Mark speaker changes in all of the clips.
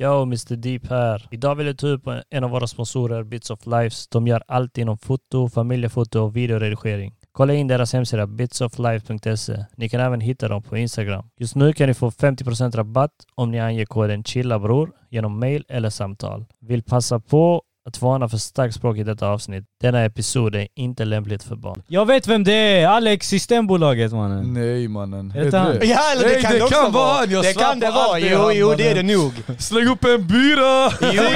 Speaker 1: Yo, Mr Deep här. Idag vill jag ta upp en av våra sponsorer, Bits of Lives. De gör allt inom foto, familjefoto och videoredigering. Kolla in deras hemsida bitsoflife.se. Ni kan även hitta dem på Instagram. Just nu kan ni få 50% rabatt om ni anger koden CHILLABROR genom mail eller samtal. Vill passa på att varna för starkt språk i detta avsnitt. Denna episod är inte lämpligt för barn.
Speaker 2: Jag vet vem det är! Alex Systembolaget mannen.
Speaker 3: Nej mannen.
Speaker 2: Mm. Är det inte han?
Speaker 3: Heter
Speaker 4: Ja, eller det
Speaker 3: Nej,
Speaker 4: kan
Speaker 3: det
Speaker 4: också
Speaker 3: kan vara
Speaker 4: vara.
Speaker 3: han. Jag
Speaker 4: det
Speaker 3: svär
Speaker 4: kan det
Speaker 3: på
Speaker 4: vara.
Speaker 3: allt det är
Speaker 4: Jo,
Speaker 3: han,
Speaker 4: jo, det är det
Speaker 3: mannen.
Speaker 4: nog.
Speaker 3: Släng upp en bira!
Speaker 4: Jo,
Speaker 2: Jag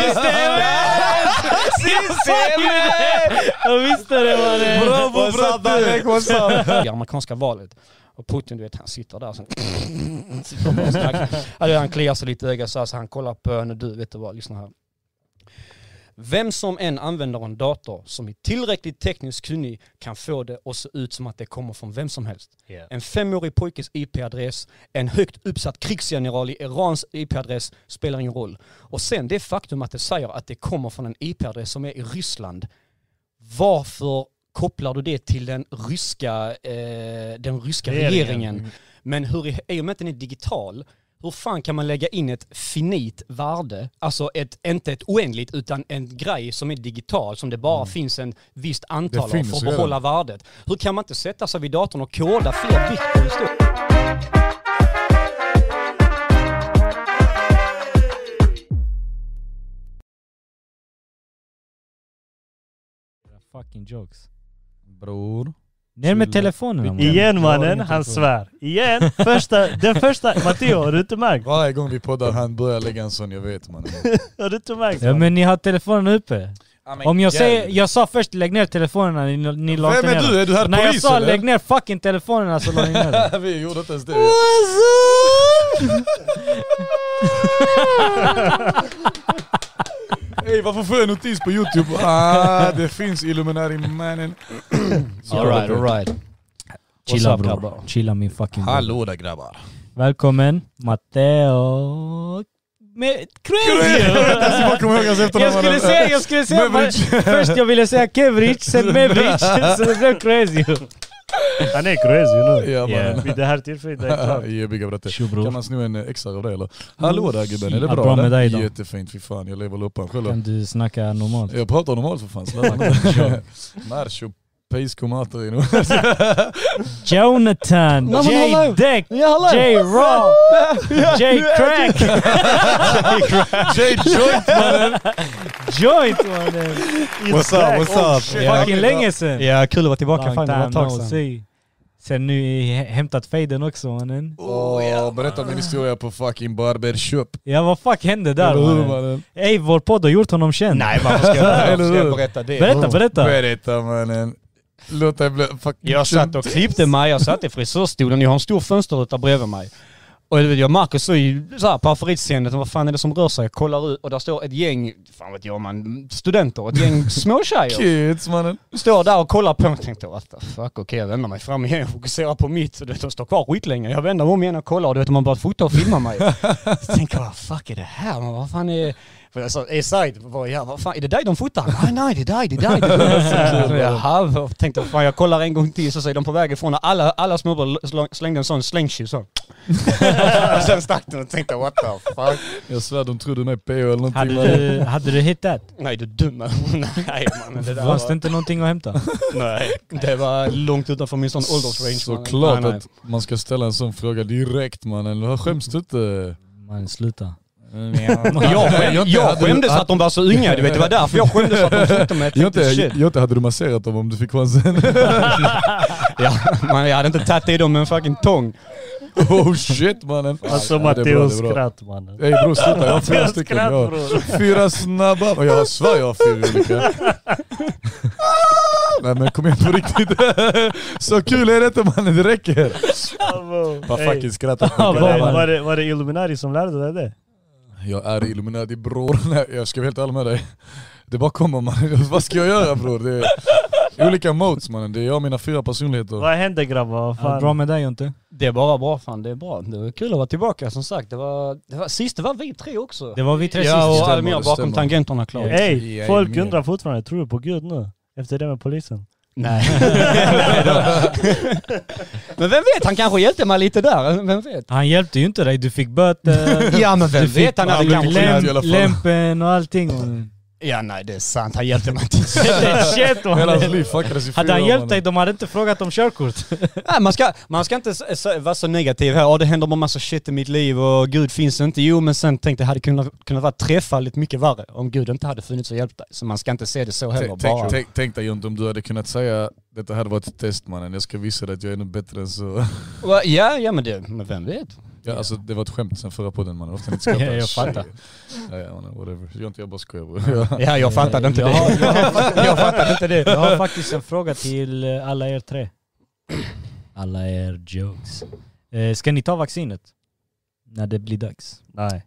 Speaker 2: visste det mannen!
Speaker 3: Bravo bratte!
Speaker 4: I amerikanska valet. Och Putin, du vet, han sitter där och sen... sitter och bara och snackar. alltså, han kliar sig lite i ögat så, här, så han kollar på henne. Du, vet du vad, lyssna här. Vem som än använder en dator som är tillräckligt tekniskt kunnig kan få det att se ut som att det kommer från vem som helst. En femårig pojkes IP-adress, en högt uppsatt krigsgeneral i Irans IP-adress spelar ingen roll. Och sen det faktum att det säger att det kommer från en IP-adress som är i Ryssland. Varför kopplar du det till den ryska, eh, den ryska
Speaker 1: Regeringen.
Speaker 4: regeringen? Men hur, i- i och med att den är digital, hur fan kan man lägga in ett finit värde? Alltså ett, inte ett oändligt utan en grej som är digital som det bara finns en visst antal av för
Speaker 3: finns
Speaker 4: att
Speaker 3: redan.
Speaker 4: behålla värdet. Hur kan man inte sätta sig vid datorn och koda fler bitcoin? då?
Speaker 2: Fucking jokes.
Speaker 3: Bror.
Speaker 2: Ner med telefonerna mannen.
Speaker 1: Igen mannen, han svär. Igen! Första, den första... Matteo, har du inte märkt?
Speaker 3: Varje gång vi poddar han börjar lägga en sån, jag vet mannen.
Speaker 1: Har du inte märkt?
Speaker 2: Ja men ni har telefonerna uppe. Om jag säger, jag sa först lägg ner telefonerna, ni, ni la inte
Speaker 3: Vem
Speaker 2: ner
Speaker 3: är
Speaker 2: dem.
Speaker 3: du? Är du här
Speaker 2: När jag
Speaker 3: polis
Speaker 2: sa
Speaker 3: eller?
Speaker 2: lägg ner fucking telefonerna så la ni ner dem.
Speaker 3: Vi gjorde inte ens det. Ey varför får jag notis på youtube? Ah, det finns Illuminati mannen.
Speaker 4: Alright, alright.
Speaker 2: Chilla bror. Chilla min fucking bror.
Speaker 3: Hallå där grabbar.
Speaker 2: Välkommen Matteo... Med crazy!
Speaker 3: Jag kommer ihåg hans
Speaker 2: Jag
Speaker 3: efternamn
Speaker 2: skulle
Speaker 3: mannen.
Speaker 2: säga, jag skulle säga,
Speaker 3: Mevlic.
Speaker 2: först jag ville säga Kevric, sen Mevric, så det blev crazy.
Speaker 1: Han är crazy nu.
Speaker 3: Ja, mannen.
Speaker 1: Vid det här tillfället, det är klart.
Speaker 3: Ja, bygga bratte.
Speaker 2: Tjo bror.
Speaker 3: Kan man sno en eh, extra av dig eller? Hallå där gubben, är det
Speaker 2: Ja,
Speaker 3: bra?
Speaker 2: bra med
Speaker 3: eller?
Speaker 2: dig då.
Speaker 3: Jättefint, fy fan jag lever loppan själv.
Speaker 2: Kan du snacka normalt?
Speaker 3: Jag pratar normalt för fan, snälla. Narsho, pejs komaterino.
Speaker 2: Jonathan,
Speaker 4: Nej, men
Speaker 2: J
Speaker 4: hallå.
Speaker 2: Deck,
Speaker 4: Ja, hallå!
Speaker 2: J Raw, J Crack,
Speaker 3: Jay Joint!
Speaker 2: Joint mannen!
Speaker 5: What's up, what's up? Ja,
Speaker 2: Fucking länge sen!
Speaker 5: ja, kul att vara tillbaka.
Speaker 2: Long
Speaker 5: Fan, det var
Speaker 2: time
Speaker 5: ett
Speaker 2: no
Speaker 5: tag sedan.
Speaker 2: see. Sen nu he- hämtat faden också mannen.
Speaker 3: Åh, Oh, berätta min historia på fucking barbershop.
Speaker 2: Ja vad fuck hände där
Speaker 3: Eller hur,
Speaker 2: mannen?
Speaker 3: mannen?
Speaker 2: Ey vår podd har gjort honom känd.
Speaker 5: Nej, varför ska jag, varför ska
Speaker 3: Eller hur?
Speaker 5: jag berätta det? Oh.
Speaker 2: Berätta, berätta!
Speaker 3: Berätta mannen. Låt dig bli fucking
Speaker 4: Jag satt och klippte mig, jag satt i frisörstolen, jag har en stor fönsterruta bredvid mig. Och du vet, jag och Marcus så i så här, parafritseendet, vad fan är det som rör sig? Jag kollar ut och där står ett gäng, fan vet jag man, studenter, ett gäng småtjejer.
Speaker 3: Kids mannen.
Speaker 4: Står där och kollar på mig och tänkte what the fuck, okej jag vänder mig fram igen och fokuserar på mitt. Och du vet, de står kvar skitlänge. Jag vänder mig om igen och kollar och du vet, de har börjat fota och filma mig. Så tänker jag, vad fuck är det här? Men vad fan är... För alltså, jag sa, "Ey, Said, vad, ja, vad fan, är det dig de fotar? Nej, nej, det är dig, det är dig. Det är dig. Så Jaha, jag tänkte fan jag kollar en gång till så säger de på väg ifrån och alla, alla småbarn sl- slängde en sån slängkyss så. och sen stack den och tänkte what the fuck.
Speaker 3: Jag svär de trodde mig PO eller någonting.
Speaker 2: Hade
Speaker 3: mannen.
Speaker 2: du, hade du hittat?
Speaker 4: Nej du dumma. nej mannen det där
Speaker 2: Fanns det
Speaker 4: var,
Speaker 2: inte någonting att hämta?
Speaker 4: nej, det var långt utanför min sån åldersrange. mannen.
Speaker 3: Såklart
Speaker 4: Nej, nej.
Speaker 3: att man ska ställa en sån fråga direkt mannen. Vad Skäms du inte?
Speaker 2: Man sluta.
Speaker 5: Mm,
Speaker 4: Jag,
Speaker 3: Jag
Speaker 4: skäm,
Speaker 3: inte
Speaker 4: jag
Speaker 3: hade-
Speaker 4: skämdes att de var så unga, du vet. Det var därför jag skämdes att de trodde mig. Jag
Speaker 3: Jonte,
Speaker 4: tänkte shit.
Speaker 3: Jonte, hade du masserat dem om du fick chansen?
Speaker 4: Ja, man, jag hade inte tagit i dem med en fucking tång.
Speaker 3: oh shit mannen.
Speaker 1: Alltså
Speaker 3: Ja, det är bra, det är
Speaker 1: Matteos
Speaker 3: bra.
Speaker 1: skratt mannen.
Speaker 3: Ey bror sluta, jag har fyra
Speaker 1: Matteos
Speaker 3: stycken.
Speaker 1: skratt,
Speaker 3: Jag har
Speaker 1: bror.
Speaker 3: fyra snabba. Och jag svär jag har fyra olika. Nej men kom igen på riktigt. Så kul är det inte mannen, det räcker. Vad
Speaker 1: Ey,
Speaker 3: fucking skrattar
Speaker 1: var,
Speaker 3: skicka
Speaker 1: det,
Speaker 3: det,
Speaker 1: var,
Speaker 3: mannen.
Speaker 1: det, var det Illuminati som lärde dig det?
Speaker 3: Jag är Illuminati bror. Nej, jag ska vara helt ärlig med dig. Det bara kommer mannen. Vad ska jag göra bror? Det är olika modes mannen. Det är jag och mina fyra personligheter.
Speaker 1: Vad hände grabbar? Vad
Speaker 2: Allt bra
Speaker 1: fan?
Speaker 2: med dig Jonte?
Speaker 4: Det är bara bra fan, det är bra. Det var kul att vara tillbaka som sagt. Det var, det var, sist det var vi tre också.
Speaker 2: Det var vi tre
Speaker 4: ja
Speaker 2: sist.
Speaker 4: och Eh,
Speaker 3: stämmer,
Speaker 4: Almir
Speaker 3: det
Speaker 4: bakom
Speaker 3: stämmer.
Speaker 4: tangenterna klart.
Speaker 1: Ey,
Speaker 3: Ja,
Speaker 1: folk
Speaker 3: men-
Speaker 1: undrar fortfarande, tror du på gud nu? Efter det med polisen?
Speaker 4: Nej. men vem vet, han kanske hjälpte mig lite där. Vem vet?
Speaker 2: Han hjälpte ju inte dig, du fick böter.
Speaker 4: Ja men vem
Speaker 2: Du fick alltså,
Speaker 4: vet, han hade
Speaker 3: aldrig
Speaker 4: kanske...
Speaker 3: lämnat. i alla
Speaker 2: Lämp,
Speaker 3: fall.
Speaker 2: lämpen och allting.
Speaker 4: Ja nej det är sant, han hjälpte mig inte.
Speaker 2: Shit, man.
Speaker 3: Hela hans liv fuckades i fyra
Speaker 2: Hade han
Speaker 3: år,
Speaker 2: hjälpt
Speaker 3: mannen.
Speaker 2: dig, de hade inte frågat om körkort.
Speaker 4: Nej, man, ska, man ska inte s- s- vara så negativ här. Ja, det händer bara massa shit i mitt liv och Gud finns inte. Jo, men sen tänkte jag hade kunnat, kunnat vara trefaldigt mycket värre om Gud inte hade funnits och hjälpt dig. Så man ska inte se det så
Speaker 3: Tänk-
Speaker 4: heller bara.
Speaker 3: Tänk, tänk, tänk dig Jonte om du hade kunnat säga detta hade varit ett test mannen, jag ska visa dig att jag är ännu bättre än så.
Speaker 4: Va- Ja, ja men, det, men vem vet?
Speaker 3: Ja, alltså, det var ett skämt sen förra podden mannen, ofta inte skrattar.
Speaker 2: Ja, jag fattar.
Speaker 3: Ja, ja, mannen, whatever. Jonte jag bara skojar bror. Ja.
Speaker 4: Ja, jag fattade inte
Speaker 2: jag,
Speaker 4: det.
Speaker 2: har, jag, har, jag fattade inte det. Jag har faktiskt en fråga till eh, alla er tre. Alla er jokes. Eh, ska ni ta vaccinet? När det blir dags?
Speaker 1: Nej,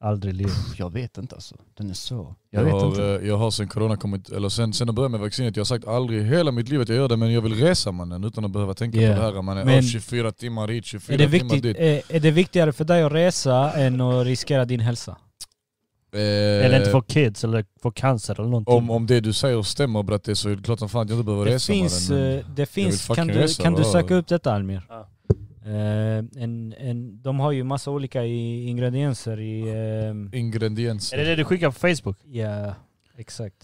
Speaker 1: aldrig i livet.
Speaker 4: Jag vet inte alltså. Den är så. Jag
Speaker 3: Jag,
Speaker 4: vet
Speaker 3: har,
Speaker 4: inte.
Speaker 3: eh, jag har sen corona kommit, eller sen, sen jag började med vaccinet, jag har sagt aldrig i hela mitt liv att jag gör det men jag vill resa mannen utan att behöva tänka
Speaker 2: Ja.
Speaker 3: på det här mannen.
Speaker 2: Men-
Speaker 3: Men, 24 timmar hit, 24
Speaker 2: Är det,
Speaker 3: timmar
Speaker 2: viktigt,
Speaker 3: dit.
Speaker 2: eh, är det viktigare för dig att resa än att riskera din hälsa?
Speaker 1: Eller
Speaker 3: Eh,
Speaker 1: inte få kids eller få cancer eller någonting.
Speaker 3: om, om det du säger stämmer bratte så är det klart som fan att jag inte behöver
Speaker 2: Det
Speaker 3: resa
Speaker 2: finns,
Speaker 3: mannen.
Speaker 2: eh, det finns
Speaker 3: fucking
Speaker 2: kan, du,
Speaker 3: resa,
Speaker 2: kan du
Speaker 3: vadå?
Speaker 2: söka upp detta Almir?
Speaker 1: Ja.
Speaker 2: Eh, en, en, de har ju massa olika i, ingredienser i... ehm,
Speaker 1: Är
Speaker 3: Ingredienser.
Speaker 1: det det du skickar på Facebook?
Speaker 2: ja, exakt.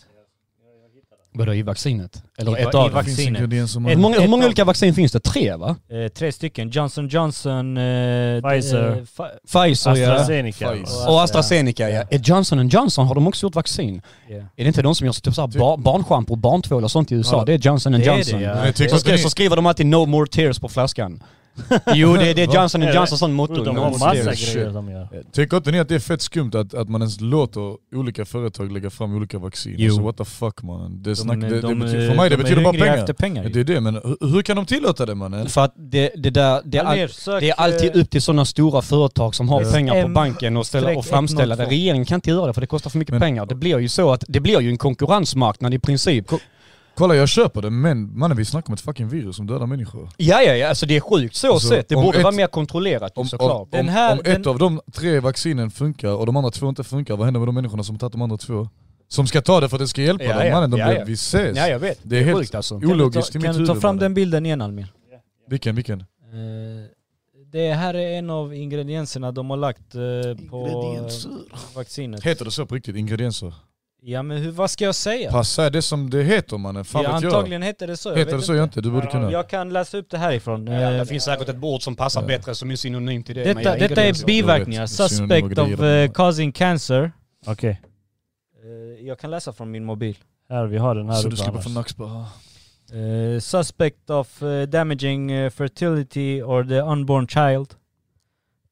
Speaker 4: Vadå i vaccinet? Eller
Speaker 2: I
Speaker 4: ett
Speaker 2: va- i
Speaker 4: av dem?
Speaker 2: vac-
Speaker 3: finns
Speaker 2: vaccinet?
Speaker 3: ingredienser
Speaker 2: Ett-
Speaker 4: Hur
Speaker 3: mannen.
Speaker 4: många, hur många
Speaker 2: av-
Speaker 4: olika vaccin finns det? Tre va?
Speaker 2: Eh, tre stycken. Johnson Johnson... eh,
Speaker 1: Pfizer.
Speaker 2: eh, Fi-
Speaker 4: Pfizer ja.
Speaker 1: AstraZeneca?
Speaker 3: Pfizer.
Speaker 4: Och AstraZeneca ja. Är Johnson Johnson, har de också gjort vaccin?
Speaker 2: ja.
Speaker 4: Är det inte de som gör så typ såhär
Speaker 3: Ty-
Speaker 4: bar, barnschampo, barntvål och sånt i USA?
Speaker 3: Ja.
Speaker 4: Det är Johnson
Speaker 2: Det är det,
Speaker 4: Johnson.
Speaker 2: ja.
Speaker 3: Men jag tycker
Speaker 4: så,
Speaker 3: att
Speaker 4: skri- så
Speaker 3: ni-
Speaker 4: skriver de alltid no more tears på flaskan. jo det, det är Johnson
Speaker 1: Är det?
Speaker 4: Johnson sån motto.
Speaker 1: De
Speaker 4: No
Speaker 1: har
Speaker 4: more
Speaker 1: massa
Speaker 4: tears.
Speaker 1: grejer de gör.
Speaker 3: Tycker inte ni att det är fett skumt att, att man ens låter olika företag lägga fram olika vaccin?
Speaker 2: Jo.
Speaker 3: Alltså what the fuck mannen. Det snack,
Speaker 2: De-
Speaker 3: det, det
Speaker 2: de-
Speaker 3: betyder, för mig det
Speaker 2: de är
Speaker 3: betyder bara
Speaker 2: hungriga
Speaker 3: pengar.
Speaker 2: efter pengar.
Speaker 3: Det är det, men hur, hur kan de tillåta det mannen?
Speaker 4: För att det, det där, det är,
Speaker 2: Almer,
Speaker 4: all,
Speaker 2: sök,
Speaker 4: det är alltid
Speaker 2: eh,
Speaker 4: upp till sådana stora företag som har
Speaker 2: Ja.
Speaker 4: pengar på
Speaker 2: SM
Speaker 4: banken och, ställa, och framställa det.
Speaker 2: 102.
Speaker 4: Regeringen kan inte göra det för det kostar för mycket
Speaker 3: Men-
Speaker 4: pengar. Det blir ju så att, det blir ju en konkurrensmarknad i princip.
Speaker 3: Kolla jag köper det men mannen vi snackar om ett fucking virus som dödar människor.
Speaker 4: Ja ja ja, alltså det är sjukt så
Speaker 3: Alltså,
Speaker 4: sett. Det
Speaker 3: om
Speaker 4: borde
Speaker 3: ett-
Speaker 4: vara mer kontrollerat
Speaker 3: Om, om,
Speaker 4: såklart.
Speaker 2: Den
Speaker 3: om,
Speaker 2: här-
Speaker 3: om ett
Speaker 2: den-
Speaker 3: av de tre vaccinen funkar och de andra två inte funkar, vad händer med de människorna som tagit de andra två? Som ska ta det för att det ska hjälpa
Speaker 4: Ja,
Speaker 3: dem
Speaker 4: ja,
Speaker 3: mannen, de
Speaker 4: ja,
Speaker 3: blir
Speaker 4: ja.
Speaker 3: vi ses.
Speaker 4: ja jag vet.
Speaker 3: Det är helt
Speaker 4: sjukt alltså.
Speaker 3: ologiskt
Speaker 2: kan
Speaker 3: i
Speaker 2: du ta,
Speaker 3: mitt
Speaker 2: kan du ta
Speaker 3: huvud.
Speaker 2: fram
Speaker 3: mannen.
Speaker 2: den bilden igen Almir?
Speaker 3: Vilken, vilken?
Speaker 2: Eh, Det här är en av ingredienserna de har lagt eh, på eh, vaccinet.
Speaker 3: Heter det så på riktigt? Ingredienser?
Speaker 2: Ja men hur, vad ska jag säga?
Speaker 3: Passa det som det heter mannen, fan
Speaker 2: Ja,
Speaker 3: vet jag.
Speaker 2: antagligen heter det så. jag
Speaker 3: Heter
Speaker 2: vet
Speaker 3: det så
Speaker 2: inte.
Speaker 3: Jonte? Du borde kunna.
Speaker 2: Jag kan läsa upp det härifrån.
Speaker 4: Ja,
Speaker 2: Eh,
Speaker 4: det finns säkert ett ord som passar bättre som är synonymt till det. men
Speaker 2: detta,
Speaker 4: jag
Speaker 2: detta
Speaker 4: ingredienser.
Speaker 2: är biverkningar.
Speaker 3: Jag vet, det är synonym och
Speaker 2: Suspect of
Speaker 3: grejer.
Speaker 2: eh, causing cancer.
Speaker 1: Okej,
Speaker 2: Eh, Jag kan läsa från min mobil.
Speaker 1: här vi har den här
Speaker 3: Så du
Speaker 1: uppe
Speaker 3: slipper
Speaker 1: annars.
Speaker 3: få nackspärr?
Speaker 2: Eh, suspect of eh, damaging eh, fertility or the unborn child.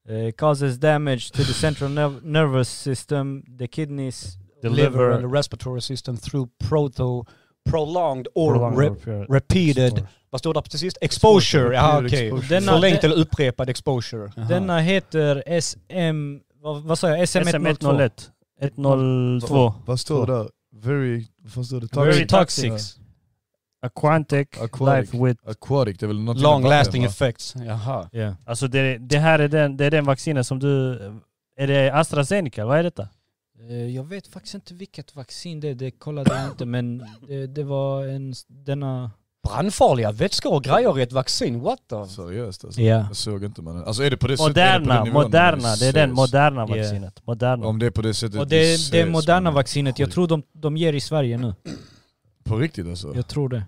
Speaker 2: Eh, causes damage to the central nerv- nervous system, the kidneys,
Speaker 1: The
Speaker 4: liver and
Speaker 1: liver.
Speaker 4: the respiratory system through proto, prolonged or
Speaker 1: prolonged
Speaker 4: re-
Speaker 1: repair-
Speaker 4: repeated,
Speaker 1: Exposure.
Speaker 4: vad står det precis? Exposure, ja okej.
Speaker 2: Denna-
Speaker 4: Förlängt
Speaker 2: de-
Speaker 4: eller upprepad exposure. Jaha.
Speaker 2: Denna heter SM... Vad, vad sa jag? SM102.
Speaker 1: SM101. 102.
Speaker 3: Vad står det där? Very... Vad står det?
Speaker 1: Very
Speaker 2: toxic.
Speaker 1: Aquantic
Speaker 3: Aquatic.
Speaker 1: life with...
Speaker 3: Aquatic, det är väl något...
Speaker 4: Long lasting
Speaker 3: Va?
Speaker 4: effects. Jaha.
Speaker 2: Ja.
Speaker 1: Alltså det, det här är den, det är den vaccinen som du... Är det AstraZeneca? Vad är detta?
Speaker 2: Eh, Jag vet faktiskt inte vilket vaccin det är, det kollade jag inte men det, det var en... s- Denna...
Speaker 4: Brandfarliga vätskor och grejer i ett vaccin, what the?
Speaker 3: Seriöst alltså.
Speaker 2: Ja.
Speaker 3: Jag såg inte mannen. Alltså är det på det sättet? är det på
Speaker 1: Moderna,
Speaker 3: den nivån,
Speaker 1: Moderna.
Speaker 3: mannen?
Speaker 1: Det är den
Speaker 3: Ses.
Speaker 1: moderna vaccinet. Moderna.
Speaker 3: Om det är på det sättet
Speaker 2: Och
Speaker 3: vi
Speaker 2: det,
Speaker 3: ses,
Speaker 2: det moderna
Speaker 3: mannen.
Speaker 2: vaccinet, jag
Speaker 3: Sjukt.
Speaker 2: tror de, de ger i Sverige nu.
Speaker 3: På riktigt alltså?
Speaker 2: Jag tror det.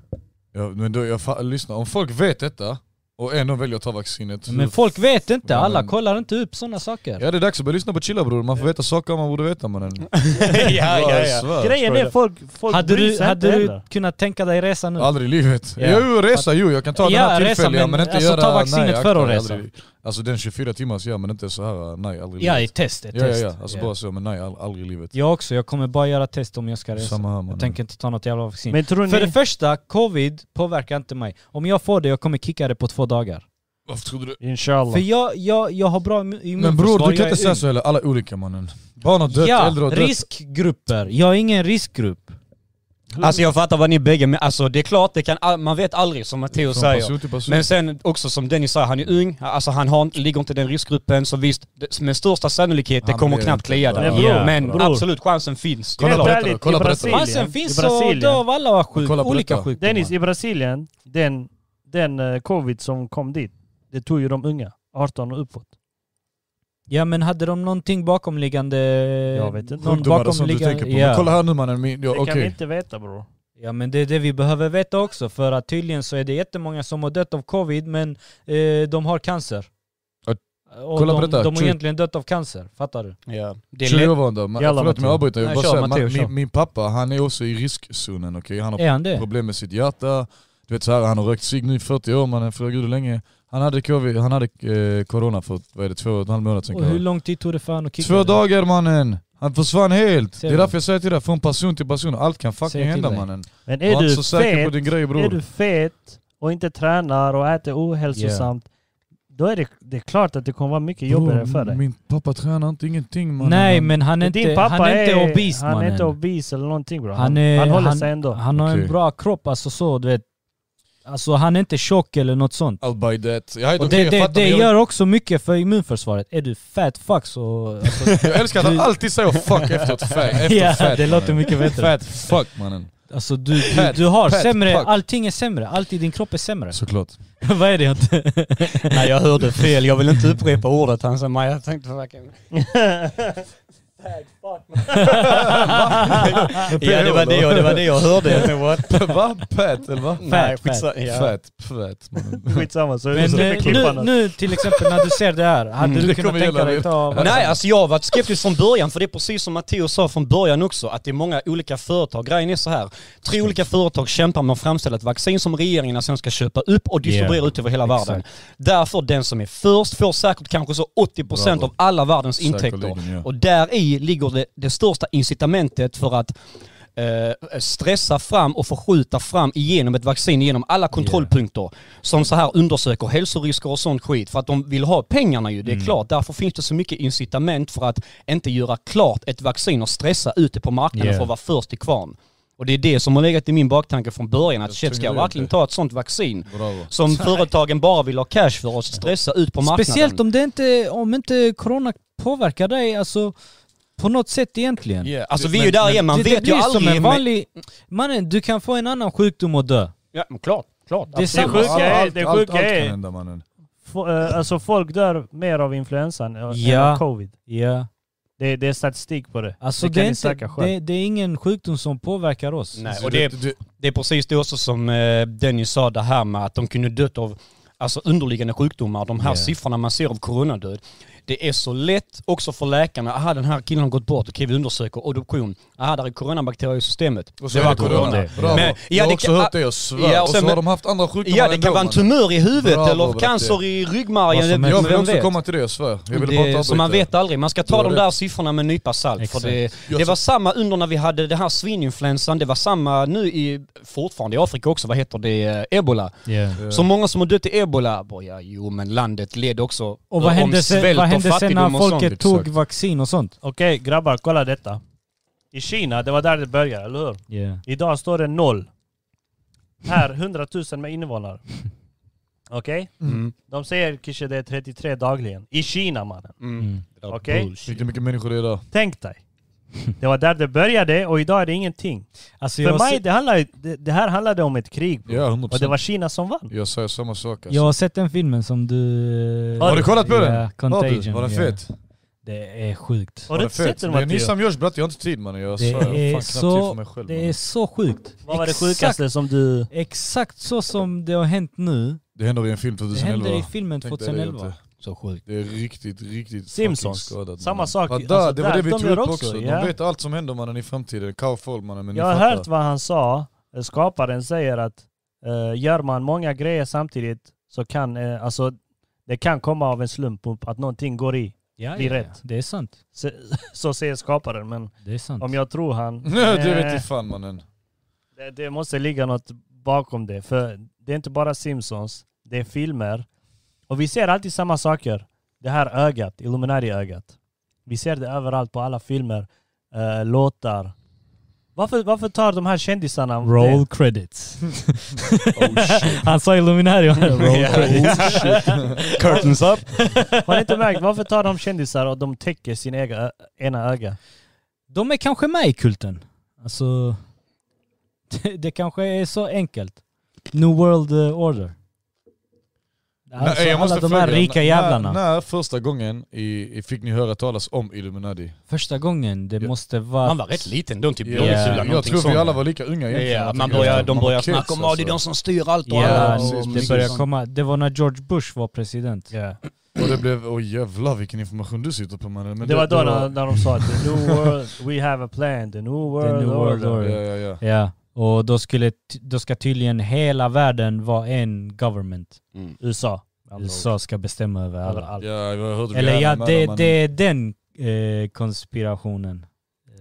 Speaker 3: Ja, men då, jag fa- lyssna, om folk vet detta och ändå väljer att ta vaccinet.
Speaker 2: Men folk vet inte,
Speaker 3: Ja,
Speaker 2: alla
Speaker 3: men-
Speaker 2: kollar inte upp sådana saker.
Speaker 3: Ja det är dags att börja lyssna på chilla bror, man får veta saker man borde veta mannen.
Speaker 4: ja,
Speaker 3: Jag svär.
Speaker 1: Grejen är folk, folk
Speaker 2: Hade
Speaker 1: bryr
Speaker 2: du,
Speaker 1: sig
Speaker 2: hade
Speaker 1: inte
Speaker 2: du
Speaker 1: heller.
Speaker 2: kunnat tänka dig resa nu?
Speaker 3: Aldrig i livet.
Speaker 2: Ja.
Speaker 3: Jo, resa, jo jag kan ta
Speaker 2: Ja,
Speaker 3: den här
Speaker 2: resa,
Speaker 3: tillfälliga
Speaker 2: men
Speaker 3: men, inte
Speaker 2: alltså,
Speaker 3: göra...
Speaker 2: ta vaccinet
Speaker 3: nej, akta
Speaker 2: för att
Speaker 3: mig,
Speaker 2: resa.
Speaker 3: aldrig. Alltså den 24 timmars ja men inte så här, nej aldrig i
Speaker 2: Ja, i
Speaker 3: livet.
Speaker 2: test. Ett
Speaker 3: Ja, ja,
Speaker 2: test.
Speaker 3: ja. Alltså
Speaker 2: Ja.
Speaker 3: bara så, men nej all- aldrig i livet.
Speaker 2: Jag också, jag kommer bara göra test om jag ska resa.
Speaker 3: Samma här mannen.
Speaker 2: Jag tänker inte ta något jävla vaccin.
Speaker 1: Men tror
Speaker 2: För det
Speaker 1: ni...
Speaker 2: första, covid påverkar inte mig. Om jag får det, jag kommer kicka det på två dagar.
Speaker 3: Varför trodde du?
Speaker 1: Inshallah.
Speaker 2: För jag, jag, jag har bra immu- immunförsvar.
Speaker 3: Men bror du
Speaker 2: Mm, jag
Speaker 3: kan inte
Speaker 2: är
Speaker 3: säga
Speaker 2: ung.
Speaker 3: så heller, alla är olika mannen. Barn har dött,
Speaker 2: Ja,
Speaker 3: äldre har dött.
Speaker 2: riskgrupper. Jag är ingen riskgrupp.
Speaker 4: Alltså jag fattar vad ni bägge, men alltså det är klart, det kan, all- man vet aldrig som Matteo
Speaker 3: Från
Speaker 4: säger.
Speaker 3: person till person.
Speaker 4: Men sen också som Dennis säger, han är ung, alltså han har, ligger inte i den riskgruppen, så visst, det- med största sannolikhet, det
Speaker 3: Han
Speaker 4: kommer
Speaker 3: blir
Speaker 4: knappt
Speaker 3: inte
Speaker 4: klia
Speaker 3: bra.
Speaker 4: där.
Speaker 1: Men bror,
Speaker 4: Men
Speaker 1: bror.
Speaker 4: absolut, chansen finns.
Speaker 3: Kolla
Speaker 1: Helt
Speaker 3: på detta
Speaker 1: ärligt,
Speaker 3: då, kolla
Speaker 1: i
Speaker 3: på detta.
Speaker 1: Brasilien.
Speaker 2: Chansen
Speaker 1: I
Speaker 2: finns och
Speaker 1: Brasilien.
Speaker 2: dör av alla sjuk,
Speaker 3: Kolla på
Speaker 2: olika
Speaker 3: detta.
Speaker 2: sjukdomar.
Speaker 1: Dennis, i Brasilien, den, den eh, covid som kom dit, det tog ju de unga. 18 och uppåt.
Speaker 2: Ja men hade de någonting bakomliggande...
Speaker 1: Jag vet inte.
Speaker 2: Någon
Speaker 3: Sjukdomar och sånt du tänker på. Men kolla
Speaker 2: Ja.
Speaker 3: här nu mannen, min, ja,
Speaker 1: Det kan vi
Speaker 3: okej.
Speaker 1: inte veta bror.
Speaker 2: ja men det är det vi behöver veta också för att tydligen så är det jättemånga som har dött av covid men eh, de har cancer.
Speaker 3: Ja,
Speaker 2: Och
Speaker 3: kolla på
Speaker 2: de,
Speaker 3: detta.
Speaker 2: de har
Speaker 3: Tjugo-
Speaker 2: egentligen dött av cancer, fattar du?
Speaker 4: Ja. Det är lätt.
Speaker 3: 20 år var han då. Ma-
Speaker 1: Jalla,
Speaker 3: Förlåt om jag
Speaker 1: Matteo.
Speaker 3: avbryter, jag vill bara
Speaker 4: Nej, kör,
Speaker 3: säga,
Speaker 4: Matteo,
Speaker 3: ma-
Speaker 4: kör.
Speaker 3: min, min pappa han är också i riskzonen okej. Han har
Speaker 2: Är han det?
Speaker 3: problem med sitt hjärta. Du vet så här, han har rökt cigg nu i 40 år mannen, för gud hur länge. Han hade, covid, han hade eh, corona för vad är det, två och en halv månad sedan
Speaker 2: Och
Speaker 3: kanske.
Speaker 2: hur lång tid tog det för han att kicka
Speaker 3: Två
Speaker 2: det?
Speaker 3: dagar mannen! Han försvann helt!
Speaker 2: Ser
Speaker 3: det
Speaker 2: du?
Speaker 3: är därför jag säger till dig, från person till person, allt kan
Speaker 2: Säg
Speaker 3: fucking
Speaker 2: till
Speaker 3: hända
Speaker 2: dig.
Speaker 3: mannen.
Speaker 1: Men
Speaker 3: Var
Speaker 1: är
Speaker 3: inte
Speaker 1: du,
Speaker 3: så säker på
Speaker 1: fet,
Speaker 3: din grej bror.
Speaker 1: är du fet och inte tränar och äter ohälsosamt, då är det, det är klart att det kommer vara mycket jobbigare
Speaker 3: Bror,
Speaker 1: för dig.
Speaker 3: Min pappa tränar inte ingenting mannen.
Speaker 2: Nej
Speaker 3: Han-
Speaker 2: men han är
Speaker 1: Men Din
Speaker 2: inte,
Speaker 1: pappa
Speaker 2: han är inte obese
Speaker 1: han är
Speaker 2: mannen.
Speaker 1: inte obese eller någonting bror. Han,
Speaker 2: Han
Speaker 1: han,
Speaker 2: är-
Speaker 1: håller
Speaker 2: han-
Speaker 1: sig ändå.
Speaker 2: Han har
Speaker 3: Okej.
Speaker 2: en bra kropp, alltså så du vet. Alltså han är inte tjock eller något sånt.
Speaker 3: I'll buy that. Jag, är
Speaker 2: Och
Speaker 3: okej,
Speaker 2: det,
Speaker 3: jag
Speaker 2: det,
Speaker 3: fattar,
Speaker 2: det
Speaker 3: men jag,
Speaker 2: gör också mycket för immunförsvaret. Är du fat fuck så... Alltså,
Speaker 3: jag älskar att han
Speaker 2: Du-
Speaker 3: alltid säger fuck efteråt. Fat, efter
Speaker 2: Ja,
Speaker 3: fat,
Speaker 2: det låter
Speaker 3: mannen.
Speaker 2: mycket bättre.
Speaker 3: Fat fuck mannen.
Speaker 2: Alltså du, du,
Speaker 3: Fat
Speaker 2: du har
Speaker 3: fuck,
Speaker 2: sämre,
Speaker 3: fuck.
Speaker 2: allting är sämre. Allt i din kropp är sämre.
Speaker 3: Såklart.
Speaker 2: Vad är det jag inte...
Speaker 4: Nej jag hörde fel, jag vill inte upprepa ordet han sa, men jag tänkte fucking... Ja det var det, jag- det var det jag hörde. Jag tänkte, what?
Speaker 3: va? Pat eller va?
Speaker 4: Nej,
Speaker 2: fat.
Speaker 4: skitsa- ja.
Speaker 3: Fat, fat mannen.
Speaker 1: Skitsamma, så
Speaker 2: Men
Speaker 1: så
Speaker 2: eh,
Speaker 1: klippa
Speaker 2: nu,
Speaker 1: nu.
Speaker 2: nu till exempel när du ser det här, hade
Speaker 3: Mm.
Speaker 2: du
Speaker 3: Det
Speaker 2: kunnat
Speaker 3: kommer
Speaker 2: tänka
Speaker 3: gälla
Speaker 2: dig
Speaker 3: det.
Speaker 2: ta...
Speaker 4: Nej, alltså jag har varit skeptisk från början, för det är precis som Matteo sa från början också, att det är många olika företag. Grejen är så här, tre olika företag kämpar med att framställa ett vaccin som regeringarna sen ska köpa upp och distribuera
Speaker 2: Yeah.
Speaker 4: ut över hela
Speaker 2: Exakt.
Speaker 4: världen. Därför, den som är först får säkert kanske så 80%
Speaker 3: Bravo.
Speaker 4: av alla världens intäkter.
Speaker 3: Säkerligen, ja.
Speaker 4: Och där i ligger det, det största incitamentet för att eh, stressa fram och förskjuta fram igenom ett vaccin genom alla kontrollpunkter som så här undersöker hälsorisker och sånt skit för att de vill ha pengarna ju, det
Speaker 2: Mm.
Speaker 4: är klart. Därför finns det så mycket incitament för att inte göra klart ett vaccin och stressa ut det på marknaden
Speaker 2: Yeah.
Speaker 4: för att vara först i kvarn. Och det är det som har legat i min baktanke från början, att shit, ska jag
Speaker 3: tycker det.
Speaker 4: verkligen ta ett sånt vaccin
Speaker 3: Bravo.
Speaker 4: som företagen bara vill ha cash för och stressa ut på marknaden?
Speaker 2: Speciellt om det inte, om inte corona påverkar dig alltså på något sätt egentligen.
Speaker 4: Yeah. Alltså vi är
Speaker 3: Men-
Speaker 4: ju där igen, man
Speaker 2: det, det
Speaker 4: vet ju
Speaker 2: blir
Speaker 4: aldrig.
Speaker 2: som en
Speaker 4: men-
Speaker 2: vanlig... Mannen, du kan få en annan sjukdom och dö.
Speaker 4: Ja, men klart, klart.
Speaker 2: Det är
Speaker 1: Det
Speaker 2: samma.
Speaker 1: sjuka är, det
Speaker 3: allt,
Speaker 1: sjuka
Speaker 3: allt kan
Speaker 1: är
Speaker 3: hända mannen.
Speaker 1: fo- eh, alltså folk dör mer av influensan än
Speaker 2: Ja.
Speaker 1: av covid.
Speaker 2: Ja.
Speaker 1: Det, det är statistik på det.
Speaker 2: Alltså
Speaker 1: det
Speaker 2: det,
Speaker 1: kan
Speaker 2: är
Speaker 1: ni
Speaker 2: inte,
Speaker 1: söka själv.
Speaker 2: det, det är ingen sjukdom som påverkar oss.
Speaker 4: Nej,
Speaker 3: Så
Speaker 4: och det,
Speaker 3: du- du-
Speaker 4: det är precis det också som eh, Dennis sa det här med att de kunde dött av alltså underliggande sjukdomar. De här
Speaker 2: Ja.
Speaker 4: siffrorna man ser av coronadöd. Det är så lätt också för läkarna. Aha, den här killen har gått bort. Okej, vi undersöker obduktion. Aha, där är coronabakterier i systemet.
Speaker 3: och så
Speaker 4: Det
Speaker 3: är
Speaker 4: var corona.
Speaker 3: Bravo.
Speaker 4: Men- ja,
Speaker 3: jag
Speaker 4: det
Speaker 3: har också
Speaker 4: kan-
Speaker 3: hört det, jag svär.
Speaker 4: Ja, och
Speaker 3: och,
Speaker 4: sen-
Speaker 3: så har de haft andra sjukdomar
Speaker 4: Ja, det
Speaker 3: ändå,
Speaker 4: kan vara en
Speaker 3: mannen.
Speaker 4: tumör i huvudet
Speaker 3: Bravo,
Speaker 4: eller
Speaker 3: Bratte.
Speaker 4: cancer i ryggmärgen.
Speaker 2: Vad som
Speaker 4: vem-
Speaker 2: helst.
Speaker 3: Jag
Speaker 4: vem
Speaker 3: vill också
Speaker 4: vet?
Speaker 3: komma till det, jag svär. Jag vill bara inte
Speaker 4: det, så man
Speaker 3: avbryta.
Speaker 4: vet aldrig. Man ska ta
Speaker 3: var
Speaker 4: de
Speaker 3: det.
Speaker 4: där siffrorna med en nypa salt. För
Speaker 2: Exakt.
Speaker 4: det,
Speaker 3: Jag
Speaker 4: det
Speaker 3: så-
Speaker 4: var samma under när vi hade det här svininfluensan. Det var samma nu i, fortfarande i Afrika också. Vad heter det? Eh, Ebola.
Speaker 3: Ja.
Speaker 4: Så många som har dött i ebola, bara, ja, jo men landet led också
Speaker 2: Och vad
Speaker 4: om
Speaker 2: hände, sen,
Speaker 4: svält
Speaker 2: vad
Speaker 4: och
Speaker 2: hände sen när
Speaker 4: fattigdom och
Speaker 2: folket
Speaker 3: sånt?
Speaker 2: tog
Speaker 3: Exakt.
Speaker 2: vaccin och sånt?
Speaker 1: Okej grabbar, kolla detta. I Kina, det var där det började, eller hur? Idag står det noll. Här, 100 000 med invånare. Okej?
Speaker 4: Mm.
Speaker 1: De säger kanske det är 33 dagligen. I Kina mannen.
Speaker 4: Mm.
Speaker 2: Mm.
Speaker 1: Okej.
Speaker 4: Bullshit.
Speaker 3: Vilka mycket människor det är där.
Speaker 1: Tänk dig. Det var där det började och idag är det ingenting.
Speaker 2: Alltså jag,
Speaker 1: För
Speaker 2: har
Speaker 1: mig,
Speaker 2: se-
Speaker 1: det, handlar, ju- det, det här handlade om ett krig. bro.
Speaker 3: Ja, 100%.
Speaker 1: Och det var Kina som vann.
Speaker 3: Jag säger samma sak
Speaker 2: jag
Speaker 3: alltså.
Speaker 2: har sett den filmen som du...
Speaker 3: Har du kollat på
Speaker 2: Ja,
Speaker 3: den? Har du?
Speaker 2: Contagion.
Speaker 3: Var den
Speaker 2: ja.
Speaker 3: fet?
Speaker 2: Det är sjukt.
Speaker 1: Har
Speaker 3: Var
Speaker 1: du
Speaker 3: den
Speaker 1: inte sett
Speaker 3: fet?
Speaker 1: den
Speaker 3: Det är
Speaker 1: Matteo?
Speaker 3: Nissam Josh bratte, jag har inte tid mannen. Jag
Speaker 2: Det
Speaker 3: svär. Jag har
Speaker 2: är
Speaker 3: fan knappt tid
Speaker 2: så-
Speaker 3: för mig själv.
Speaker 2: Det
Speaker 3: mannen.
Speaker 2: är så sjukt.
Speaker 1: Vad var det
Speaker 2: Exakt-
Speaker 1: sjukaste som du...
Speaker 2: Exakt så som det har hänt nu.
Speaker 3: Det händer i en film
Speaker 2: Det
Speaker 3: 2011.
Speaker 2: hände i filmen
Speaker 3: Tänk dig det,
Speaker 2: 2011.
Speaker 3: inte.
Speaker 4: Så sjukt.
Speaker 3: Det är riktigt, riktigt
Speaker 1: Simpsons.
Speaker 3: fucking skadat.
Speaker 1: Samma
Speaker 3: mannen.
Speaker 1: sak,
Speaker 3: Ja,
Speaker 1: alltså,
Speaker 3: där, det var
Speaker 1: där,
Speaker 3: det vi
Speaker 1: de
Speaker 3: tog
Speaker 1: gör
Speaker 3: upp
Speaker 1: också,
Speaker 3: också.
Speaker 1: ja.
Speaker 3: De vet allt som händer mannen i framtiden. Kaofolk mannen. Men ni
Speaker 1: Jag har
Speaker 3: fattar.
Speaker 1: hört vad han sa. Eh, Skaparen säger att eh, gör man många grejer samtidigt så kan eh, alltså, det kan komma av en slump upp att någonting går i.
Speaker 2: Ja,
Speaker 1: Blir
Speaker 2: ja,
Speaker 1: rätt.
Speaker 2: Det är sant.
Speaker 1: Så, så säger skaparen, men
Speaker 2: Det är sant.
Speaker 1: om jag tror han...
Speaker 3: Nej, det vet
Speaker 1: eh,
Speaker 3: inte fan mannen.
Speaker 1: det, det måste ligga något bakom det. För det är inte bara Simpsons, det är filmer. Och vi ser alltid samma saker. Det här ögat, Illuminati-ögat. Vi ser det överallt på alla filmer, eh, låtar, Varför, varför tar de här kändisarna...
Speaker 2: Roll credits.
Speaker 1: Oh,
Speaker 2: Han sa Illuminati. Roll credits.
Speaker 5: Curtains up.
Speaker 1: det? Har ni inte märkt? Varför tar de kändisar och de täcker sin ega, ena öga?
Speaker 2: De är kanske med i kulten. Alltså, det, det kanske är så enkelt. New World eh, Order. Alltså,
Speaker 3: Nej, eh, jag måste
Speaker 2: alla de här
Speaker 3: fråga,
Speaker 2: rika
Speaker 3: när-
Speaker 2: jävlarna.
Speaker 3: När första gången i, i fick ni höra talas om Illuminati?
Speaker 2: Första gången, det
Speaker 3: Ja.
Speaker 2: måste vara...
Speaker 4: Han var rätt liten, de typ
Speaker 3: Jag,
Speaker 2: Ja,
Speaker 4: blågula,
Speaker 3: jag
Speaker 4: någonting
Speaker 3: tror vi
Speaker 4: sånt.
Speaker 3: alla var lika unga egentligen.
Speaker 4: Ja,
Speaker 3: Jag
Speaker 4: man
Speaker 3: tycker
Speaker 4: börjar,
Speaker 3: att
Speaker 4: de
Speaker 3: var
Speaker 4: börjar
Speaker 3: kids, alltså.
Speaker 4: snacka om att det är de som styr allt och
Speaker 2: Ja,
Speaker 4: alla.
Speaker 3: precis,
Speaker 4: och liksom-
Speaker 2: det
Speaker 4: mycket
Speaker 2: börjar
Speaker 4: sånt.
Speaker 2: komma. Det var när George Bush var president.
Speaker 3: Och det blev, åh jävlar vilken information du sitter på mannen. Men
Speaker 1: det var då
Speaker 3: det
Speaker 1: när, när de sa att the new world, we have a plan, the new world,
Speaker 2: new world
Speaker 1: order.
Speaker 2: order.
Speaker 3: Ja, ja, ja.
Speaker 2: Ja, och då, skulle, ty- då ska tydligen hela världen vara en government.
Speaker 4: Mm.
Speaker 1: USA.
Speaker 2: USA ska bestämma över alla.
Speaker 1: Alla-
Speaker 3: ja jag hörde
Speaker 2: Eller ja,
Speaker 3: gärna med
Speaker 2: det,
Speaker 3: dem,
Speaker 2: det är den eh, konspirationen.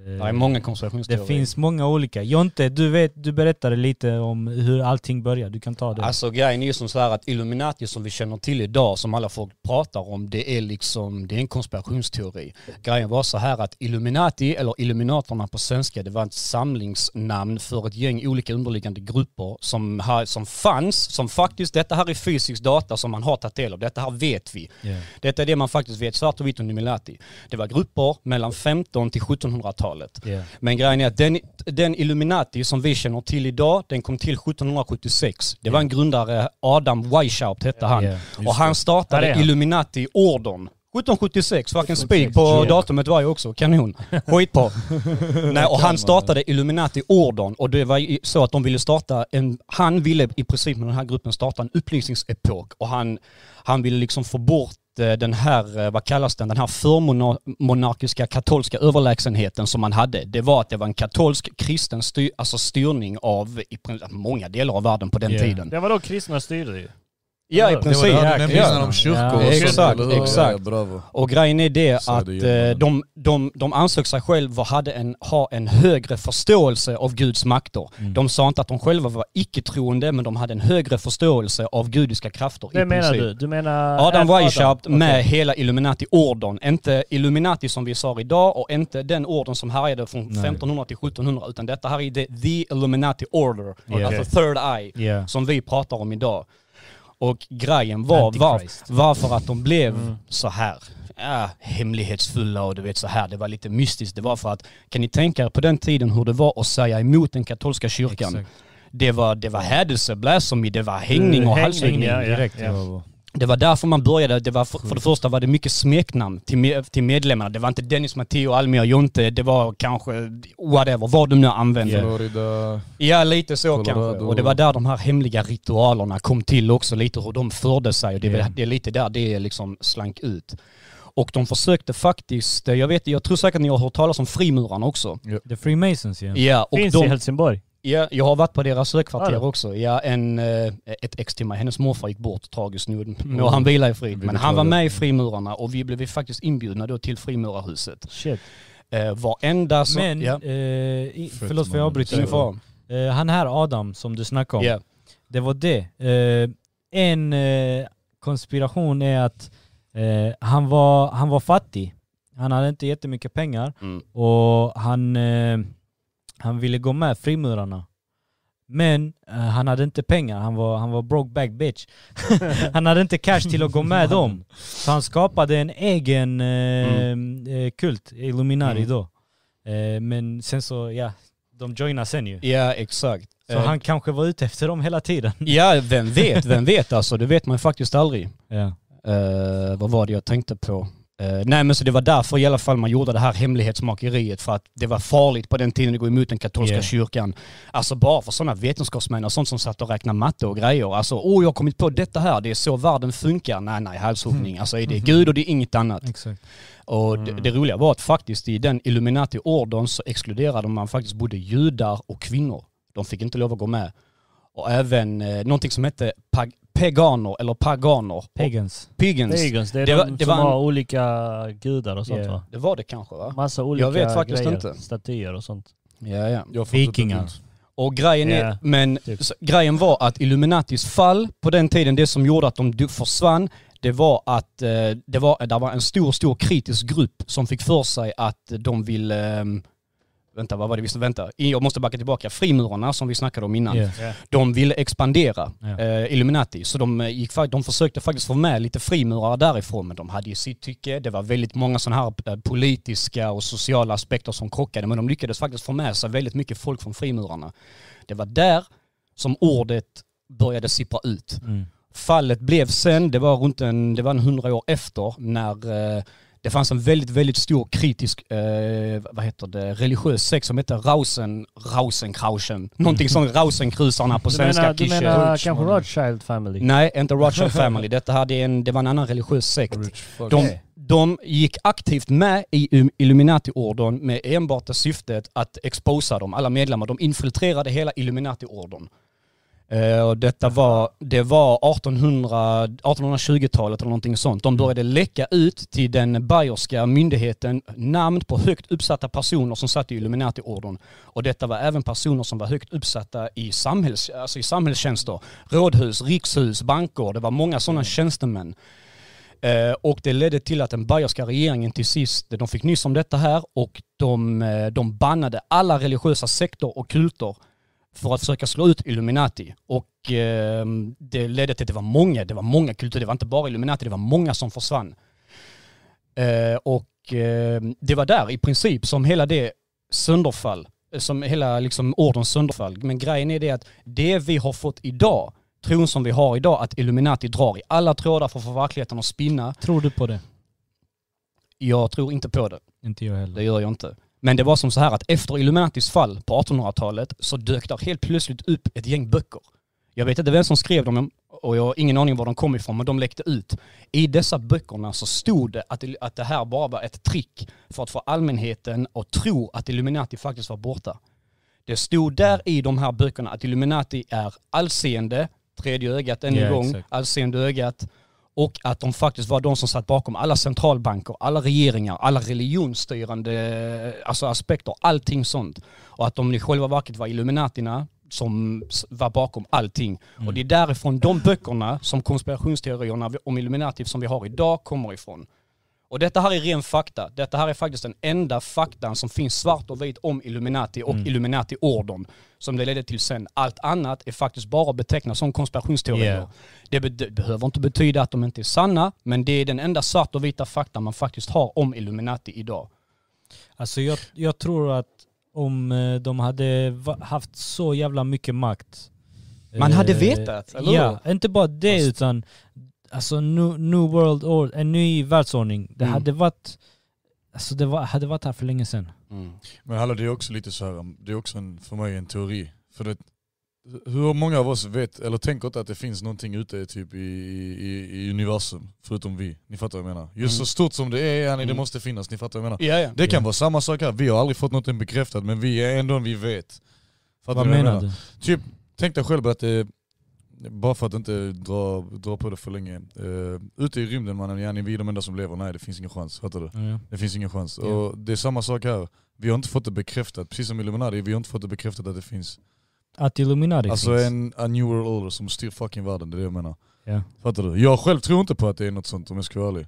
Speaker 4: Det
Speaker 2: Eh,
Speaker 4: är många
Speaker 2: det
Speaker 4: konspirationsteorier.
Speaker 2: finns många olika. Jonte, du, vet, du berättade lite om hur allting började. Du kan ta det.
Speaker 4: Alltså grejen är ju som så här att Illuminati som vi känner till idag, som alla folk pratar om, det är liksom, det är en konspirationsteori. Grejen var så här att Illuminati, eller Illuminaterna på svenska, det var ett samlingsnamn för ett gäng olika underliggande grupper som, ha- som fanns, som faktiskt, detta här är fysisk data som man har tagit del av, detta här vet vi.
Speaker 2: Ja.
Speaker 4: Detta är det man faktiskt vet, svart och vitt om Illuminati. Det var grupper mellan 15 till 1700-talet.
Speaker 2: Ja.
Speaker 4: Men grejen är att den, den Illuminati som vi känner till idag, den kom till 1776. Det var en grundare, Adam Weishaupt hette han.
Speaker 2: Ja.
Speaker 4: Och han startade
Speaker 1: Där är han.
Speaker 4: Illuminati-ordern. 1776, fucking spik på datumet var jag också, kanon. Skit på. Nej, och han startade Illuminati-ordern och det var ju så att de ville starta en, han ville i princip med den här gruppen starta en upplysningsepok och han, han ville liksom få bort eh, den här, eh, vad kallas den, den här förmonarkiska katolska överlägsenheten som man hade. Det var att det var en katolsk kristen styr, alltså styrning av i, princip- många delar av världen på den
Speaker 2: Ja.
Speaker 4: tiden.
Speaker 1: Det var då kristna styrde ju.
Speaker 4: Ja, i
Speaker 1: Det var det
Speaker 3: Det var
Speaker 4: princip.
Speaker 3: det här du nämnde
Speaker 4: Ja.
Speaker 3: innan om kyrkor
Speaker 2: Ja,
Speaker 3: och sånt,
Speaker 4: exakt,
Speaker 3: eller hur?
Speaker 4: exakt.
Speaker 3: Ja, bravo.
Speaker 4: Och grejen är det
Speaker 3: Så är
Speaker 4: att
Speaker 3: det ju.
Speaker 4: eh, de, de, de ansåg sig själva hade en, ha en högre förståelse av Guds makter.
Speaker 3: Mm.
Speaker 4: De sa inte att de själva var icke-troende, men de hade en högre förståelse av gudiska krafter
Speaker 1: Det
Speaker 4: i
Speaker 1: menar
Speaker 4: princip.
Speaker 1: du? Du menar...
Speaker 4: Adam
Speaker 1: Adam?
Speaker 4: Weishaupt
Speaker 1: Okej.
Speaker 4: med hela Illuminati-ordern. Inte Illuminati som vi sa idag och inte den orden som härjade från 1500 till 1700 utan detta här är det, the Illuminati Order,
Speaker 2: Okej.
Speaker 4: alltså third eye,
Speaker 2: Ja.
Speaker 4: som vi pratar om idag. Och grejen var var,
Speaker 2: Antichrist. Mm.
Speaker 4: varför att de blev så här ja, hemlighetsfulla och du vet så här. Det var lite mystiskt. Det var för att, kan ni tänka er på den tiden hur det var att säga emot den katolska kyrkan?
Speaker 2: Exakt.
Speaker 4: Det var, det var hädelseblasfemi, det var hängning och
Speaker 1: Hängning,
Speaker 4: halshuggning.
Speaker 1: ja, ja.
Speaker 2: Direkt. Ja.
Speaker 4: Det var därför man började. Det var för, för det första var det mycket smeknamn till, me- till medlemmarna. Det var inte Dennis, Matteo, Almi och Jonte. Det var kanske whatever, vad de nu använde.
Speaker 3: Florida.
Speaker 4: Ja, lite så
Speaker 3: Colorado.
Speaker 4: kanske. Och det var där de här hemliga ritualerna kom till också, lite hur de förde sig. Och det, är väl-
Speaker 2: Ja.
Speaker 4: det är lite där det liksom slank ut. Och de försökte faktiskt, jag vet, jag tror säkert ni har hört talas om frimurarna också.
Speaker 2: The Freemasons ja.
Speaker 4: Ja, och
Speaker 1: Finns i
Speaker 4: de,
Speaker 1: Helsingborg.
Speaker 4: ja, jag har varit på deras högkvarter
Speaker 1: Ja, då.
Speaker 4: också. Ja, en, eh, ett ex till mig, hennes morfar gick bort tragiskt nu. Nu har han vilar i frid. Men han var med i frimurarna och vi blev faktiskt inbjudna då till frimurarhuset.
Speaker 1: Shit.
Speaker 4: Eh, varenda som...
Speaker 2: Men,
Speaker 4: ja.
Speaker 2: eh, i,
Speaker 3: Fötter
Speaker 2: förlåt för jag
Speaker 3: man-
Speaker 2: avbryter.
Speaker 4: Ingen fara.
Speaker 2: Eh, han här Adam som du snackade om.
Speaker 4: Ja.
Speaker 2: Det var det. Eh, en eh, konspiration är att eh, han, var, han var fattig. Han hade inte jättemycket pengar
Speaker 4: Mm.
Speaker 2: och han, eh, han ville gå med frimurarna. Men eh, han hade inte pengar, han var, han var broke back bitch. han hade inte cash till att gå med dem. Så han skapade en egen eh, eh, kult, Illuminati
Speaker 4: Mm.
Speaker 2: då. Eh, men sen så, ja, de joinade sen ju.
Speaker 4: ja, exakt.
Speaker 2: Så
Speaker 4: Eh,
Speaker 2: han kanske var ute efter dem hela tiden.
Speaker 4: Ja, vem vet, vem vet alltså. Det vet man ju faktiskt aldrig.
Speaker 2: Ja.
Speaker 4: Eh, vad var det jag tänkte på? Eh, nej men så det var därför i alla fall man gjorde det här hemlighetsmakeriet för att det var farligt på den tiden att gå emot den katolska
Speaker 2: Ja.
Speaker 4: kyrkan. Alltså bara för sådana vetenskapsmän och sånt som satt och räknade matte och grejer. Alltså åh jag har kommit på detta här, det är så världen funkar. Nej nej, halshuggning. Alltså är det Gud och det är inget annat.
Speaker 2: Exakt.
Speaker 4: Och det, det roliga var att faktiskt i den Illuminati-ordern så exkluderade man faktiskt både judar och kvinnor. De fick inte lov att gå med. Och även eh, någonting som hette pag- peganer eller paganer.
Speaker 2: Pagans.
Speaker 4: Pagans.
Speaker 1: Pagans, det är
Speaker 4: Det
Speaker 1: de
Speaker 4: var- det
Speaker 1: som
Speaker 4: var en-
Speaker 1: har olika gudar och sånt
Speaker 2: Yeah.
Speaker 1: va?
Speaker 4: Det var det kanske va?
Speaker 1: Massa olika
Speaker 4: vet faktiskt
Speaker 1: grejer,
Speaker 4: inte.
Speaker 1: statyer och sånt.
Speaker 4: Ja, ja.
Speaker 3: Jag fattar inte
Speaker 2: Vikingar.
Speaker 3: det.
Speaker 4: Och grejen,
Speaker 1: Ja,
Speaker 4: är, men,
Speaker 1: typ.
Speaker 4: så, grejen var att Illuminatis fall på den tiden, det som gjorde att de du- försvann, det var att eh, det var, där var en stor, stor kritisk grupp som fick för sig att de ville ehm, vänta vad var det vi vänta, jag måste backa tillbaka, frimurarna som vi snackade om innan,
Speaker 2: Yeah.
Speaker 4: de ville expandera
Speaker 2: Ja.
Speaker 4: eh, Illuminati. Så de, eh, gick, fa- de försökte faktiskt få med lite frimurare därifrån, men de hade ju sitt tycke. Det var väldigt många sådana här eh, politiska och sociala aspekter som krockade, men de lyckades faktiskt få med sig väldigt mycket folk från frimurarna. Det var där som ordet började sippra ut.
Speaker 2: Mm.
Speaker 4: Fallet blev sen, det var runt en, det var en hundra år efter, när eh, det fanns en väldigt, väldigt stor kritisk, eh, vad heter det, religiös sekt som hette Rausen, Rausenkrausen. Någonting som Rausenkrusarna
Speaker 1: Mm.
Speaker 4: på
Speaker 1: du
Speaker 4: svenska
Speaker 1: menar, du
Speaker 4: kishe.
Speaker 1: menar kanske Rothschild family?
Speaker 4: Nej, inte Rothschild Family. Detta hade en, det var en annan religiös sekt.
Speaker 3: Rich fuck.
Speaker 4: De, de gick aktivt med i um- Illuminati-ordern med enbart det syftet att exposa dem, alla medlemmar. De infiltrerade hela Illuminati-ordern. Eh, och detta var, det var 1800, 1820-talet eller någonting sånt. De började läcka ut till den bayerska myndigheten namn på högt uppsatta personer som satt i Illuminati-ordern. Och detta var även personer som var högt uppsatta i, samhälls, alltså i samhällstjänster. Rådhus, rikshus, banker. Det var många sådana tjänstemän. Eh, och det ledde till att den bayerska regeringen till sist, de fick nyss om detta här och de, eh, de bannade alla religiösa sektor och kulter för att försöka slå ut Illuminati. Och eh, det ledde till att det var många, det var många kulturer, det var inte bara Illuminati, det var många som försvann. Eh, och eh, det var där i princip som hela det sönderfall, eh, som hela liksom ordens sönderfall. Men grejen är det att det vi har fått idag, tron som vi har idag, att Illuminati drar i alla trådar för att få verkligheten att spinna,
Speaker 2: Tror du på det?
Speaker 4: jag tror inte på det.
Speaker 2: Inte jag heller.
Speaker 4: Det gör jag inte. Men det var som så här att efter Illuminatis fall på 1800-talet så dök där helt plötsligt upp ett gäng böcker. Jag vet inte vem som skrev dem och jag har ingen aning var de kom ifrån men de läckte ut. I dessa böckerna så stod det att, att det här bara var ett trick för att få allmänheten att tro att Illuminati faktiskt var borta. Det stod där i de här böckerna att Illuminati är allseende, tredje ögat än en
Speaker 2: Ja,
Speaker 4: gång,
Speaker 2: exakt.
Speaker 4: allseende ögat och att de faktiskt var de som satt bakom alla centralbanker, alla regeringar, alla religionsstyrande alltså aspekter, allting sånt. Och att de i själva verket var Illuminatina som s- var bakom allting. Och det är därifrån de böckerna som konspirationsteorierna vi- om Illuminati som vi har idag kommer ifrån. Och detta här är ren fakta. Detta här är faktiskt den enda faktan som finns svart och vit om Illuminati och Illuminati-ordern. Som det ledde till sen. Allt annat är faktiskt bara betecknat som konspirationsteorier.
Speaker 2: Yeah.
Speaker 4: Det, be- det behöver inte betyda att de inte är sanna, men det är den enda svart och vita fakta man faktiskt har om Illuminati idag.
Speaker 2: Alltså jag, jag tror att om eh, de hade va- haft så jävla mycket makt.
Speaker 4: Man hade
Speaker 2: eh,
Speaker 4: vetat, eller
Speaker 2: Ja, inte bara det
Speaker 4: Fast-
Speaker 2: utan alltså new, new world order, en ny världsordning. Det
Speaker 4: Mm.
Speaker 2: hade varit Alltså det var, hade varit här för länge sedan.
Speaker 3: Men hallå det är också lite så här, um, det är också en, för mig en teori. För det, hur många av oss vet, eller tänker inte att det finns någonting ute typ i, i, i universum, förutom vi. Ni fattar vad jag menar.
Speaker 2: Mm.
Speaker 3: Just så stort som det är, yani, det
Speaker 4: Mm.
Speaker 3: måste finnas, ni fattar vad jag menar.
Speaker 4: Ja, ja.
Speaker 3: Det kan vara samma sak här, vi har aldrig fått något bekräftat men vi är ändå, vi vet. Fattar
Speaker 2: Vad
Speaker 3: ni jag
Speaker 2: menar du?
Speaker 3: Typ, tänk dig själv att det, bara för att inte dra, dra på det för länge. Uh, ute i rymden mannen, yani, vi är de enda som lever. Nej det finns ingen chans, fattar du?
Speaker 2: Ja.
Speaker 3: Det finns ingen chans.
Speaker 2: Ja.
Speaker 3: Och det är samma sak här. Vi har inte fått det bekräftat, precis som Illuminati, vi har inte fått det bekräftat att det finns.
Speaker 2: Att Illuminati
Speaker 3: alltså
Speaker 2: finns.
Speaker 3: en a new world order som styr fucking världen, det är det jag menar.
Speaker 2: Ja.
Speaker 3: Fattar du? Jag själv tror inte på att det är något sånt om jag ska vara ärlig.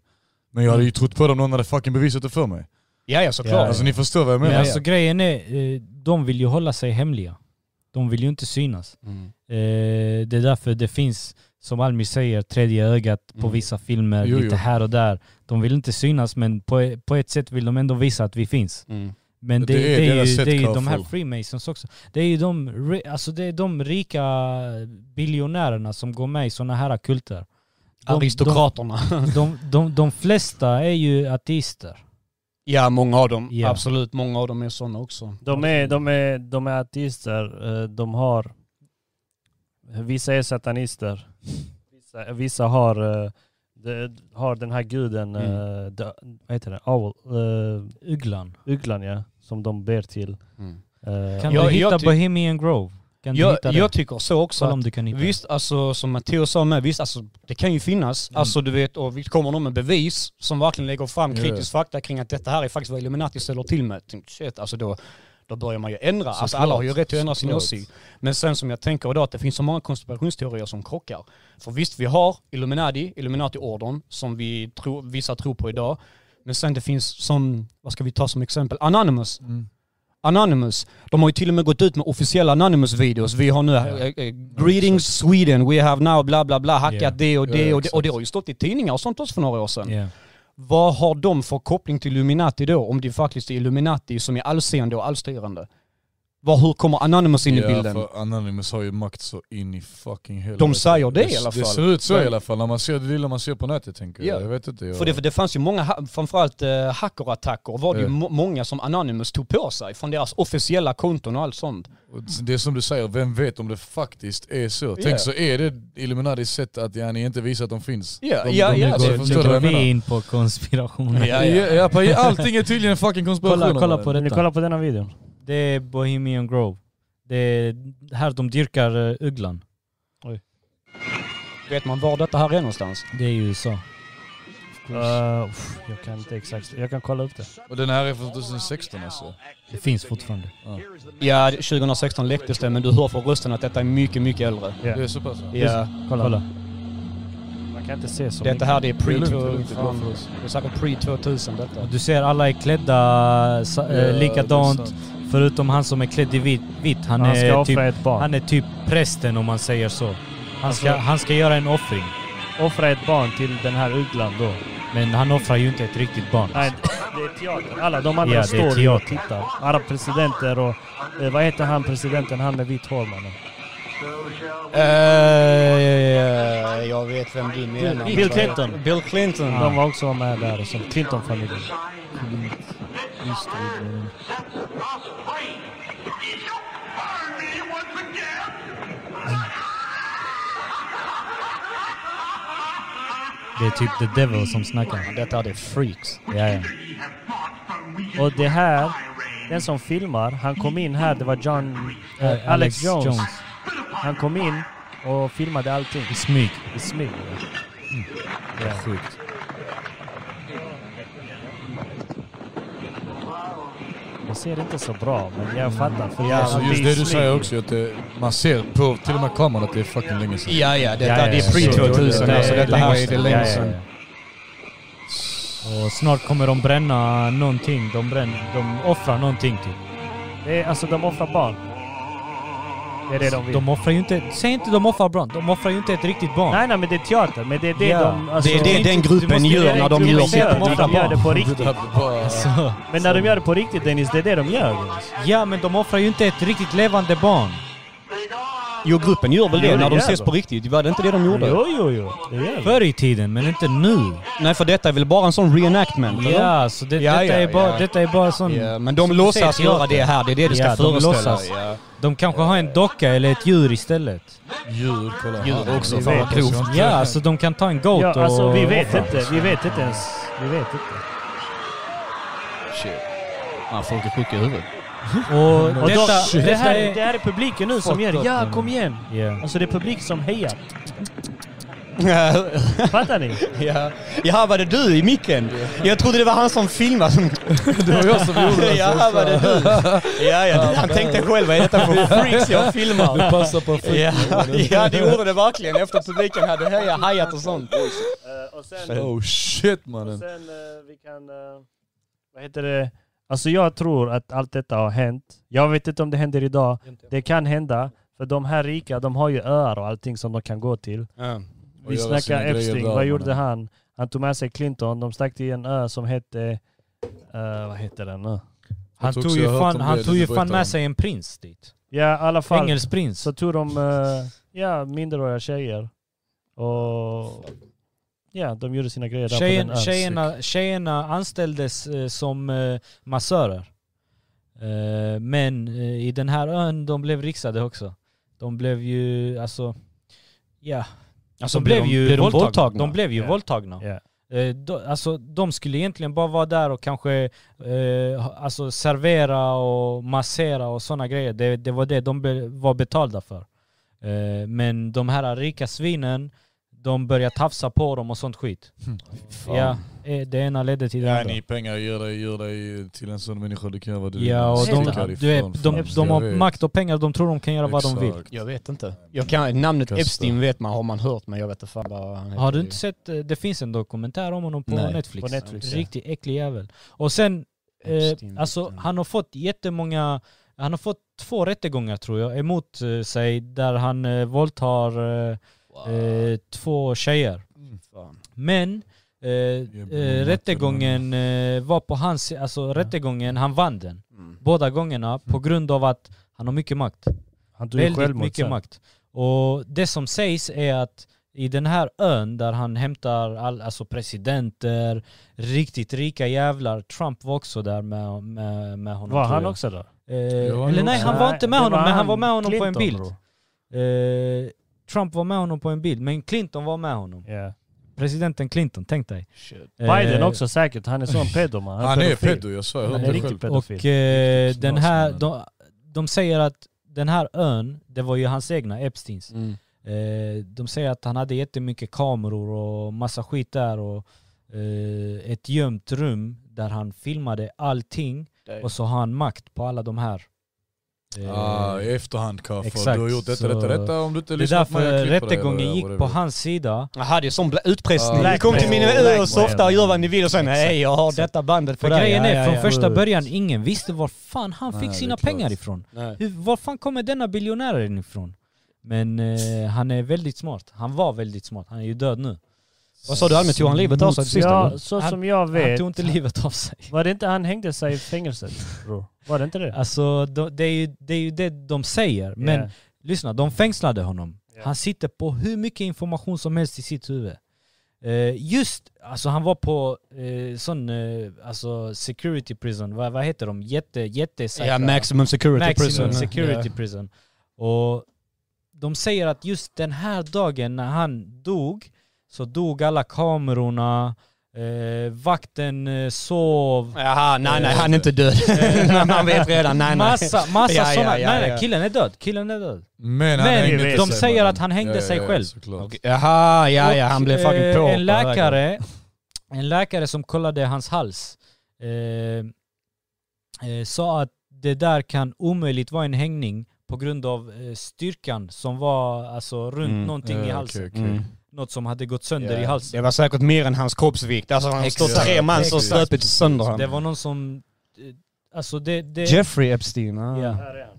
Speaker 3: Men jag hade ju trott på det om någon hade fucking bevisat det för mig.
Speaker 4: ja, Mm. ja såklart.
Speaker 2: Ja, ja.
Speaker 3: Alltså ni förstår vad jag
Speaker 2: Men
Speaker 3: menar.
Speaker 2: alltså grejen är, eh, de vill ju hålla sig hemliga. De vill ju inte synas. Eh, Det är därför det finns, som Almi säger, tredje ögat på
Speaker 4: Mm.
Speaker 2: vissa filmer,
Speaker 3: Jo,
Speaker 2: lite
Speaker 3: jo.
Speaker 2: här och där. De vill inte synas men på, på ett sätt vill de ändå visa att vi finns. Men det,
Speaker 3: Det
Speaker 2: det,
Speaker 3: är
Speaker 2: är,
Speaker 3: deras
Speaker 2: ju,
Speaker 3: sätt,
Speaker 2: det är ju de
Speaker 3: Carl
Speaker 2: här
Speaker 3: Froh.
Speaker 2: freemasons också. Det är ju de, ri- alltså det är de rika biljonärerna som går med i sådana här kulter. De-
Speaker 4: Aristokraterna.
Speaker 2: De, de, de, de flesta är ju ateister.
Speaker 4: ja, många av dem.
Speaker 2: Ja.
Speaker 4: Absolut, många av dem är sådana också.
Speaker 1: De är, de är, de är artister, eh, de har... Vissa är satanister. Vissa, vissa har, eh, de, har den här guden,
Speaker 4: Mm.
Speaker 1: eh, de, vad heter det? Owl, eh,
Speaker 2: Ugglan.
Speaker 1: ugglan ja, som de ber till. Eh,
Speaker 2: Kan
Speaker 4: Jag-
Speaker 2: du hitta
Speaker 4: jag ty-
Speaker 2: Bohemian Grove? Kan du
Speaker 4: Mm. Jag,
Speaker 2: hitta det?
Speaker 4: jag tycker så också.
Speaker 2: Kolla
Speaker 4: Att,
Speaker 2: om du kan hitta
Speaker 4: visst, alltså, som Matteo sa med, visst, alltså, det kan ju finnas.
Speaker 3: Mm.
Speaker 4: Alltså du vet, och vi kommer någon med bevis som verkligen lägger fram
Speaker 3: Ja.
Speaker 4: kritisk fakta kring att detta här är faktiskt vad Illuminati ställer till med. Tänk, Shit, alltså då, då börjar man ju ändra. Alltså, alla har ju rätt att ändra sin
Speaker 3: Såklart.
Speaker 4: åsikt. Men sen som jag tänker idag, att det finns så många konspirationsteorier som krockar. För visst, vi har Illuminati, Illuminati-ordern, som vi tror,
Speaker 3: Mm.
Speaker 4: vissa tror på idag. Men sen det finns som, vad ska vi ta som exempel, Anonymous. Anonymous. De har ju till och med gått ut med officiella Anonymous-videos. Vi har nu, eh, eh, greetings Sweden, we have now bla bla bla, hackat
Speaker 2: Ja.
Speaker 4: det och
Speaker 3: Ja,
Speaker 4: det och det. Och det
Speaker 3: exakt.
Speaker 4: har ju stått i tidningar och sånt också för några år sedan. Vad har de för koppling till Illuminati då, om det faktiskt är Illuminati som är allseende och allstyrande? Vad, hur kommer Anonymous in i bilden?
Speaker 3: för Anonymous har ju makt så in i fucking helvete.
Speaker 4: De säger det i alla
Speaker 3: Det
Speaker 4: fall.
Speaker 3: ser ut så
Speaker 4: Men-
Speaker 3: i alla fall, när man ser det lilla man ser på nätet tänker
Speaker 4: Ja.
Speaker 3: jag. Jag vet inte. Jag...
Speaker 4: För det, för det fanns ju många, ha- framförallt eh, hackerattacker var det ju
Speaker 3: Ja.
Speaker 4: må- många som Anonymous tog på sig från deras officiella konton och allt sånt.
Speaker 3: Och Det är som du säger, vem vet om det faktiskt är så?
Speaker 4: Ja.
Speaker 3: Tänk så är det Illuminatis sätt att yani inte visa att de finns.
Speaker 4: Ja,
Speaker 3: de,
Speaker 4: ja,
Speaker 3: de,
Speaker 4: ja,
Speaker 3: alltså,
Speaker 4: det-
Speaker 3: förstår du
Speaker 2: Nu går
Speaker 3: vad jag menar?
Speaker 2: vi in på konspirationen.
Speaker 3: Ja, ja. Ja, allting är tydligen fucking konspirationer.
Speaker 2: Kolla- kolla på
Speaker 3: mannen.
Speaker 1: Vill ni kolla på denna videon?
Speaker 2: Det är Bohemian Grove. Det är här de dyrkar eh, ugglan.
Speaker 4: Vet man var detta här är någonstans?
Speaker 2: Det är i USA.
Speaker 1: Eh, pff, jag kan inte exakt. Jag kan kolla upp det.
Speaker 3: Och den här är från 2016 alltså.
Speaker 2: Det finns fortfarande.
Speaker 4: Ja, 2016 läcktes det men du hör från rösten att detta är mycket, mycket äldre.
Speaker 1: Ja.
Speaker 3: Det är så pass? Det
Speaker 4: Ja,
Speaker 1: Kolla.
Speaker 2: Kolla.
Speaker 1: Man kan inte se så
Speaker 4: detta
Speaker 1: mycket.
Speaker 4: här det är
Speaker 3: är lugnt, det är lugnt, det är bra för
Speaker 4: pre-2000.
Speaker 3: oss.
Speaker 4: Det är säkert pre-2000 detta.
Speaker 2: Du ser alla är klädda sa- eh,
Speaker 3: Ja, det är
Speaker 2: likadant
Speaker 3: sant.
Speaker 2: förutom han som är klädd i vitt. vitt. Han,
Speaker 1: Han ska
Speaker 2: är typ,
Speaker 1: offra ett barn.
Speaker 2: han är typ prästen om man säger så. Han ska,
Speaker 1: Alltså-
Speaker 2: han ska göra en offring.
Speaker 1: Offra ett barn till den här ugglan då.
Speaker 2: Men han offrar ju inte ett riktigt barn.
Speaker 1: Nej, det är teater. Alla de andra
Speaker 2: Ja, det är
Speaker 1: står ju och
Speaker 2: teater.
Speaker 1: tittar. Alla presidenter och... Eh, vad heter han presidenten? Han med vitt hår mannen.
Speaker 4: Eh, jag vet vem du menar.
Speaker 1: Bill Clinton.
Speaker 4: Bill Clinton.
Speaker 1: De var också med där och som Clinton-familjen.
Speaker 2: Det är typ the devil som snackar.
Speaker 4: Detta är freaks.
Speaker 2: Ja, ja.
Speaker 1: Och det här, den som filmar, han kom in här, det var John... Eh, Alex, Jones. Han kom in och filmade allting.
Speaker 2: I smyg.
Speaker 1: I smyg.
Speaker 2: Det är sjukt.
Speaker 1: Jag ser inte så bra, men jag fattar. För
Speaker 4: Ja,
Speaker 3: Alltså,
Speaker 1: han
Speaker 3: just
Speaker 1: blir
Speaker 3: det du
Speaker 1: smyg.
Speaker 3: säger också, att det, man ser på till och med kameran att det är fucking länge sedan.
Speaker 4: Ja, ja. Detta
Speaker 2: Ja, ja,
Speaker 4: det är
Speaker 2: så-
Speaker 4: pre-2000.
Speaker 2: det-
Speaker 4: alltså
Speaker 2: det-
Speaker 4: detta här är det
Speaker 2: Ja,
Speaker 4: länge
Speaker 2: ja,
Speaker 4: sedan.
Speaker 2: ja. Och snart kommer de bränna någonting. De, bränner, de offrar någonting typ.
Speaker 1: Det är, alltså de offrar barn. Det är det de vill.
Speaker 2: De offrar ju inte... Säg inte de offrar barn. De offrar ju inte ett riktigt barn.
Speaker 1: Nej, nej, men det är teater. Men det är det
Speaker 2: Ja.
Speaker 1: de... Alltså,
Speaker 4: Det är det den
Speaker 2: Du måste-
Speaker 4: gruppen
Speaker 2: det
Speaker 4: gör
Speaker 2: är
Speaker 4: när
Speaker 2: den
Speaker 4: de gör
Speaker 2: gruppen
Speaker 1: de
Speaker 4: sitt.
Speaker 2: gör.
Speaker 1: gör, de,
Speaker 2: offrar
Speaker 1: gör det på
Speaker 3: Det
Speaker 1: riktigt.
Speaker 3: här var bara-
Speaker 2: Så.
Speaker 1: Men när de gör det på riktigt Dennis, det är det de gör. Dennis.
Speaker 2: Ja, men de offrar ju inte ett riktigt levande barn.
Speaker 4: Jo, gruppen gör
Speaker 1: Jo,
Speaker 4: väl det
Speaker 1: det
Speaker 4: när de
Speaker 1: gör
Speaker 4: ses
Speaker 1: de.
Speaker 4: på riktigt. Var det inte det de gjorde?
Speaker 1: Jo, jo, jo. Det gör de.
Speaker 2: Förr i tiden, men inte nu.
Speaker 4: Nej, för detta är väl bara en sån reenactment, eller?
Speaker 2: Ja, så det,
Speaker 4: Ja,
Speaker 2: detta,
Speaker 4: ja,
Speaker 2: är bara,
Speaker 4: ja.
Speaker 2: detta är bara sån...
Speaker 4: Ja, men de
Speaker 2: som
Speaker 4: låtsas
Speaker 2: du säger,
Speaker 4: göra det här. Det är det du ska
Speaker 2: Ja, de
Speaker 4: föreställa.
Speaker 2: låtsas.
Speaker 4: Ja.
Speaker 2: De kanske har en docka eller ett djur istället.
Speaker 3: Djur, kolla här.
Speaker 4: Djur också.
Speaker 1: vi
Speaker 4: Fan vad
Speaker 1: vet.
Speaker 4: grovt.
Speaker 2: Ja, alltså de kan ta en goat
Speaker 1: Ja, alltså
Speaker 2: och
Speaker 1: vi vet
Speaker 2: offra.
Speaker 1: inte. Vi vet inte ens. Vi vet inte.
Speaker 4: Shit. Ja, folk är sjuka i huvudet.
Speaker 2: Och,
Speaker 1: Och
Speaker 2: detta,
Speaker 1: de, det,
Speaker 2: detta
Speaker 1: här,
Speaker 2: är...
Speaker 1: det här är publiken nu som gör Ja, kom igen!
Speaker 2: Ja.
Speaker 1: Alltså det är publik som hejar. Fattar ni?
Speaker 4: ja. Jaha, var det du i micken? Jag trodde det var han som filmade. Som...
Speaker 3: Det var jag som gjorde det.
Speaker 4: Jaha, var det du? Ja, ja. Han tänkte själv, vad är detta för freaks jag filmar?
Speaker 3: Du passar på
Speaker 4: Ja, ja, det gjorde det verkligen efter att publiken hade hejat, hajat och sånt.
Speaker 1: och
Speaker 3: Oh shit mannen.
Speaker 1: sen eh, vi kan... vad heter det? Alltså jag tror att allt detta har hänt. Jag vet inte om det händer idag. Det kan hända. För de här rika, de har ju öar och allting som de kan gå till.
Speaker 3: Och
Speaker 1: Vi
Speaker 3: göra sina
Speaker 1: snackar
Speaker 3: grejer
Speaker 1: Epstein,
Speaker 3: där,
Speaker 1: vad
Speaker 3: mannen.
Speaker 1: gjorde han? Han tog med sig Clinton, de stack till en ö som hette... eh, vad heter den nu?
Speaker 2: Han
Speaker 3: tror
Speaker 2: tog
Speaker 3: också jag
Speaker 2: ju
Speaker 3: har hört
Speaker 2: fan,
Speaker 3: om
Speaker 2: han
Speaker 3: det,
Speaker 2: tog
Speaker 3: du
Speaker 2: ju
Speaker 3: får
Speaker 2: fan
Speaker 3: inte
Speaker 2: med
Speaker 3: om-
Speaker 2: sig en prins dit.
Speaker 1: Ja i alla fall.
Speaker 2: Engelsk prins.
Speaker 1: Så tog de eh, ja, minderåriga tjejer. Och ja, de gjorde sina grejer där på
Speaker 2: Tjejen,
Speaker 1: den ön.
Speaker 2: tjejerna, tjejerna anställdes eh, som eh, massörer. Eh, men eh, i den här ön, de blev riksade också. De blev ju, alltså... Ja.
Speaker 4: Alltså,
Speaker 2: de
Speaker 4: blev
Speaker 2: blev,
Speaker 4: de-
Speaker 2: ju
Speaker 4: blev de
Speaker 2: våldtagna.
Speaker 4: våldtagna?
Speaker 2: De blev ju
Speaker 1: Ja.
Speaker 2: våldtagna.
Speaker 1: Ja.
Speaker 2: Eh, då- alltså, de skulle egentligen bara vara där och kanske eh, ha- alltså, servera och massera och sådana grejer. Det, det var det de be, var betalda för. Eh, men de här rika svinen, de började tafsa på dem och sånt skit. Ja, eh, det ena ledde till det
Speaker 3: Ja,
Speaker 2: andra.
Speaker 3: ni pengar ger dig, ger dig till en sån människa, du kan göra vad du
Speaker 2: Ja, och de,
Speaker 3: Sticka
Speaker 2: du vet,
Speaker 3: därifrån,
Speaker 2: de, de,
Speaker 3: fan. Jag
Speaker 2: har
Speaker 3: vet.
Speaker 2: makt och pengar, de tror de kan göra vad de vill.
Speaker 3: Exakt.
Speaker 4: Jag vet inte. Jag kan, namnet
Speaker 3: Kasta.
Speaker 4: Epstein vet man, har man hört, men jag vet inte fan vad han heter.
Speaker 2: Har du inte sett, eh, det finns en dokumentär om honom på
Speaker 4: Nej,
Speaker 2: Netflix.
Speaker 1: på Netflix, ja.
Speaker 2: Riktigt äcklig jävel. Och sen eh,
Speaker 4: Epstein,
Speaker 2: alltså
Speaker 4: Epstein.
Speaker 2: han har fått jättemånga, han har fått två rättegångar tror jag emot eh, sig där han eh, våldtar eh, eh, två tjejer.
Speaker 4: Fan.
Speaker 2: Men eh, eh,
Speaker 3: blir
Speaker 2: rättegången eh, var på hans, alltså rättegången, han vann den.
Speaker 4: Mm.
Speaker 2: Båda gångerna på grund av att han har mycket makt.
Speaker 1: Han tog ju
Speaker 2: väldigt
Speaker 1: självmord
Speaker 2: mycket
Speaker 1: sen.
Speaker 2: makt. Och det som sägs är att i den här ön där han hämtar all, alltså presidenter, riktigt rika jävlar, Trump var också där med, med, med honom.
Speaker 1: Var
Speaker 2: tror
Speaker 1: han
Speaker 2: jag.
Speaker 1: också där?
Speaker 2: Eh,
Speaker 3: var
Speaker 2: eller
Speaker 3: han
Speaker 2: nej,
Speaker 3: också.
Speaker 2: han var inte med
Speaker 1: det
Speaker 2: honom, men han var med honom på en
Speaker 1: Clinton,
Speaker 2: bild.
Speaker 1: bro.
Speaker 2: Eh, Trump var med honom på en bild, men Clinton var med honom.
Speaker 1: Yeah.
Speaker 2: Presidenten Clinton, tänk dig. Eh,
Speaker 1: Biden också säkert, han är sån pedo man.
Speaker 3: Han är
Speaker 1: pedofil.
Speaker 3: pedo, jag sa jag
Speaker 1: Han
Speaker 3: hörde
Speaker 1: är
Speaker 3: det
Speaker 1: riktigt
Speaker 3: själv.
Speaker 1: pedo. pedofil.
Speaker 2: Och eh,
Speaker 3: Riktigt
Speaker 2: den
Speaker 3: smas,
Speaker 2: här,
Speaker 3: men-
Speaker 2: de, de säger att den här ön, det var ju hans egna, Epsteins.
Speaker 4: Mm.
Speaker 2: Eh, de säger att han hade jättemycket kameror och massa skit där och eh, ett gömt rum där han filmade allting och så har han makt på alla de här. Eh,
Speaker 3: Ah, I efterhand kaffe,
Speaker 2: exakt,
Speaker 3: du har gjort detta,
Speaker 2: så-
Speaker 3: detta, detta. Om du inte
Speaker 2: det är
Speaker 3: lyssnar på mig,
Speaker 2: därför
Speaker 3: jag klipper dig,
Speaker 2: rättegången
Speaker 3: eller
Speaker 2: gick på
Speaker 3: whatever.
Speaker 2: hans sida.
Speaker 4: Jaha det är sån bla- utpressning.
Speaker 3: Ja.
Speaker 4: Ni kom till min ö och softar och gör vad ni vill och sen
Speaker 1: Exakt.
Speaker 4: hej jag har
Speaker 1: Exakt.
Speaker 4: detta bandet
Speaker 2: För
Speaker 4: på dig.
Speaker 2: grejen
Speaker 4: Ja,
Speaker 2: är,
Speaker 4: ja,
Speaker 2: från
Speaker 4: ja.
Speaker 2: första början, ingen visste var fan han
Speaker 3: Nej,
Speaker 2: fick
Speaker 3: det är
Speaker 2: sina
Speaker 3: klart.
Speaker 2: pengar ifrån.
Speaker 4: Nej.
Speaker 2: Hur, var fan kommer denna biljonären ifrån? Men eh, han är väldigt smart. Han var väldigt smart. Han är ju död nu.
Speaker 4: Vad sa du allmänt? Tog han livet av sig till sist
Speaker 1: Ja,
Speaker 4: eller?
Speaker 1: så
Speaker 2: Han-
Speaker 1: som jag
Speaker 2: Han
Speaker 1: vet.
Speaker 2: tog inte livet av sig.
Speaker 1: Var det inte han hängde sig i fängelset? Bror? Var det inte det?
Speaker 2: Alltså de, det, är ju, det är ju det de säger. Men
Speaker 1: Yeah.
Speaker 2: lyssna, de fängslade honom.
Speaker 1: Ja.
Speaker 2: Han sitter på hur mycket information som helst i sitt huvud. Eh, just, alltså han var på eh, sån, eh, alltså security prison, vad, vad heter de? Jätte, jättesäkra.
Speaker 4: Ja, maximum security
Speaker 2: Maximum
Speaker 4: prison.
Speaker 2: security
Speaker 4: Ja.
Speaker 2: prison. Och de säger att just den här dagen när han dog så dog alla kamerorna, eh, vakten eh, sov,
Speaker 4: Jaha, nej nej han är inte död. Man vet redan, nej nej.
Speaker 2: Eh, Massa, massa
Speaker 4: Ja, ja,
Speaker 2: sådana.
Speaker 4: ja,
Speaker 2: nej,
Speaker 4: ja.
Speaker 2: killen är död. Killen är död.
Speaker 3: Men, han
Speaker 2: Men
Speaker 3: hängde
Speaker 1: de
Speaker 3: inte sig med
Speaker 2: säger
Speaker 3: den.
Speaker 2: att han hängde sig själv.
Speaker 3: såklart.
Speaker 4: Okej, Jaha, ja ja han blev
Speaker 2: Och, eh,
Speaker 4: fucking på.
Speaker 2: En läkare, en läkare som kollade hans hals eh, eh, sa att det där kan omöjligt vara en hängning på grund av eh, styrkan som var alltså runt
Speaker 4: Mm.
Speaker 2: någonting i
Speaker 3: Ja,
Speaker 2: halsen.
Speaker 3: okej, okej.
Speaker 4: Mm.
Speaker 2: Något som hade gått sönder i
Speaker 4: Ja.
Speaker 2: halsen.
Speaker 4: Det var säkert mer än hans kroppsvikt. Alltså han står
Speaker 2: Exakt.
Speaker 4: tre man som
Speaker 2: Exakt.
Speaker 4: stöpit sönder
Speaker 2: Det
Speaker 4: honom.
Speaker 2: var någon som... eh, Alltså det... det
Speaker 4: Jeffrey Epstein. ah.
Speaker 2: ja.
Speaker 1: Här är han.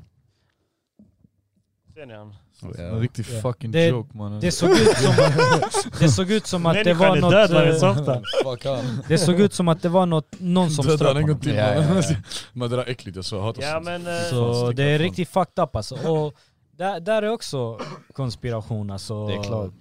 Speaker 1: Ser ni han?
Speaker 3: En riktig
Speaker 2: Ja.
Speaker 3: fucking
Speaker 2: Det-
Speaker 3: joke mannen.
Speaker 2: Det såg, ut som, det såg ut som att det
Speaker 1: Människan
Speaker 2: var
Speaker 1: är
Speaker 2: något...
Speaker 1: död, var det
Speaker 2: eh,
Speaker 1: så ofta?
Speaker 3: Fuck han.
Speaker 2: det såg ut som att det var något, någon som
Speaker 3: Döda
Speaker 2: ströp
Speaker 3: han en gång
Speaker 2: honom.
Speaker 3: till
Speaker 4: Ja, ja,
Speaker 3: mannen.
Speaker 4: ja.
Speaker 3: Men det där är äckligt, jag så jag hatar
Speaker 1: Ja
Speaker 3: sånt.
Speaker 1: men... eh,
Speaker 2: Så
Speaker 3: stick
Speaker 2: det är
Speaker 3: därifrån.
Speaker 2: riktigt fucked up alltså. Och där, där är också konspiration alltså.
Speaker 4: Det är klart.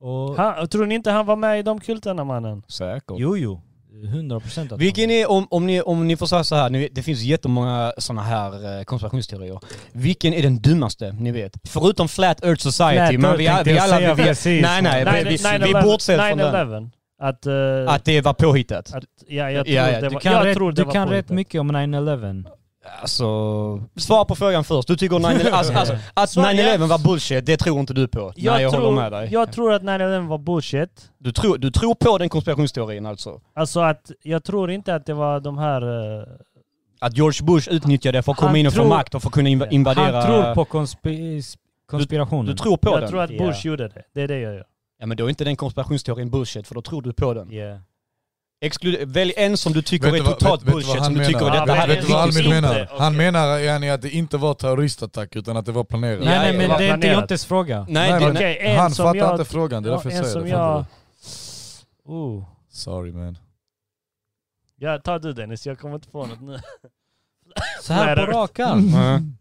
Speaker 2: Och,
Speaker 1: han, tror ni inte han var med i de kulterna mannen?
Speaker 4: Säkert.
Speaker 2: jo, jo. 100 procent att
Speaker 4: Vilken är, om, om, ni, om ni får säga så här, ni, vet, det finns jättemånga sådana här eh, konspirationsteorier. Vilken är den dummaste ni vet? Förutom Flat Earth Society,
Speaker 1: Flat
Speaker 4: men
Speaker 1: Earth
Speaker 4: vi, vi alla... Vi, vi, nej, nej, vi, vi, vi bortser från den.
Speaker 1: 9-11. Att, eh,
Speaker 4: Att det var påhittat.
Speaker 1: att... Ja, jag tror
Speaker 4: Ja, ja,
Speaker 1: det
Speaker 2: Du
Speaker 1: var...
Speaker 2: kan,
Speaker 1: jag
Speaker 2: rätt,
Speaker 1: tror det
Speaker 2: du
Speaker 1: var
Speaker 2: kan
Speaker 1: påhittat.
Speaker 2: rätt mycket om 9-11.
Speaker 4: Alltså... Svara på frågan först. Du tycker 9-11 alltså, alltså, att
Speaker 1: Svar-
Speaker 4: 9-11 var bullshit, det tror inte du på.
Speaker 1: Jag,
Speaker 4: nej, jag
Speaker 1: tror,
Speaker 4: håller med dig.
Speaker 1: jag tror att 9-11 var bullshit.
Speaker 4: Du, tror, du tror på den konspirationsteorin alltså?
Speaker 1: Alltså att jag tror inte att det var de här... eh,
Speaker 4: Att George Bush utnyttjade det för att
Speaker 1: Han
Speaker 4: komma in och få
Speaker 1: tror-
Speaker 4: makt och för att kunna inv- invadera...
Speaker 2: Han tror på konspi- konspirationen.
Speaker 4: Du tror på
Speaker 1: jag
Speaker 4: den?
Speaker 1: tror att
Speaker 2: Ja.
Speaker 1: Bush gjorde det. Det är det jag gör.
Speaker 4: Ja men då är inte den konspirationsteorin bullshit för då tror du på den.
Speaker 1: Yeah.
Speaker 4: Exklu- välj en som du tycker
Speaker 3: Vet
Speaker 4: är
Speaker 3: du vad-
Speaker 4: totalt
Speaker 3: vet- vet du vad
Speaker 4: bullshit,
Speaker 3: han
Speaker 4: som du tycker
Speaker 3: menar?
Speaker 1: Ja,
Speaker 4: detta
Speaker 1: men
Speaker 4: här är
Speaker 3: Vet du vad
Speaker 1: riktigt
Speaker 3: Almin
Speaker 1: inte,
Speaker 3: menar? Han
Speaker 1: okej.
Speaker 3: menar yani att det inte var terroristattack utan att det var planerat.
Speaker 2: nej,
Speaker 4: Ja,
Speaker 2: nej,
Speaker 4: ja,
Speaker 2: men
Speaker 1: det var
Speaker 2: det är inte
Speaker 1: planerat.
Speaker 2: Jontes fråga.
Speaker 4: Nej, det,
Speaker 1: men-
Speaker 4: nej.
Speaker 1: Okej, en
Speaker 3: han
Speaker 1: som
Speaker 3: fattar
Speaker 1: jag-
Speaker 3: inte frågan, det är
Speaker 1: Ja,
Speaker 3: därför
Speaker 1: en
Speaker 3: jag säger
Speaker 1: som
Speaker 3: det.
Speaker 1: jag-
Speaker 3: Jag...
Speaker 1: Oh.
Speaker 3: Sorry man.
Speaker 1: Ja, ta du Dennis, jag kommer inte på något nu.
Speaker 2: Så här på
Speaker 1: Nej,
Speaker 2: rak arm.
Speaker 4: Mm.
Speaker 3: Mm.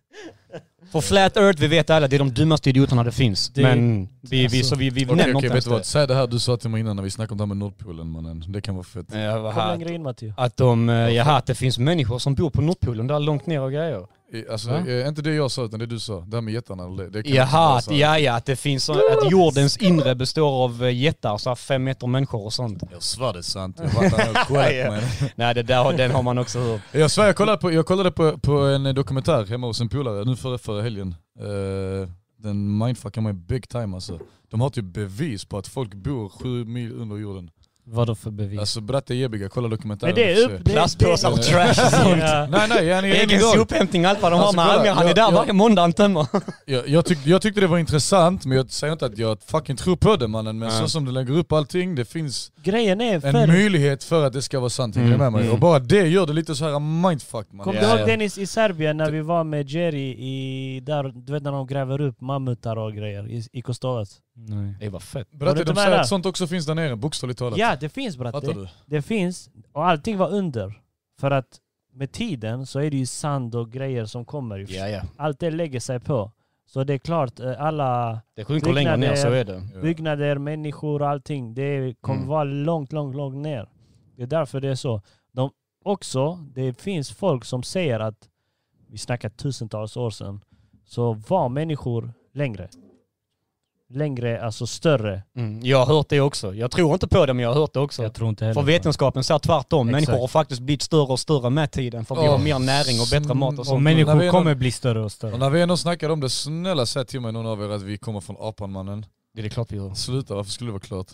Speaker 4: För Flat Earth, vi vet alla, det är de dummaste idioterna det finns.
Speaker 2: Det-
Speaker 4: men vi, vi, så vi, vi
Speaker 3: Alltså- Okej
Speaker 4: nämner
Speaker 3: okej,
Speaker 4: inte
Speaker 3: vet
Speaker 4: ens
Speaker 3: du vad?
Speaker 4: det.
Speaker 3: Säg det här du sa till mig innan när vi snackade om det här med Nordpolen mannen. Det kan vara fett.
Speaker 4: Ja, vad
Speaker 1: Kom
Speaker 4: här.
Speaker 1: längre in Matteo.
Speaker 4: Att de, eh, jaha, att det finns människor som bor på Nordpolen där långt ner och grejer.
Speaker 3: I- Alltså,
Speaker 4: Va?
Speaker 3: eh, inte det jag sa utan det du sa. Det här med jättarna. Det, det kan inte
Speaker 4: Jaha,
Speaker 3: vara
Speaker 4: att,
Speaker 3: så här.
Speaker 4: ja, ja, att det finns, så- att jordens inre består av eh, jättar, så här fem meter människor och sånt.
Speaker 3: Jag svär det är sant. Jag var där och kollat, man.
Speaker 4: Nej, det där, har- den har man också hört.
Speaker 3: Jag svär, jag kollade, på, jag kollade på, på en dokumentär hemma hos en polare nu förra, förra helgen. Eh, den mindfuckar mig big time alltså. De har typ bevis på att folk bor sju mil under jorden.
Speaker 2: Vadå för bevis?
Speaker 3: Alltså Bratte är jebbiga, kolla dokumentären.
Speaker 1: Men det är
Speaker 3: och se.
Speaker 1: upp... det-
Speaker 4: Plastpåsar och
Speaker 1: det-
Speaker 4: trash och sånt.
Speaker 1: Ja.
Speaker 3: Nej nej, jag är enig
Speaker 4: Egen
Speaker 3: idag.
Speaker 4: sophämtning, allt vad de har
Speaker 3: Alltså,
Speaker 4: med
Speaker 3: kolla,
Speaker 4: Almia. Han är
Speaker 3: jag-
Speaker 4: där
Speaker 3: jag-
Speaker 4: varje måndag han tömmer.
Speaker 3: Jag, jag, tyck, jag tyckte det var intressant, men jag säger inte att jag fucking tror på det mannen. Men
Speaker 4: Nej.
Speaker 3: så som du lägger upp allting, det finns
Speaker 1: Grejen är
Speaker 3: en
Speaker 1: förr...
Speaker 3: möjlighet för att det ska vara sant. hänger du med mig?
Speaker 4: Mm.
Speaker 3: Och bara det gör det lite så här mindfuck mannen.
Speaker 1: Kommer
Speaker 4: Ja,
Speaker 1: du
Speaker 4: ja.
Speaker 1: ihåg Dennis i Serbien när vi var med Jerry i... Där, du vet när de gräver upp mammutar och grejer i, i Kostolas?
Speaker 2: Nej.
Speaker 4: Det var fett.
Speaker 1: Var du
Speaker 3: Bratte,
Speaker 1: inte
Speaker 3: de
Speaker 1: med
Speaker 3: säger
Speaker 1: där?
Speaker 3: att sånt också finns där nere, bokstavligt talat.
Speaker 1: Ja, det finns bratte.
Speaker 3: Fattar
Speaker 4: alltså.
Speaker 3: du?
Speaker 1: Det finns. Och allting var under. För att med tiden så är det ju sand och grejer som kommer. ju.
Speaker 4: Ja, ja.
Speaker 1: Allt det lägger sig på. Så det är klart, eh, alla
Speaker 4: Det sjunker längre ner, så är det.
Speaker 3: Ja.
Speaker 1: byggnader, människor och allting, det kommer
Speaker 4: Mm.
Speaker 1: vara långt, långt, långt ner. Det är därför det är så. De, också, det finns folk som säger att, vi snackar tusentals år sedan, så var människor längre. Längre, alltså större.
Speaker 4: Mm. Jag har hört det också. Jag tror inte på det, men jag har hört det också.
Speaker 2: Jag tror inte heller
Speaker 4: För
Speaker 2: på det.
Speaker 4: vetenskapen säger tvärtom.
Speaker 2: Exakt.
Speaker 4: Människor har faktiskt blivit större och större med tiden för vi har
Speaker 3: Åh,
Speaker 4: mer näring och bättre mat och
Speaker 3: Och
Speaker 2: Och
Speaker 4: sånt.
Speaker 3: När vi
Speaker 2: människor
Speaker 3: är-
Speaker 2: kommer bli större och
Speaker 3: Och
Speaker 2: större.
Speaker 3: när vi ändå snackar om det, snälla säg till mig någon av er att vi kommer från apan mannen.
Speaker 4: Det är klart vi gör.
Speaker 3: Sluta, varför skulle det vara klart?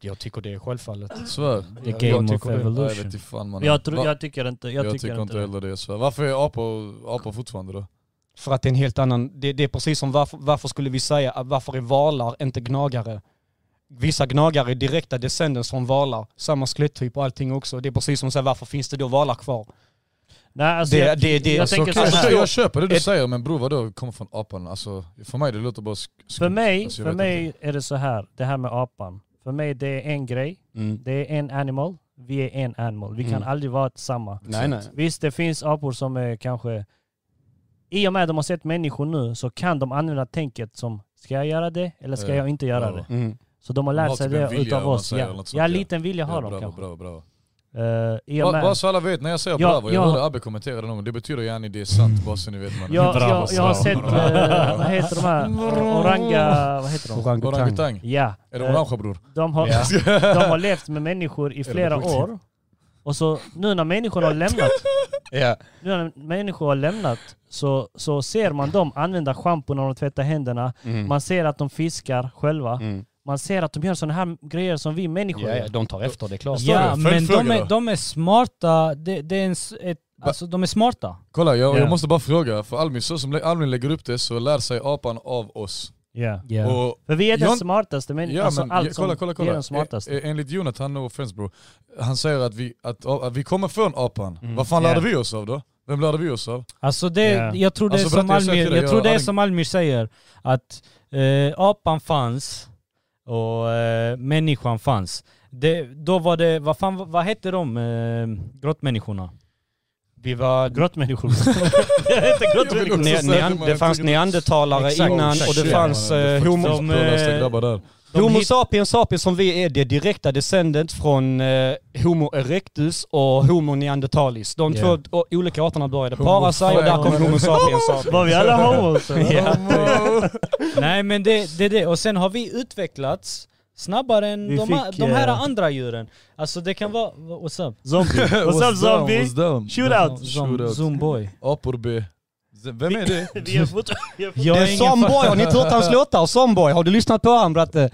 Speaker 4: Jag tycker det är självfallet.
Speaker 3: Svär.
Speaker 2: The
Speaker 3: Jag-
Speaker 2: game
Speaker 3: jag
Speaker 2: of
Speaker 3: tycker det.
Speaker 2: evolution.
Speaker 3: Nej, jag vet inte fan, mannen.
Speaker 1: Jag, tror,
Speaker 3: Va-
Speaker 1: jag tycker inte, jag, tycker, inte det.
Speaker 3: heller det. Så. Varför är apor, apor fortfarande då?
Speaker 4: För att det är en helt annan, det, det är precis som varför, varför skulle vi säga, att varför är valar inte gnagare? Vissa gnagare är direkta descendens från valar, samma skeletttyp och allting också. Det är precis som att säga, varför finns det då valar kvar?
Speaker 1: Nej, alltså
Speaker 4: Det-
Speaker 1: jag,
Speaker 4: det- det-
Speaker 1: jag
Speaker 4: alltså,
Speaker 1: tänker
Speaker 3: Okej,
Speaker 1: så här.
Speaker 3: jag, jag köper det du
Speaker 4: Ett-
Speaker 3: säger men bror vadå kommer från apan? Alltså, för mig det låter bara sk- skumt.
Speaker 1: För mig,
Speaker 3: Alltså, jag
Speaker 1: för
Speaker 3: vet
Speaker 1: mig är det så här, det här med apan. För mig det är en grej, det är en animal, vi är en animal. Vi kan
Speaker 4: Mm.
Speaker 1: aldrig vara samma.
Speaker 4: Nej, nej.
Speaker 1: Visst, det finns apor som är kanske... I och med att de har sett människor nu så kan de använda tänket som ska jag göra det eller ska
Speaker 3: Eh,
Speaker 1: jag inte göra
Speaker 3: ja.
Speaker 1: det?
Speaker 4: Mm.
Speaker 1: Så de har
Speaker 3: De
Speaker 1: lärt
Speaker 3: har
Speaker 1: sig
Speaker 3: typ en
Speaker 1: det
Speaker 3: vilja,
Speaker 1: utav
Speaker 3: om man
Speaker 1: oss.
Speaker 3: säger, eller
Speaker 1: Ja,
Speaker 3: något sånt,
Speaker 1: ja
Speaker 3: ja.
Speaker 1: liten vilja har
Speaker 3: bravo,
Speaker 1: de kanske.
Speaker 3: bravo, bravo.
Speaker 1: Eh, I och
Speaker 3: Bara,
Speaker 1: med...
Speaker 3: bara så alla vet, när jag säger
Speaker 1: Ja,
Speaker 3: bravo, jag
Speaker 1: ja.
Speaker 3: hörde Abbe kommentera det någon gång, det betyder gärna det är sant bara så ni vet mannen.
Speaker 1: jag, jag, jag har
Speaker 2: bravo.
Speaker 1: sett, eh, vad heter de här? Oranga... Vad heter de?
Speaker 4: Orangutang.
Speaker 3: Orangutang,
Speaker 1: Ja.
Speaker 3: är det
Speaker 1: eh,
Speaker 3: orangea bror?
Speaker 1: De har, de har levt med människor i flera
Speaker 3: sjukt?
Speaker 1: år. Och så nu när människor har lämnat,
Speaker 4: Ja.
Speaker 1: nu när människor har lämnat så, så ser man dem använda schampo när de tvättar händerna.
Speaker 4: Mm.
Speaker 1: Man ser att de fiskar själva.
Speaker 4: Mm.
Speaker 1: Man ser att de gör sådana här grejer som vi människor
Speaker 4: Ja, ja,
Speaker 1: gör.
Speaker 4: de tar efter, det är klart.
Speaker 2: Ja,
Speaker 3: Förstår du?
Speaker 2: men de
Speaker 3: Följdfråga
Speaker 2: är,
Speaker 3: då.
Speaker 2: de är smarta. Det, det är en, s- ett, alltså, de är smarta.
Speaker 3: Kolla jag,
Speaker 1: Ja.
Speaker 3: jag måste bara fråga, för Almin, så som Almin lägger upp det så lär sig apan av oss.
Speaker 1: Ja.
Speaker 3: Och
Speaker 1: För vi är den
Speaker 3: Jag-
Speaker 1: smartaste människan.
Speaker 3: Ja,
Speaker 1: alltså
Speaker 3: men,
Speaker 1: allt
Speaker 3: ja, kolla,
Speaker 1: som
Speaker 3: kolla,
Speaker 1: vi är
Speaker 3: kolla.
Speaker 1: den smartaste.
Speaker 3: Eh, eh, Enligt Jonathan, no offense bro, han säger att vi, att, att vi kommer från apan.
Speaker 4: Mm.
Speaker 3: Vad fan
Speaker 1: Ja.
Speaker 3: lärde vi oss av då? Vem lärde vi oss av?
Speaker 2: Alltså det,
Speaker 1: Ja.
Speaker 2: jag tror det
Speaker 3: Alltså,
Speaker 2: är som
Speaker 3: berätta, jag säger
Speaker 2: Almir,
Speaker 3: till dig,
Speaker 2: jag
Speaker 3: jag
Speaker 2: tror det är
Speaker 3: hade-
Speaker 2: som Almir säger, att eh, apan fanns och eh, människan fanns. Det, då var det, vad fan, vad hette de eh, grottmänniskorna?
Speaker 4: Vi var...
Speaker 2: eh.
Speaker 1: Grottmänniskor.
Speaker 3: Jag vill
Speaker 4: Ne-
Speaker 3: också säga
Speaker 4: nean-
Speaker 3: till man-
Speaker 4: det fanns neandertalare
Speaker 2: Exakt.
Speaker 4: innan
Speaker 2: Exakt.
Speaker 4: och det
Speaker 3: Shit,
Speaker 4: fanns
Speaker 3: mannen, det
Speaker 4: eh,
Speaker 3: är
Speaker 4: homo...
Speaker 3: faktiskt
Speaker 2: de, eh,
Speaker 3: pålästa grabbar där.
Speaker 2: De
Speaker 4: Homo
Speaker 2: hit-
Speaker 4: sapiens sapiens som vi är, det är direkta descendent från eh, Homo erectus och Homo neandertalis. De
Speaker 2: Yeah.
Speaker 4: två o- olika arterna började
Speaker 3: Homo
Speaker 4: para sig och där kom
Speaker 3: sapiens.
Speaker 4: Homo sapiens sapiens.
Speaker 1: Var vi alla homos? eller?
Speaker 4: Ja.
Speaker 2: Nej men det är det, är det, och sen har vi utvecklats snabbare än
Speaker 1: Vi
Speaker 2: de, här-
Speaker 1: fick,
Speaker 2: de här
Speaker 1: eh,
Speaker 2: andra djuren. Alltså det kan vara, what's up?
Speaker 1: Zombie. What's up zombie? Shootout.
Speaker 2: Zoom, zoom boy.
Speaker 3: Apor B. Vem är det?
Speaker 1: Vi är fort- vi är fort-
Speaker 2: Jag
Speaker 4: Det
Speaker 2: är
Speaker 4: är
Speaker 2: ingen
Speaker 4: Somboy, har ni inte hört hans låtar? Somboy, har du lyssnat på han bratte?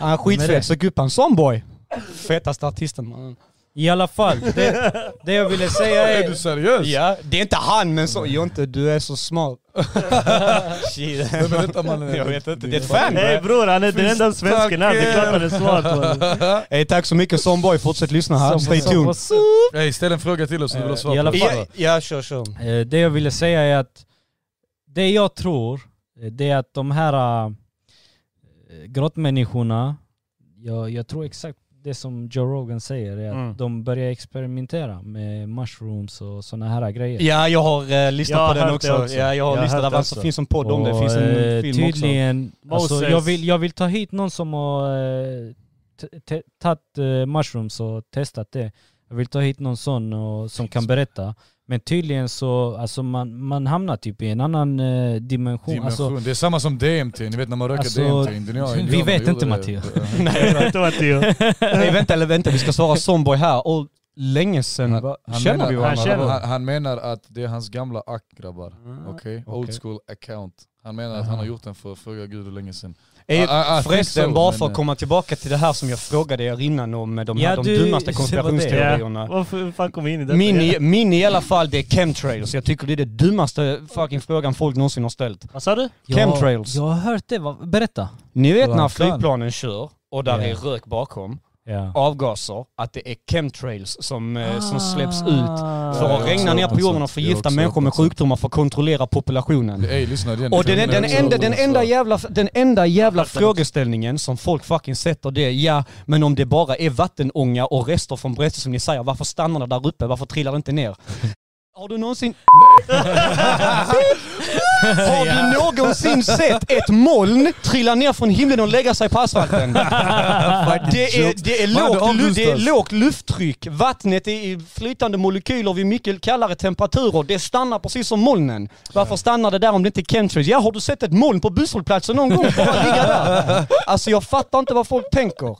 Speaker 4: Han
Speaker 2: Men
Speaker 4: är
Speaker 2: det-
Speaker 4: skitfet, sök upp han. Somboy! Fetaste artisten mannen.
Speaker 2: I alla fall, det, det jag ville säga
Speaker 3: Är
Speaker 2: är...
Speaker 3: du seriös?
Speaker 4: Ja, det är inte han men så, Jonte du är så smart. Shit.
Speaker 3: Vem är detta mannen?
Speaker 4: Jag vet inte, det är ett
Speaker 3: fan.
Speaker 4: fan
Speaker 1: Hej
Speaker 4: bre.
Speaker 1: bror, han är den enda svensken här. Det är klart han är smart. man.
Speaker 4: Hey, tack så mycket Somboy, fortsätt lyssna här. Stay tuned.
Speaker 3: Hey, ställ en fråga till oss om du vill
Speaker 4: Eh,
Speaker 3: ha
Speaker 2: I
Speaker 3: svar
Speaker 2: alla
Speaker 3: på.
Speaker 2: fall-
Speaker 4: Ja, ja, kör kör.
Speaker 2: Eh, Det jag ville säga är att det jag tror, eh, det är att de här eh, grottmänniskorna, jag, jag tror exakt det som Joe Rogan säger, är att
Speaker 1: Mm.
Speaker 2: de börjar experimentera med mushrooms och sådana här grejer.
Speaker 4: Ja, jag har eh, lyssnat
Speaker 1: Jag har
Speaker 4: på den
Speaker 1: hört
Speaker 4: också.
Speaker 1: det också.
Speaker 4: Ja, jag
Speaker 1: Jag
Speaker 4: har
Speaker 1: har
Speaker 4: lyssnat.
Speaker 1: hört
Speaker 4: Det
Speaker 1: det
Speaker 4: fanns-
Speaker 1: också.
Speaker 4: finns en podd om det, det finns
Speaker 2: eh,
Speaker 4: en film också.
Speaker 2: tydligen, Alltså,
Speaker 1: Moses.
Speaker 2: jag, vill, jag vill ta hit någon som har eh, t- te- tagit eh, mushrooms och testat det. Jag vill ta hit någon sån och, som kan berätta. Men tydligen så, alltså man, man hamnar typ i en annan eh, dimension. Alltså,
Speaker 3: Dimension. Det är samma som DMT, ni vet när man röker
Speaker 2: Alltså,
Speaker 3: DMT. Indianer-
Speaker 2: vi
Speaker 3: indianerna
Speaker 2: vet
Speaker 3: gjorde
Speaker 2: inte,
Speaker 3: det.
Speaker 2: Matteo.
Speaker 1: Jag vet inte vad det är.
Speaker 4: Nej, vänta, eller vänta, vi ska svara Somboy här. Och länge sedan, va?
Speaker 3: Han
Speaker 4: känner
Speaker 3: menar-
Speaker 4: vi
Speaker 1: han
Speaker 4: varandra?
Speaker 1: känner-
Speaker 3: Han, han menar att det är hans gamla ack grabbar. Okej?
Speaker 4: Ah, okej.
Speaker 3: Old school account. Han menar att han har gjort den för att fråga gud hur länge sedan.
Speaker 4: Är,
Speaker 3: I- I- I think
Speaker 4: förresten,
Speaker 3: so,
Speaker 4: bara
Speaker 3: men,
Speaker 4: för att
Speaker 3: eh,
Speaker 4: komma tillbaka till det här som jag frågade er innan om de,
Speaker 2: Ja,
Speaker 4: här, de
Speaker 2: du-
Speaker 4: dummaste
Speaker 2: det var det.
Speaker 4: konspirationsteorierna.
Speaker 1: Varför hur fan kom vi in i detta?
Speaker 4: Min i, min i alla fall, det är chemtrails. Jag tycker det är det dummaste fucking frågan folk någonsin har ställt.
Speaker 1: Vad sa du?
Speaker 4: Chemtrails.
Speaker 2: Jag, jag har hört det, Va- berätta.
Speaker 4: Ni vet
Speaker 2: Flygplan.
Speaker 4: när flygplanen kör och där
Speaker 2: Ja.
Speaker 4: är rök bakom,
Speaker 2: Ja.
Speaker 4: avgaser, att det är chemtrails som, eh, som släpps
Speaker 2: Ah.
Speaker 4: ut
Speaker 3: Ja,
Speaker 4: för
Speaker 3: jag
Speaker 4: att
Speaker 3: har också
Speaker 4: regna ner
Speaker 3: hört
Speaker 4: på
Speaker 3: något
Speaker 4: jorden
Speaker 3: sånt.
Speaker 4: och
Speaker 3: Jag har
Speaker 4: förgifta
Speaker 3: också
Speaker 4: människor
Speaker 3: hört
Speaker 4: med
Speaker 3: något sånt.
Speaker 4: sjukdomar för att kontrollera populationen.
Speaker 3: Ey, lyssna igen.
Speaker 4: Och den, den, enda, den enda jävla, den enda jävla frågeställningen som folk fucking sätter det är ja, men om det bara är vattenånga och rester från bränsle som ni säger, varför stannar det där uppe? Varför trillar det inte ner? Har du någonsin... Har du någonsin sett ett moln trilla ner från himlen och lägga sig på asfalten? Det är, det är,
Speaker 3: Vad är det
Speaker 4: lågt, lu- det är
Speaker 3: avundstas?
Speaker 4: lågt lufttryck. Vattnet är i flytande molekyler vid mycket kallare temperaturer. Det stannar precis som molnen. Varför stannar det där om det inte är chemtrails? Ja, har du sett ett moln på busshållplatsen någon gång? Bara ligga där. Alltså jag fattar inte vad folk tänker.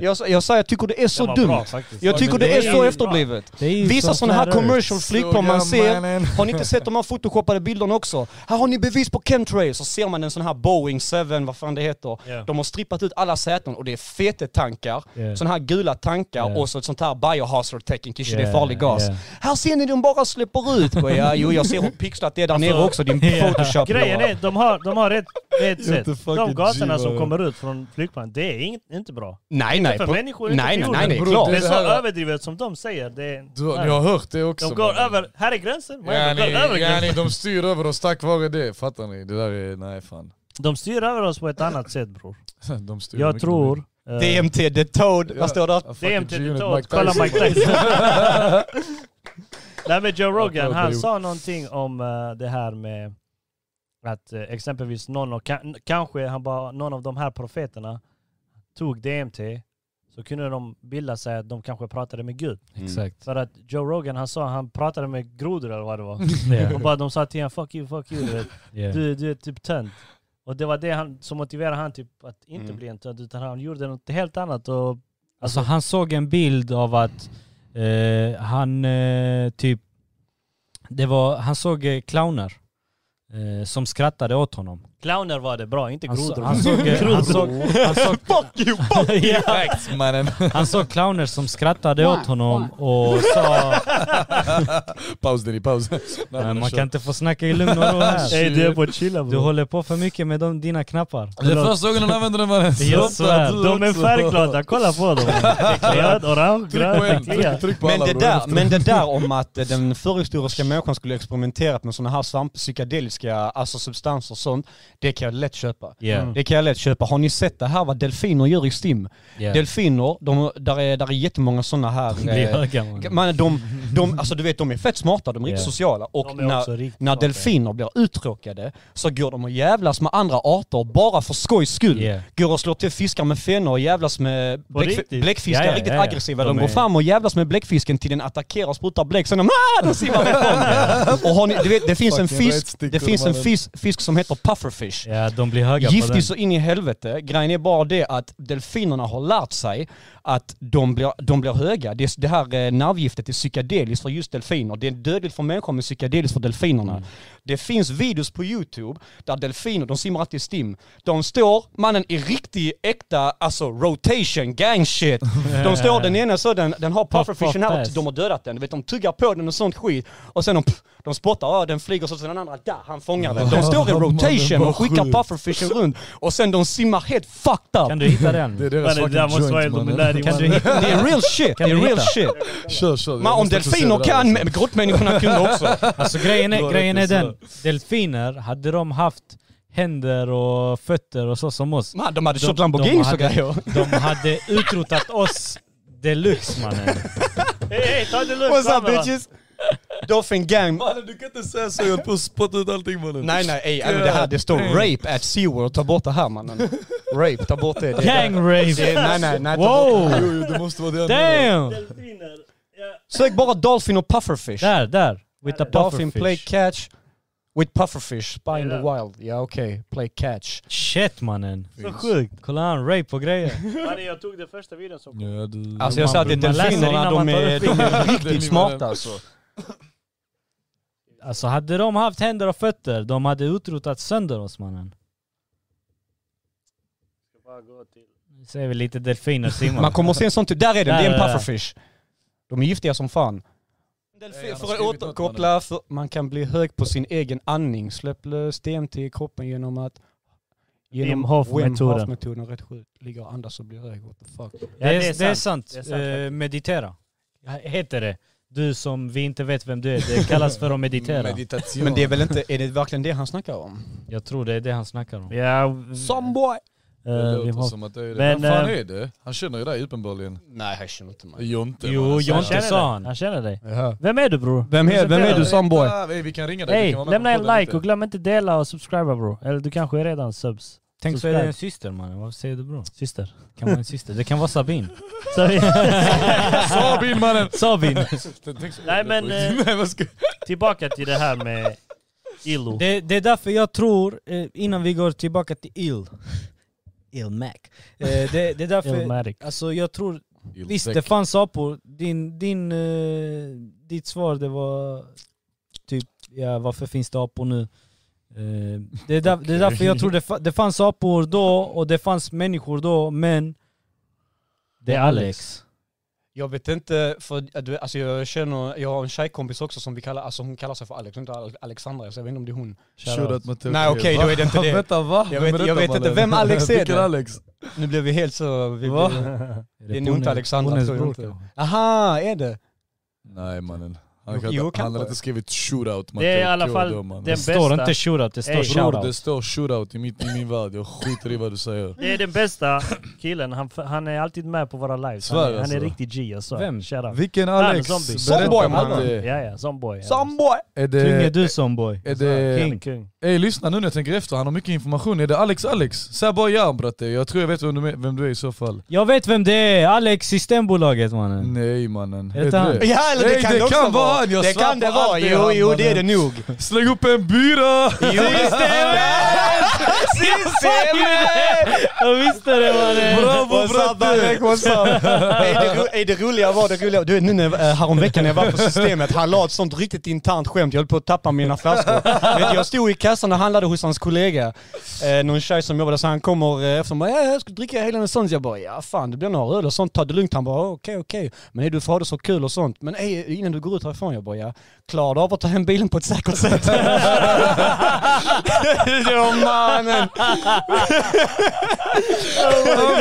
Speaker 4: Jag, jag säger, jag tycker det är så
Speaker 1: var
Speaker 4: dumt.
Speaker 1: bra faktiskt.
Speaker 4: Jag tycker
Speaker 1: men det
Speaker 4: det
Speaker 1: är
Speaker 4: är så
Speaker 1: ju
Speaker 4: efterblivet.
Speaker 2: Det är ju
Speaker 4: Vissa
Speaker 2: som
Speaker 4: sådana här
Speaker 2: Flat Earth.
Speaker 4: commercial flygplan man ser, har ni inte sett de här photoshoppade bilderna också? Här har ni bevis på chemtrails, så ser man en sån här Boeing 7, vad fan det heter.
Speaker 1: Ja.
Speaker 4: De har strippat ut alla säten och det är fetetankar,
Speaker 2: Ja.
Speaker 4: sådana här gula tankar
Speaker 2: Ja.
Speaker 4: och så ett sånt här biohazard tecken, kanske det
Speaker 2: Ja,
Speaker 4: är farlig gas.
Speaker 2: ja.
Speaker 4: Här ser ni de bara släpper ut. Och Ja, jo jag ser hur pixlat det är där
Speaker 1: Alltså,
Speaker 4: nere också, din
Speaker 2: ja.
Speaker 4: photoshop.
Speaker 1: Grejen är, de har, de har rätt, rätt sätt.
Speaker 3: Inte fucking
Speaker 1: De gaserna
Speaker 3: G,
Speaker 1: som
Speaker 3: vad-
Speaker 1: kommer ut från flygplan, det är inget, inte bra.
Speaker 4: Nej nej,
Speaker 1: För
Speaker 4: på-
Speaker 1: människor är inte
Speaker 4: nej nej,
Speaker 1: jorden.
Speaker 4: nej, nej,
Speaker 3: Bror,
Speaker 4: klart.
Speaker 1: Det är så
Speaker 3: Det här-
Speaker 1: överdrivet som de säger. Det är,
Speaker 3: Du, ni har hört det också.
Speaker 1: de går
Speaker 3: mannen.
Speaker 1: över, här är gränsen, man, de
Speaker 3: Ja,
Speaker 1: går över
Speaker 3: ni, ja, ni,
Speaker 1: gränsen.
Speaker 3: de styr över oss tack vare det, fattar ni? Det där är, nej fan.
Speaker 1: De styr över oss på ett annat sätt bror.
Speaker 3: De styr
Speaker 1: Jag
Speaker 3: mycket
Speaker 1: tror...
Speaker 3: mer.
Speaker 1: eh,
Speaker 4: DMT, the toad, vad står där?
Speaker 3: Ja, fucking
Speaker 1: DMT till
Speaker 3: G-unit,
Speaker 1: Todd, kolla Mike Tyson. Nej men Joe Rogan,
Speaker 3: Upload
Speaker 1: han
Speaker 3: period.
Speaker 1: sa någonting om eh, det här med att eh, exempelvis någon av, ka- kanske han bara, någon av de här profeterna tog DMT, så kunde de bilda sig att de kanske pratade med Gud.
Speaker 2: Exakt.
Speaker 1: För att Joe Rogan, han sa han pratade med grodor eller vad det var. Och
Speaker 2: Yeah.
Speaker 1: bara de sa till honom 'fuck you, fuck you' du vet.
Speaker 2: Yeah.
Speaker 1: du, du är typ tönt. Och det var det han, som motiverade han typ att inte
Speaker 4: Mm.
Speaker 1: bli en tönt, utan han gjorde något helt annat och
Speaker 2: Alltså han såg en bild av att eh, han eh, typ... Det var, han såg eh, clowner eh, som skrattade åt honom.
Speaker 1: Clowner var det bra, inte
Speaker 2: Han, så,
Speaker 1: grodor.
Speaker 2: han såg... eh, Han såg, han såg
Speaker 4: Fuck you, fuck you!
Speaker 2: Ja.
Speaker 3: Facts, mannen.
Speaker 2: Han såg clowner som skrattade åt honom och sa
Speaker 3: Paus Diddy, paus. Nej,
Speaker 2: "Nej,
Speaker 3: men
Speaker 2: man
Speaker 3: kör.
Speaker 2: kan inte få snacka i lugn och ro här.
Speaker 1: Ey du är på att chilla
Speaker 2: Du
Speaker 1: bror.
Speaker 2: håller på för mycket med de, dina knappar.
Speaker 3: Det är första gången han använder den mannen.
Speaker 2: Jag svär,
Speaker 3: Du
Speaker 1: De är
Speaker 3: också.
Speaker 1: färgglada, kolla på dem. Röd, orange,
Speaker 3: Tryck på
Speaker 1: grön,
Speaker 3: en,
Speaker 1: det kliar.
Speaker 3: tryck, tryck på
Speaker 4: Men
Speaker 3: alla
Speaker 4: det,
Speaker 3: bror.
Speaker 4: där, men det där om att eh, den förhistoriska människan skulle experimenterat med sådana här svamp, psykedeliska alltså substanser och sånt, det kan jag lätt köpa.
Speaker 2: Yeah.
Speaker 4: Det kan jag lätt köpa. Har ni sett det här vad delfiner gör i STIM?
Speaker 2: Yeah.
Speaker 4: Delfiner, de, där, är, där är jättemånga sådana här...
Speaker 2: Det blir
Speaker 4: eh,
Speaker 2: höga man.
Speaker 4: Man, de, de, alltså du vet, de är fett smarta, de är riktigt
Speaker 2: Ja.
Speaker 4: sociala. Och
Speaker 1: De är också
Speaker 4: när,
Speaker 1: riktigt
Speaker 4: när
Speaker 1: smarta.
Speaker 4: delfiner blir uttråkade så går de och jävlas med andra arter bara för skojs skull.
Speaker 2: Yeah.
Speaker 4: Går och slår till fiskar med fenor och jävlas med bläck,
Speaker 1: riktigt?
Speaker 4: bläckfiskar,
Speaker 2: Ja, ja,
Speaker 4: riktigt
Speaker 2: ja, ja.
Speaker 4: aggressiva. De,
Speaker 2: De
Speaker 4: går
Speaker 2: är-
Speaker 4: fram och jävlas med bläckfisken till den attackerar och sprutar bläck. Sen de, ah, de simmar ifrån. och har ni, du vet, det finns en
Speaker 3: Fucking
Speaker 4: fisk,
Speaker 3: rättstickor,
Speaker 4: det finns en
Speaker 3: mannen.
Speaker 4: fisk, fisk som heter pufferfish.
Speaker 2: Ja, de blir höga på den.
Speaker 4: Giftig så in i helvete. Grejen är bara det att delfinerna har lärt sig att de blir, de blir höga. Det, det här eh, nervgiftet är psykedeliskt för just delfiner. Det är dödligt för människor men psykedeliskt för delfinerna.
Speaker 2: Mm.
Speaker 4: Det finns videos på YouTube där delfiner, de simmar alltid i STIM. De står, mannen i riktig äkta alltså rotation, gang shit. De står, den ena så den, den har pufferfishen här och
Speaker 2: pass.
Speaker 4: de har dödat den. Du vet, de tuggar på den och sånt skit. Och sen de, de spottar, ja, den flyger så sen den andra, där, han fångar den. De står i rotation och skickar pufferfishen runt och sen de simmar helt fucked
Speaker 2: Kan
Speaker 4: up.
Speaker 2: du hitta den?
Speaker 3: Det är deras
Speaker 1: Mannen, Det där
Speaker 3: fucking
Speaker 1: måste vara
Speaker 3: joint mannen.
Speaker 1: Illuminati
Speaker 2: Kan du
Speaker 1: mannen.
Speaker 2: hitta
Speaker 4: Det är real shit, det
Speaker 2: Kan
Speaker 4: är
Speaker 2: vi
Speaker 4: real
Speaker 2: hitta?
Speaker 4: shit.
Speaker 3: Kör, kör. Jag
Speaker 4: Men om
Speaker 3: måste också se
Speaker 4: delfiner
Speaker 3: det där,
Speaker 4: kan,
Speaker 3: alltså.
Speaker 4: men grottmänniskorna kunde också.
Speaker 2: Alltså grejen
Speaker 3: Du
Speaker 2: är,
Speaker 3: har
Speaker 2: grejen är
Speaker 3: rätt, det är
Speaker 2: den, delfiner, hade de haft händer och fötter och så som oss,
Speaker 4: Man, de hade
Speaker 2: De-
Speaker 4: kört
Speaker 2: de
Speaker 4: Lamborghinis och
Speaker 2: hade-
Speaker 4: grejer.
Speaker 2: de hade utrotat oss deluxe mannen.
Speaker 1: Ey ey, ta det lugnt
Speaker 4: What's up
Speaker 1: grabbar.
Speaker 4: bitches? Dolphin gang.
Speaker 3: Mannen du kan inte säga så, jag höll på att spotta ut allting mannen.
Speaker 4: Nej nej, ey, alltså, det, här, det står rape at SeaWorld, ta bort det här mannen. Rape, ta bort det. det
Speaker 2: Gang
Speaker 4: Det,
Speaker 2: rave!
Speaker 4: nej nej nej. ta bort-
Speaker 2: Wow!
Speaker 3: Jo, jo, det måste vara det. han menar.
Speaker 2: Damn!
Speaker 1: Delfiner. Ja.
Speaker 4: Sök bara Dolphin och Pufferfish.
Speaker 2: Där, där. With a
Speaker 4: Dolphin
Speaker 2: pufferfish.
Speaker 4: play catch with Pufferfish, spy in the
Speaker 1: Ja.
Speaker 4: wild. Ja okej, play catch.
Speaker 2: Shit mannen.
Speaker 1: Så sjukt.
Speaker 2: Kolla han rape på grejer.
Speaker 1: Mannen jag tog den första videon som kom.
Speaker 3: Ja, du...
Speaker 4: Alltså jag sa att det är
Speaker 2: man läser
Speaker 4: delfinerna,
Speaker 2: innan man
Speaker 4: de
Speaker 2: tar
Speaker 4: är,
Speaker 2: upp
Speaker 4: de är
Speaker 3: Det är ni
Speaker 4: riktigt smarta
Speaker 3: menar.
Speaker 4: alltså.
Speaker 2: Alltså hade de haft händer och fötter, de hade utrotat sönder oss mannen.
Speaker 1: ska gå till...
Speaker 2: Nu ser vi lite delfiner simma.
Speaker 4: Man kommer att se en sån typ, där är den, det är
Speaker 2: Där,
Speaker 4: en
Speaker 2: där, där.
Speaker 4: pufferfish. De är giftiga som fan.
Speaker 3: han har
Speaker 4: Delfin, för att
Speaker 3: skrivit något,
Speaker 4: återkoppla, för man kan bli hög på sin egen andning. Släpp lös DMT i kroppen genom att...
Speaker 1: Wim Hof-metoden.
Speaker 4: metoden rätt sjukt. Ligga och andas och bli hög. What the fuck.
Speaker 2: det, är,
Speaker 1: det
Speaker 2: det,
Speaker 1: är
Speaker 2: är sant.
Speaker 1: Det är sant,
Speaker 2: Eh, meditera. Ja, Heter det. Du som vi inte vet vem du är. Det kallas för att
Speaker 1: Mm,
Speaker 2: meditera.
Speaker 3: Meditation.
Speaker 4: Men det är väl inte, är det verkligen det han snackar om?
Speaker 2: Jag tror det är det han snackar om.
Speaker 1: Ja, eh,
Speaker 4: Someboy!
Speaker 3: Det
Speaker 1: uh, Wim
Speaker 3: låter
Speaker 1: Hof.
Speaker 3: som att det är det.
Speaker 1: Men,
Speaker 3: Men, fan
Speaker 1: eh,
Speaker 3: är det? Han känner ju dig uppenbarligen.
Speaker 4: Nej, jag känner inte mig.
Speaker 3: Jonte. vad
Speaker 2: Jo,
Speaker 3: han
Speaker 1: Han
Speaker 3: säger.
Speaker 2: Jonte
Speaker 1: känner
Speaker 2: sa
Speaker 1: dig.
Speaker 2: han.
Speaker 1: Han känner dig. Vem är du bror?
Speaker 4: Vem är, vem är
Speaker 1: Presentera
Speaker 4: du
Speaker 1: dig.
Speaker 4: Someboy?
Speaker 3: Ah, vi- Vi kan ringa dig. du
Speaker 1: Hey,
Speaker 3: kan vara med
Speaker 1: lämna
Speaker 3: på
Speaker 1: en
Speaker 3: podden
Speaker 1: like och
Speaker 3: lite.
Speaker 1: glöm inte dela och subscriba bror. Eller du kanske är redan subs.
Speaker 2: Tänk så är
Speaker 1: Subscribe.
Speaker 2: det en syster mannen. Varför säger du bror?
Speaker 1: Syster.
Speaker 2: Kan vara en syster. Det kan vara Sabine.
Speaker 1: Så vi-
Speaker 3: Sabin mannen!
Speaker 2: Sabine!
Speaker 1: Nej, men, eh,
Speaker 3: Nej, vad ska...
Speaker 1: Tillbaka till det här med Illo.
Speaker 2: Det, det är därför jag tror, eh, innan vi går tillbaka till ill. Ill Mac. Eh, det, det är därför,
Speaker 1: Illmatic.
Speaker 2: alltså jag tror, visst det fanns apor. Din, din, eh, ditt svar det var typ, ja varför finns det apor nu? Eh, det, är där, det är därför jag tror det, fa- det fanns apor då och det fanns människor då, men det är Alex.
Speaker 4: Jag vet inte, för du, alltså jag känner, jag har en tjejkompis också som vi kallar, alltså hon kallar sig för Alex, inte Ale- Alexandra, så jag vet inte om det är hon.
Speaker 3: Shoutout Matteo.
Speaker 4: Nej, okej, då är det inte det.
Speaker 3: Vänta va?
Speaker 4: Jag
Speaker 3: Vem är
Speaker 4: vet- jag
Speaker 3: detta,
Speaker 4: vet inte
Speaker 3: mannen?
Speaker 4: vem Alex är
Speaker 3: Vilken
Speaker 4: det.
Speaker 3: Alex?
Speaker 4: Nu blev vi helt så... Vi
Speaker 2: Va?
Speaker 4: blev, det är nog inte Alexandra,
Speaker 2: Ponnes
Speaker 4: tror jag
Speaker 2: bror,
Speaker 4: inte.
Speaker 2: kanske.
Speaker 4: aha, är det?
Speaker 3: Nej mannen. Han,
Speaker 4: Jo,
Speaker 3: kan,
Speaker 4: jo,
Speaker 3: inte- han
Speaker 4: kanske.
Speaker 3: har inte skrivit shootout Matteo.
Speaker 1: Det är i alla
Speaker 3: Kå
Speaker 1: fall
Speaker 3: då, mannen.
Speaker 2: Det
Speaker 1: den
Speaker 2: står
Speaker 1: bästa.
Speaker 2: inte shootout, det står
Speaker 1: Ey.
Speaker 3: Bror det
Speaker 2: shoutout.
Speaker 3: står shootout i, mitt, i min värld, jag skiter i vad du säger.
Speaker 1: Det är den bästa killen. Han, han är alltid med på våra lives. Han,
Speaker 3: Svär
Speaker 1: är- han är
Speaker 3: alltså.
Speaker 1: riktig G alltså.
Speaker 2: Vem?
Speaker 1: Shoutout.
Speaker 3: Vilken
Speaker 1: Alex?
Speaker 3: Alex?
Speaker 1: Han, zombie.
Speaker 3: Berätta
Speaker 4: Zombie,
Speaker 3: om
Speaker 4: mannen.
Speaker 3: det.
Speaker 1: Ja ja, Zomboy.
Speaker 4: Someboy!
Speaker 3: Är
Speaker 2: Sjunger
Speaker 3: det...
Speaker 2: du som boy?
Speaker 4: eh,
Speaker 3: Är det...
Speaker 1: Han är kung.
Speaker 3: Ey lyssna nu när jag tänker efter, han har mycket information. Är det Alex Alex? Säg bara ja bratte, jag tror jag vet vem du, är- vem du är i så fall.
Speaker 2: Jag vet vem det är, Alex Systembolaget
Speaker 4: Mm.
Speaker 2: mannen.
Speaker 3: Nej mannen.
Speaker 2: Är det han?
Speaker 4: Ja, eller det
Speaker 3: Nej,
Speaker 4: kan
Speaker 3: det
Speaker 4: det också
Speaker 3: kan vara
Speaker 4: vara.
Speaker 3: han, jag
Speaker 4: Det
Speaker 3: svär
Speaker 4: kan
Speaker 3: på
Speaker 4: det vara,
Speaker 3: allt det är
Speaker 4: jo,
Speaker 3: han,
Speaker 4: jo det är det
Speaker 3: mannen.
Speaker 4: nog.
Speaker 3: Släng upp en bira!
Speaker 4: Jo, det stämmer!
Speaker 2: Jag visste det mannen!
Speaker 3: Bravo bratte!
Speaker 4: Är det ro- Är det roliga var det roliga, du vet nu när, eh, häromveckan när jag var på systemet, han la ett sånt riktigt internt skämt, jag höll på att tappa mina flaskor. Vet, du, jag stod i kassan och handlade hos hans kollega, eh, någon tjej som jobbade, så han kommer eh, efter mig, "Ja, jag ska dricka hela en sån. Så jag bara, ja fan det blir några öl och sånt, ta det lugnt. Han bara, "Ja, okej okej, men är du för att ha det så kul och sånt? Men ey, innan du går ut härifrån, jag bara, ja, klarar du av att ta hem bilen på ett säkert sätt? Jo mannen!
Speaker 3: Han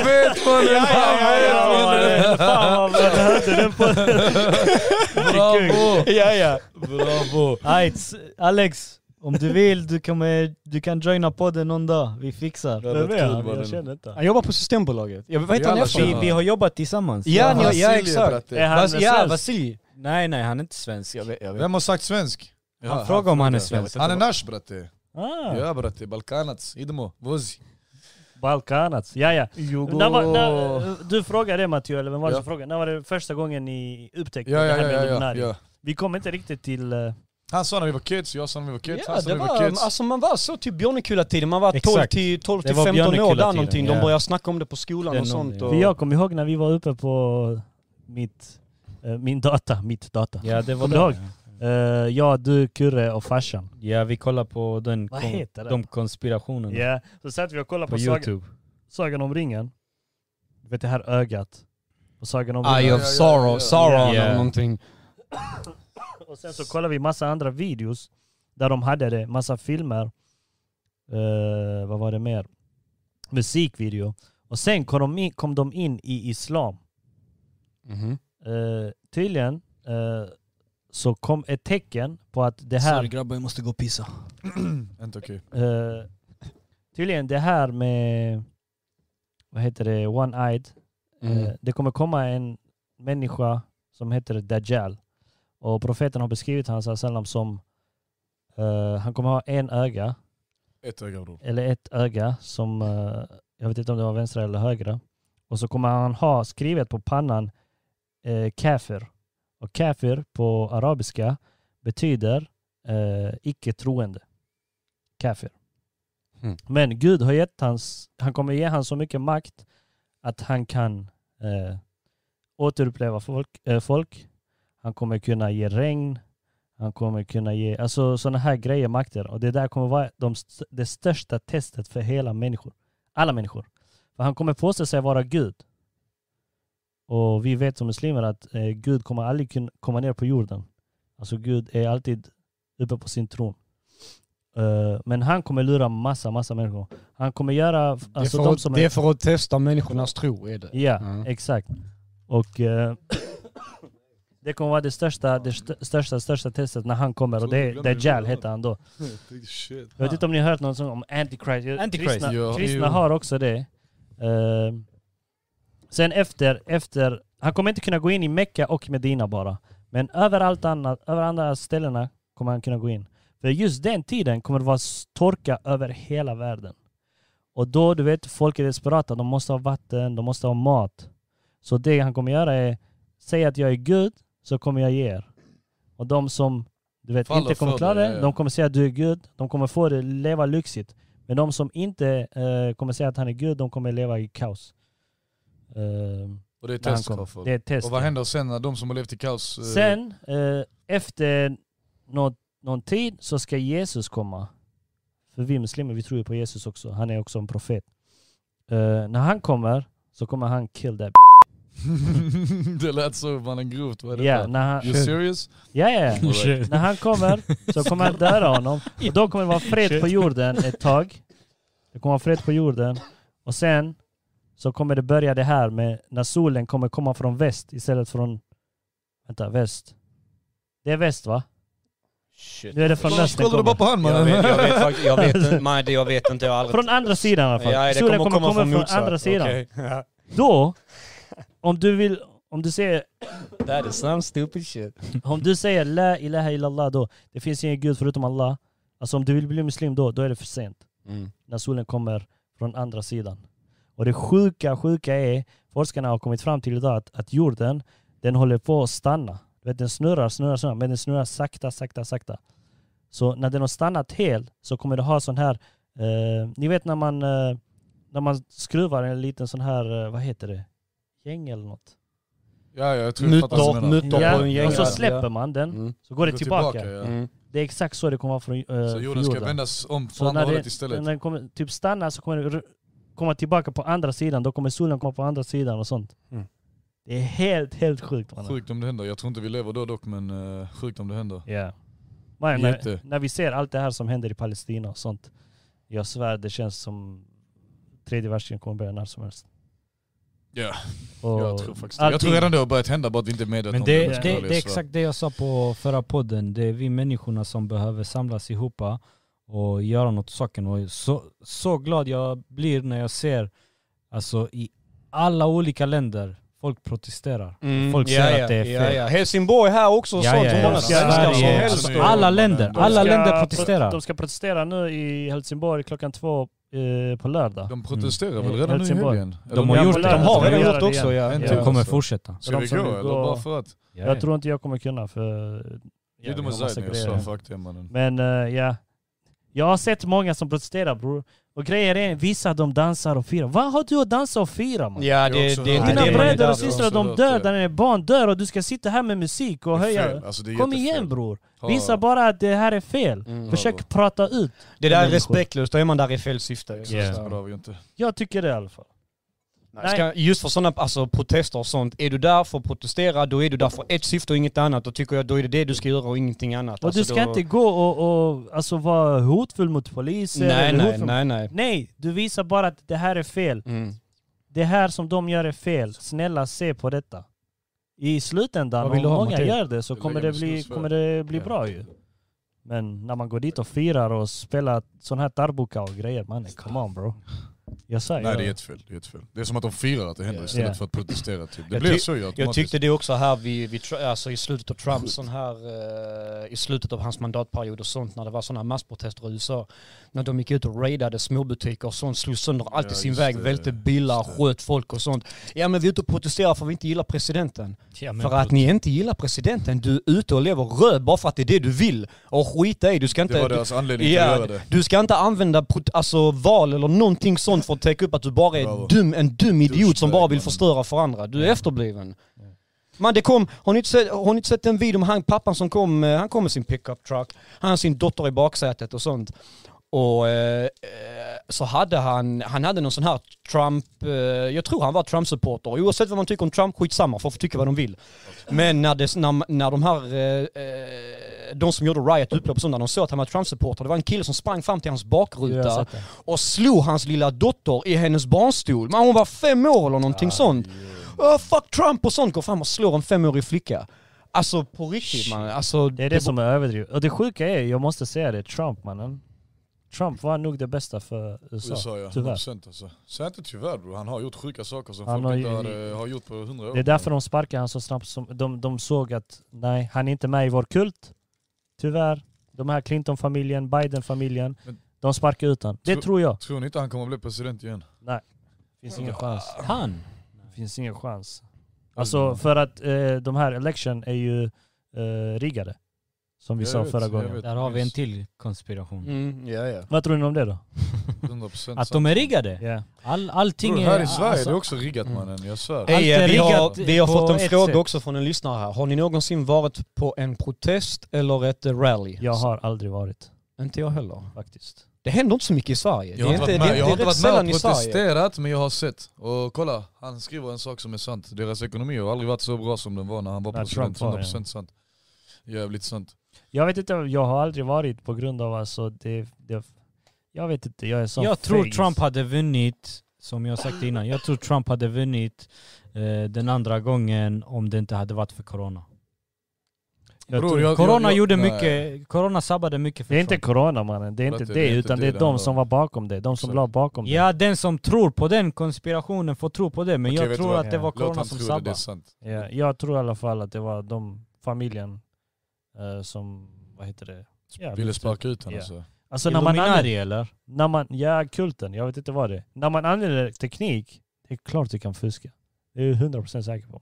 Speaker 3: vet mannen! Han vet mannen!
Speaker 1: Fan vad man hörde den på...
Speaker 3: Bravo!
Speaker 4: Ja ja.
Speaker 3: Bravo!
Speaker 2: Ajts, Alex, om du vill du kan, eh, du kan joina podden någon dag, vi fixar.
Speaker 1: Vem är
Speaker 3: kul
Speaker 1: han?
Speaker 3: var den.
Speaker 1: Jag känner inte.
Speaker 4: Han jobbar på Systembolaget. Jag vet inte vad han
Speaker 3: alla
Speaker 4: är
Speaker 2: Vi,
Speaker 3: känner
Speaker 4: för.
Speaker 2: vi har jobbat tillsammans.
Speaker 4: Ja, ni har- ja
Speaker 3: Vasilij,
Speaker 4: exakt.
Speaker 3: bratte.
Speaker 1: Är han
Speaker 4: Vas- ja,
Speaker 1: svensk?
Speaker 4: Vasilij.
Speaker 2: Nej nej, han är inte svensk.
Speaker 3: Vem har sagt svensk? Ja,
Speaker 2: Han frågar om han är svensk.
Speaker 3: Han är nash bratte.
Speaker 1: Ah,
Speaker 3: Ja bratte, balkanats, idemo, vozi.
Speaker 1: Balkanats. Ja ja.
Speaker 3: Jugo...
Speaker 1: När var, när, du frågade det Matteo, eller vem var det
Speaker 3: Ja.
Speaker 1: som frågade? När var det första gången ni upptäckte
Speaker 3: Ja,
Speaker 1: det
Speaker 3: ja,
Speaker 1: här med
Speaker 3: ja, ja,
Speaker 1: Illuminati?
Speaker 3: ja.
Speaker 1: Vi kom inte riktigt till... eh,
Speaker 3: Han sa när vi var kids, jag sa när vi var kids,
Speaker 4: Ja,
Speaker 3: han sa
Speaker 4: det
Speaker 3: när vi
Speaker 4: var,
Speaker 3: var kids.
Speaker 4: alltså man var så typ Björnekulla-tiden, man var 12
Speaker 2: Exakt.
Speaker 4: till, 12
Speaker 2: Det
Speaker 4: till
Speaker 2: var
Speaker 4: 15 år där
Speaker 2: Björnekulla-tiden,
Speaker 4: någonting, de
Speaker 2: ja.
Speaker 4: började snacka om det på skolan
Speaker 2: Det är
Speaker 4: och sånt.
Speaker 2: någonting.
Speaker 4: Och...
Speaker 1: För jag kommer ihåg när vi var uppe på mitt, eh, min data, mitt data.
Speaker 2: Ja det var
Speaker 1: Kommer du ihåg?
Speaker 2: det.
Speaker 1: Eh, jag, du, Kurre och farsan.
Speaker 2: Ja vi kollar på den,
Speaker 1: Vad
Speaker 2: kon-
Speaker 1: heter den?
Speaker 2: de konspirationerna
Speaker 1: Ja, så satt vi och kollade på,
Speaker 2: Mm. på
Speaker 1: saga,
Speaker 2: youtube.
Speaker 1: Sagan om ringen. Du vet det här ögat. Och Sagan om
Speaker 4: Eye
Speaker 1: ringen.
Speaker 4: of sorrow, Sauron
Speaker 2: Ja.
Speaker 4: eller någonting.
Speaker 1: Och sen så kollade vi massa andra videos där de hade det, massa filmer. Eh, vad var det mer? Musikvideo. Och sen kom de in, kom de in i islam.
Speaker 4: Mm-hmm.
Speaker 1: Eh, tydligen eh, så kom ett tecken på att det här...
Speaker 4: grabbar, jag måste gå och pissa.
Speaker 3: Inte okej.
Speaker 1: Eh, tydligen det här med, vad heter det, one-eyed.
Speaker 4: Mm.
Speaker 1: Eh, det kommer komma en människa som heter Dajjal. Och profeten har beskrivit han sallam som, eh, han kommer ha en öga,
Speaker 3: Ett öga bror.
Speaker 1: eller ett öga som, eh, jag vet inte om det var vänstra eller högra. Och så kommer han ha skrivet på pannan eh, kafir. Och kafir på arabiska betyder eh, icke troende. Kafir.
Speaker 4: Mm.
Speaker 1: Men Gud har gett hans, han kommer ge han så mycket makt att han kan eh, återuppleva folk, eh, folk. Han kommer kunna ge regn. Han kommer kunna ge, alltså sådana här grejer, makter. Och det där kommer vara de, st- det största testet för hela människor. Alla människor. För han kommer påstå sig vara Gud. Och vi vet som muslimer att eh, Gud kommer aldrig kunna komma ner på jorden. Alltså Gud är alltid uppe på sin tron. Eh, men han kommer lura massa, massa människor. Han kommer göra...
Speaker 4: Det är,
Speaker 1: Alltså,
Speaker 4: för
Speaker 1: de
Speaker 4: att,
Speaker 1: som
Speaker 4: det är för att testa människornas tro är det.
Speaker 1: Ja,
Speaker 4: Ja.
Speaker 1: exakt. Och eh, det kommer vara det största, det st- största, största testet när han kommer. Och
Speaker 3: Så
Speaker 1: det
Speaker 3: du
Speaker 1: är
Speaker 3: glömmer
Speaker 1: Dajjal
Speaker 3: det.
Speaker 1: heter han då.
Speaker 3: Shit.
Speaker 1: Jag vet inte om ni har hört någon sång om Antichrist.
Speaker 6: Antichrist,
Speaker 1: Kristna,
Speaker 3: ja,
Speaker 1: kristna
Speaker 3: jo.
Speaker 1: har också det. Ehm, sen efter, efter, han kommer inte kunna gå in i Mecka och Medina bara. Men överallt annat, över andra ställena kommer han kunna gå in. För just den tiden kommer det vara s- torka över hela världen. Och då, du vet, folk är desperata. De måste ha vatten, de måste ha mat. Så det han kommer göra är, säga att jag är Gud, så kommer jag ge er. Och de som, du vet,
Speaker 3: Faller
Speaker 1: inte kommer
Speaker 3: för
Speaker 1: klara
Speaker 3: det,
Speaker 1: det,
Speaker 3: ja, ja.
Speaker 1: de kommer säga att du är Gud. De kommer få det, leva lyxigt. Men de som inte eh, kommer säga att han är Gud, de kommer leva i kaos. Eh,
Speaker 3: Och det är
Speaker 1: när han
Speaker 3: test
Speaker 1: kommer.
Speaker 3: Crawford.
Speaker 1: det är ett test.
Speaker 3: Och vad
Speaker 1: ja.
Speaker 3: händer sen när de som har levt i kaos... eh,
Speaker 1: Sen, eh, efter någon, någon tid, så ska Jesus komma. För vi muslimer, vi tror ju på Jesus också. Han är också en profet. Eh, när han kommer, så kommer han kill that b-
Speaker 3: det lät så mannen grovt, vad är
Speaker 1: Ja,
Speaker 3: det
Speaker 1: när han,
Speaker 3: You serious?
Speaker 1: ja, ja. ja.
Speaker 3: Alright.
Speaker 1: När han kommer så kommer han döda honom. Och då kommer det vara fred på jorden ett tag. Det kommer vara fred på jorden. Och sen så kommer det börja det här med när solen kommer komma från väst istället från... Vänta, väst. Det är väst va?
Speaker 4: Shit.
Speaker 1: Nu är det från
Speaker 3: Varför
Speaker 1: öst den
Speaker 3: kollar du bara
Speaker 1: kommer.
Speaker 3: på han
Speaker 4: Jag
Speaker 3: mannen?
Speaker 4: vet, jag vet, faktiskt- jag vet, inte- nej, det- jag vet inte, jag har aldrig...
Speaker 1: Från andra sidan i alla fall.
Speaker 4: Ja, det
Speaker 1: solen kommer komma, från,
Speaker 4: motsatt.
Speaker 1: andra sidan.
Speaker 4: Okej. Ja.
Speaker 1: Då, om du vill... Om du säger,
Speaker 4: That is some stupid shit.
Speaker 1: om du säger La ilaha illallah då, det finns ingen gud förutom Allah. Alltså om du vill bli muslim då, då är det för sent.
Speaker 4: Mm.
Speaker 1: när solen kommer från andra sidan. Och det sjuka, sjuka är, forskarna har kommit fram till idag att, att jorden, den håller på att stanna. Du vet, den snurrar, snurrar, snurrar, men den snurrar sakta, sakta, sakta. Så när den har stannat helt så kommer det ha sån här, eh, ni vet när man, eh, när man skruvar en liten sån här, eh, vad heter det, gäng eller något.
Speaker 3: Ja, ja, jag tror jag fattar vad du menar.
Speaker 4: Mutor på en gäng.
Speaker 1: och så
Speaker 4: ja.
Speaker 1: släpper man den,
Speaker 4: Mm.
Speaker 1: så går det
Speaker 3: Gå
Speaker 1: tillbaka.
Speaker 3: ja.
Speaker 4: Mm.
Speaker 1: Det är exakt så det kommer vara från, eh,
Speaker 3: Så
Speaker 1: för
Speaker 3: jorden ska vändas om
Speaker 1: så
Speaker 3: från andra
Speaker 1: när,
Speaker 3: hållet
Speaker 1: det,
Speaker 3: istället.
Speaker 1: när den kommer, typ stanna så kommer den r- komma tillbaka på andra sidan. Då kommer solen komma på andra sidan och sånt.
Speaker 4: Mm.
Speaker 1: Det är helt, helt sjukt mannen.
Speaker 3: Sjukt om det händer. Jag tror inte vi lever då dock, men eh, sjukt om det händer.
Speaker 1: Ja. Man, när,
Speaker 3: Jätte.
Speaker 1: när vi ser allt det här som händer i Palestina och sånt. Jag svär, det känns som tredje världskriget kommer börja när som helst.
Speaker 3: Ja,
Speaker 1: Och
Speaker 3: jag tror faktiskt det.
Speaker 1: allting-
Speaker 3: Jag tror redan det har börjat hända, bara att vi inte är medvetna
Speaker 2: Men
Speaker 3: om
Speaker 2: det,
Speaker 3: om jag
Speaker 2: det,
Speaker 3: ska
Speaker 2: det,
Speaker 3: vara ärlig,
Speaker 2: är
Speaker 3: så.
Speaker 2: exakt det jag sa på förra podden. Det är vi människorna som behöver samlas ihop och göra något åt saken. Och så, så glad jag blir när jag ser alltså, i alla olika länder folk protesterar.
Speaker 4: Mm.
Speaker 2: Folk
Speaker 4: ja,
Speaker 2: säger
Speaker 4: ja,
Speaker 2: att det är
Speaker 4: Ja,
Speaker 2: fel.
Speaker 4: ja. Helsingborg här också, och
Speaker 2: Ja,
Speaker 4: sånt.
Speaker 2: ja,
Speaker 4: Hur
Speaker 2: ja.
Speaker 4: många svenskar som
Speaker 2: Sverige,
Speaker 4: helst.
Speaker 3: Alltså,
Speaker 2: alla länder,
Speaker 3: De
Speaker 2: alla
Speaker 1: ska
Speaker 2: länder
Speaker 1: pro-
Speaker 2: protesterar.
Speaker 1: De ska protestera nu i Helsingborg klockan två eh, på lördag.
Speaker 3: De protesterar väl
Speaker 1: Mm.
Speaker 3: redan nu i
Speaker 1: Helsingborg.
Speaker 3: helgen? Eller
Speaker 2: De har
Speaker 3: nu-
Speaker 2: gjort
Speaker 1: på
Speaker 2: det.
Speaker 1: lördag
Speaker 4: De har
Speaker 1: ska
Speaker 4: redan
Speaker 1: vi göra
Speaker 4: gjort
Speaker 1: det
Speaker 4: det också,
Speaker 1: igen.
Speaker 4: ja.
Speaker 3: Inte
Speaker 2: Det kommer
Speaker 3: alltså.
Speaker 2: fortsätta.
Speaker 3: Ska
Speaker 1: de
Speaker 3: vi
Speaker 1: som
Speaker 3: gå
Speaker 1: vill
Speaker 3: eller
Speaker 1: gå-
Speaker 3: bara för att?
Speaker 1: Jag tror inte jag kommer kunna för...
Speaker 3: Ja, du
Speaker 1: vi har
Speaker 3: måste
Speaker 1: massa
Speaker 3: säga
Speaker 1: grejer.
Speaker 3: det, fuck det mannen.
Speaker 1: Men eh, ja, jag har sett många som protesterar bror. Och grejer är, vissa de dansar och firar. Vad har du att dansa och fira man?
Speaker 4: Ja,
Speaker 3: Jag har
Speaker 4: det,
Speaker 3: också
Speaker 4: det, det,
Speaker 3: hört det.
Speaker 4: det,
Speaker 1: Dina
Speaker 4: det,
Speaker 3: Mina
Speaker 1: bröder
Speaker 3: bröder
Speaker 1: och
Speaker 3: som
Speaker 1: systrar de
Speaker 3: absolut,
Speaker 1: dör,
Speaker 3: ja.
Speaker 1: dina barn dör och du ska sitta här med musik och
Speaker 3: Det är
Speaker 1: höja.
Speaker 3: fel. Alltså, det är
Speaker 1: Kom
Speaker 3: jättefel.
Speaker 1: igen bror.
Speaker 3: Ja.
Speaker 1: Visa bara att det här är fel.
Speaker 4: Mm.
Speaker 1: Försök prata ut.
Speaker 4: det där är
Speaker 1: människor.
Speaker 4: respektlöst, då är man där i fel syfte. Alltså,
Speaker 1: Ja.
Speaker 3: Men det har vi inte.
Speaker 1: Jag tycker det i alla fall.
Speaker 4: Nej. Ska, just för sådana alltså, protester och sånt, är du där för att protestera, då är du där för ett syfte och inget annat. Då tycker jag då är det det du ska göra och ingenting annat.
Speaker 1: Och
Speaker 4: Alltså,
Speaker 1: du ska
Speaker 4: då,
Speaker 1: inte gå och, och alltså, vara hotfull mot polisen.
Speaker 4: Nej,
Speaker 1: eller
Speaker 4: nej,
Speaker 1: hotfull-
Speaker 4: nej, nej.
Speaker 1: nej, du visar bara att det här är fel.
Speaker 4: Mm.
Speaker 1: Det här som de gör är fel. Snälla se på detta. I slutändan,
Speaker 2: Vad
Speaker 1: om
Speaker 2: vill du ha,
Speaker 1: många
Speaker 2: Matteo?
Speaker 1: gör det så
Speaker 3: Det
Speaker 1: kommer
Speaker 3: lägger
Speaker 1: det,
Speaker 3: mig
Speaker 1: bli,
Speaker 3: snus för.
Speaker 1: kommer det bli
Speaker 3: Ja.
Speaker 1: bra ju. Men när man går dit och firar och spelar sån här tarbuka och grejer, mannen come on bro. Jag säger
Speaker 3: Nej det är
Speaker 1: jag.
Speaker 3: jättefel, det är jättefel. Det är som att de firar att det händer istället
Speaker 1: Ja.
Speaker 3: för att protestera typ. Det
Speaker 4: Jag
Speaker 3: blir
Speaker 4: ty-
Speaker 3: så ju automatiskt.
Speaker 4: Jag tyckte det också här vid, vid, Tr- alltså i slutet av Trumps sån här, eh, i slutet av hans mandatperiod och sånt när det var sådana massprotester i USA. När de gick ut och raidade småbutiker och sånt, slog sönder allt
Speaker 3: Ja,
Speaker 4: i sin
Speaker 3: just
Speaker 4: väg,
Speaker 3: det,
Speaker 4: välte
Speaker 3: just
Speaker 4: bilar,
Speaker 3: det.
Speaker 4: sköt folk och sånt. Ja men vi är ute och protesterar för vi inte gillar presidenten.
Speaker 2: Ja, men
Speaker 4: För att ni inte gillar presidenten, du är ute och lever röd bara för att det är det du vill. Och skita i, du ska inte...
Speaker 3: det var deras anledning till att
Speaker 4: Ja,
Speaker 3: göra det.
Speaker 4: du ska inte använda prot- alltså, val eller någonting sånt för att täcka upp att du bara är
Speaker 3: Bravo.
Speaker 4: dum, en dum idiot som
Speaker 3: Douchebag,
Speaker 4: bara vill
Speaker 3: mannen.
Speaker 4: förstöra för andra. Du är efterbliven. Man, det kom, har, ni inte sett, har ni inte sett den videon med han, pappan som kom, eh, han kom med sin pickup truck, han har sin dotter i baksätet och sånt. Och eh, eh, så hade han, han hade någon sån här Trump, eh, jag tror han var Trump-supporter. Oavsett vad man tycker om Trump, skitsamma, folk får tycka vad de vill. Men när, det, när, när de här, eh, eh, de som gjorde riot, upplopp och sånt, när de såg att han var Trump-supporter, det var en kille som sprang fram till hans
Speaker 1: Jag har
Speaker 4: bakruta
Speaker 1: sett det.
Speaker 4: och slog hans lilla dotter i hennes barnstol. Men hon var fem år eller
Speaker 1: Ah,
Speaker 4: någonting sånt. Oh, fuck Trump och sånt, går fram och slår en femårig flicka. Alltså på riktigt man. Alltså,
Speaker 1: Det är det som är överdrivet. Och det sjuka är, jag måste säga det, Trump mannen. Trump var nog det bästa för USA.
Speaker 3: USA ja,
Speaker 1: Tyvärr.
Speaker 3: 100% alltså. Säg inte tyvärr bror, han har gjort sjuka saker som
Speaker 1: Han
Speaker 3: folk
Speaker 1: har
Speaker 3: inte eh,
Speaker 1: ju-
Speaker 3: har, har gjort på hundra år.
Speaker 1: Det är därför de sparkade han så snabbt. Som, de, de såg att nej, han är inte med i vår kult. Tyvärr. De här Clinton-familjen, Biden-familjen.
Speaker 3: Men-
Speaker 1: De sparkar ut han. Det
Speaker 3: Tro-
Speaker 1: tror jag.
Speaker 3: Tror ni inte han kommer bli president igen?
Speaker 1: Finns ingen chans.
Speaker 2: Han?
Speaker 1: Finns ingen chans. Alltså för att eh, de här election är ju eh, riggade. Som vi
Speaker 3: Jag
Speaker 1: sa
Speaker 3: vet,
Speaker 1: förra
Speaker 3: jag
Speaker 1: gången.
Speaker 3: vet.
Speaker 2: Där har vi en till konspiration.
Speaker 4: Mm, ja, ja.
Speaker 1: Vad tror ni om det då?
Speaker 3: 100%
Speaker 2: Att de är riggade?
Speaker 1: Ja.
Speaker 2: All, allting
Speaker 3: Bror,
Speaker 2: är...
Speaker 3: här i Sverige
Speaker 2: alltså-
Speaker 3: det är också riggat
Speaker 4: Mm.
Speaker 3: mannen, jag svär.
Speaker 2: Allt
Speaker 4: Hej,
Speaker 2: är
Speaker 4: vi, har,
Speaker 2: riggat
Speaker 4: vi har
Speaker 2: på
Speaker 4: fått en
Speaker 2: ett
Speaker 4: fråga
Speaker 2: sätt.
Speaker 4: också från en lyssnare här. Har ni någonsin varit på en protest eller ett rally?
Speaker 1: Jag har aldrig varit
Speaker 4: Inte jag heller.
Speaker 1: faktiskt.
Speaker 4: Det händer inte så mycket i Sverige.
Speaker 3: Jag har
Speaker 4: det är
Speaker 3: inte
Speaker 4: inte,
Speaker 3: varit med,
Speaker 4: det,
Speaker 3: jag har
Speaker 4: det
Speaker 3: inte
Speaker 4: är rätt
Speaker 3: varit med
Speaker 4: sällan
Speaker 3: och
Speaker 4: i Sverige.
Speaker 3: protesterat men jag har sett. Och kolla, han skriver en sak som är sant. Deras ekonomi har aldrig varit så bra som den var när han var
Speaker 1: När
Speaker 3: president.
Speaker 1: Trump var,
Speaker 3: 100%
Speaker 1: ja.
Speaker 3: sant. Jävligt sant.
Speaker 1: Jag vet inte, jag har aldrig varit på grund av alltså det... det jag vet inte, jag är så
Speaker 2: Jag tror
Speaker 1: feg.
Speaker 2: Trump hade vunnit, som jag sagt innan, jag tror Trump hade vunnit eh, den andra gången om det inte hade varit för corona. Jag
Speaker 3: Bror,
Speaker 2: tror,
Speaker 3: jag-
Speaker 2: corona
Speaker 3: jag- jag-
Speaker 2: gjorde
Speaker 3: nej.
Speaker 2: mycket, corona sabbade mycket för
Speaker 1: Det är inte
Speaker 2: Trump.
Speaker 1: corona mannen, det är inte
Speaker 3: Vet du,
Speaker 1: det,
Speaker 3: det är inte
Speaker 1: utan
Speaker 3: det
Speaker 1: det är
Speaker 3: det
Speaker 1: de
Speaker 3: handlar
Speaker 1: som
Speaker 3: om.
Speaker 1: var bakom det, de som
Speaker 3: Exakt.
Speaker 1: la bakom det.
Speaker 2: Ja, den som tror på den konspirationen får tro på det, men
Speaker 3: Okej,
Speaker 2: jag
Speaker 3: vet du
Speaker 2: tror
Speaker 3: vad?
Speaker 2: att det var
Speaker 3: Låt
Speaker 2: corona
Speaker 3: han
Speaker 2: som
Speaker 3: tro det, det är
Speaker 2: sabbade.
Speaker 3: sant.
Speaker 1: Ja, Eh, jag tror i alla fall att det var de familjen eh, som, vad heter det? Ja,
Speaker 3: Ville sparka ut honom
Speaker 1: Ja.
Speaker 3: alltså.
Speaker 1: Alltså när man, använder,
Speaker 2: Illuminati eller?
Speaker 1: när man, ja kulten, jag vet inte vad det är. När man använder teknik, det är klart du kan fuska. Det är jag 100% säker på.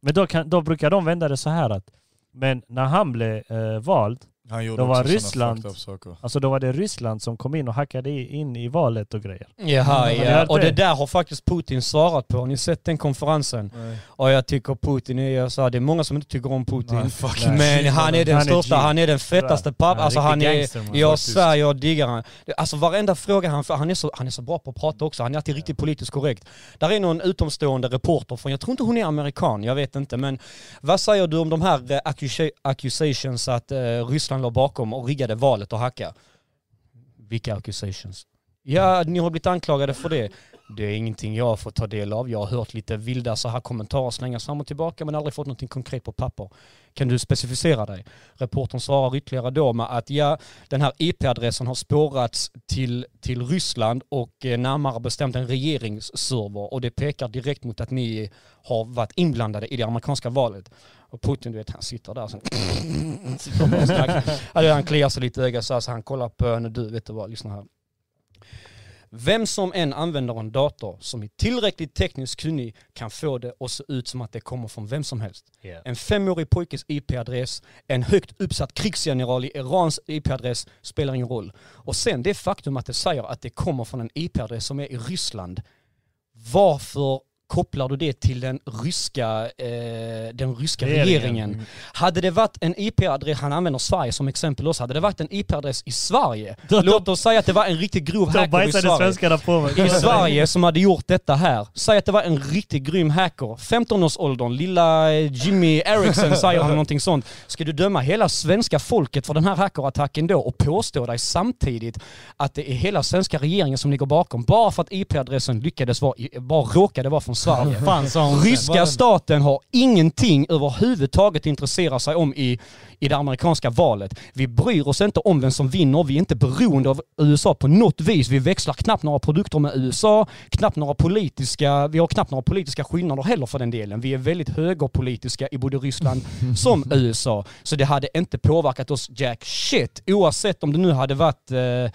Speaker 1: Men då, kan, då brukar de vända det så här att, men när han blev eh, vald,
Speaker 3: Han gjorde
Speaker 1: Det var
Speaker 3: också såna
Speaker 1: Ryssland.
Speaker 3: fucked up saker.
Speaker 1: alltså då var det Ryssland som kom in och hackade i- in i valet och grejer.
Speaker 4: Jaha,
Speaker 1: Har ni
Speaker 4: ja.
Speaker 1: hört
Speaker 4: Och det
Speaker 1: det?
Speaker 4: där har faktiskt Putin svarat på. Har ni sett den konferensen? Och jag tycker Putin är, jag sa, det är många som inte tycker om Putin.
Speaker 3: Nej, fucking
Speaker 4: men han är den
Speaker 1: Han är
Speaker 4: största,
Speaker 1: G.
Speaker 4: han är den fetaste
Speaker 1: Han
Speaker 4: pappan.
Speaker 1: är
Speaker 4: Alltså han
Speaker 1: riktig
Speaker 4: är,
Speaker 1: gangster, man.
Speaker 4: jag
Speaker 3: faktiskt.
Speaker 4: svär jag diggar han. Det- Alltså varenda fråga han får, han är, så, han är så bra på att prata också. Han är alltid riktigt politiskt korrekt. Där är någon utomstående reporter från, jag tror inte hon är amerikan, jag vet inte. Men vad säger du om de här eh, accusa- accusations att eh, Ryssland låg bakom och riggade valet och hacka? Vilka accusations? Ja, ni har blivit anklagade för det. Det är ingenting jag får ta del av. Jag har hört lite vilda så här kommentarer slängas fram och tillbaka men aldrig fått någonting konkret på papper. Kan du specificera dig? Reportern svarar ytterligare då med att ja, den här IP-adressen har spårats till, till Ryssland och eh, närmare bestämt en regeringsserver och det pekar direkt mot att ni har varit inblandade i det amerikanska valet. Och Putin, du vet, han sitter där och sen sitter bara och snackar. alltså, han kliar sig lite i ögat så, här, så han kollar på henne. Du, vet du vad, lyssna här. Vem som än använder en dator som är tillräckligt tekniskt kunnig kan få det att se ut som att det kommer från vem som helst. En femårig pojkes IP-adress, en högt uppsatt krigsgeneral i Irans IP-adress spelar ingen roll. Och sen det faktum att det säger att det kommer från en IP-adress som är i Ryssland. Varför kopplar du det till den ryska, eh, den ryska
Speaker 1: Regeringen.
Speaker 4: regeringen? Hade det varit en IP-adress, han använder Sverige som exempel också, hade det varit en IP-adress i Sverige,
Speaker 1: Då-
Speaker 4: låt oss säga att det var en riktigt grov
Speaker 1: Då
Speaker 4: hacker i
Speaker 1: bajsade
Speaker 4: Sverige.
Speaker 1: svenskarna på mig.
Speaker 4: I Sverige som hade gjort detta här. Säg att det var en riktigt grym hacker. 15-årsåldern, lilla eh, Jimmy Eriksson säger han någonting sånt. Ska du döma hela svenska folket för den här hackerattacken då och påstå dig samtidigt att det är hela svenska regeringen som ligger bakom bara för att IP-adressen lyckades vara, i- bara råkade vara från Sverige.
Speaker 2: Fan sa hon
Speaker 4: Ryska staten har ingenting överhuvudtaget att intressera sig om i, i det amerikanska valet. Vi bryr oss inte om vem som vinner, vi är inte beroende av USA på något vis. Vi växlar knappt några produkter med USA, knappt några politiska, vi har knappt några politiska skillnader heller för den delen. Vi är väldigt högerpolitiska i både Ryssland som USA. Så det hade inte påverkat oss jack shit, oavsett om det nu hade varit eh,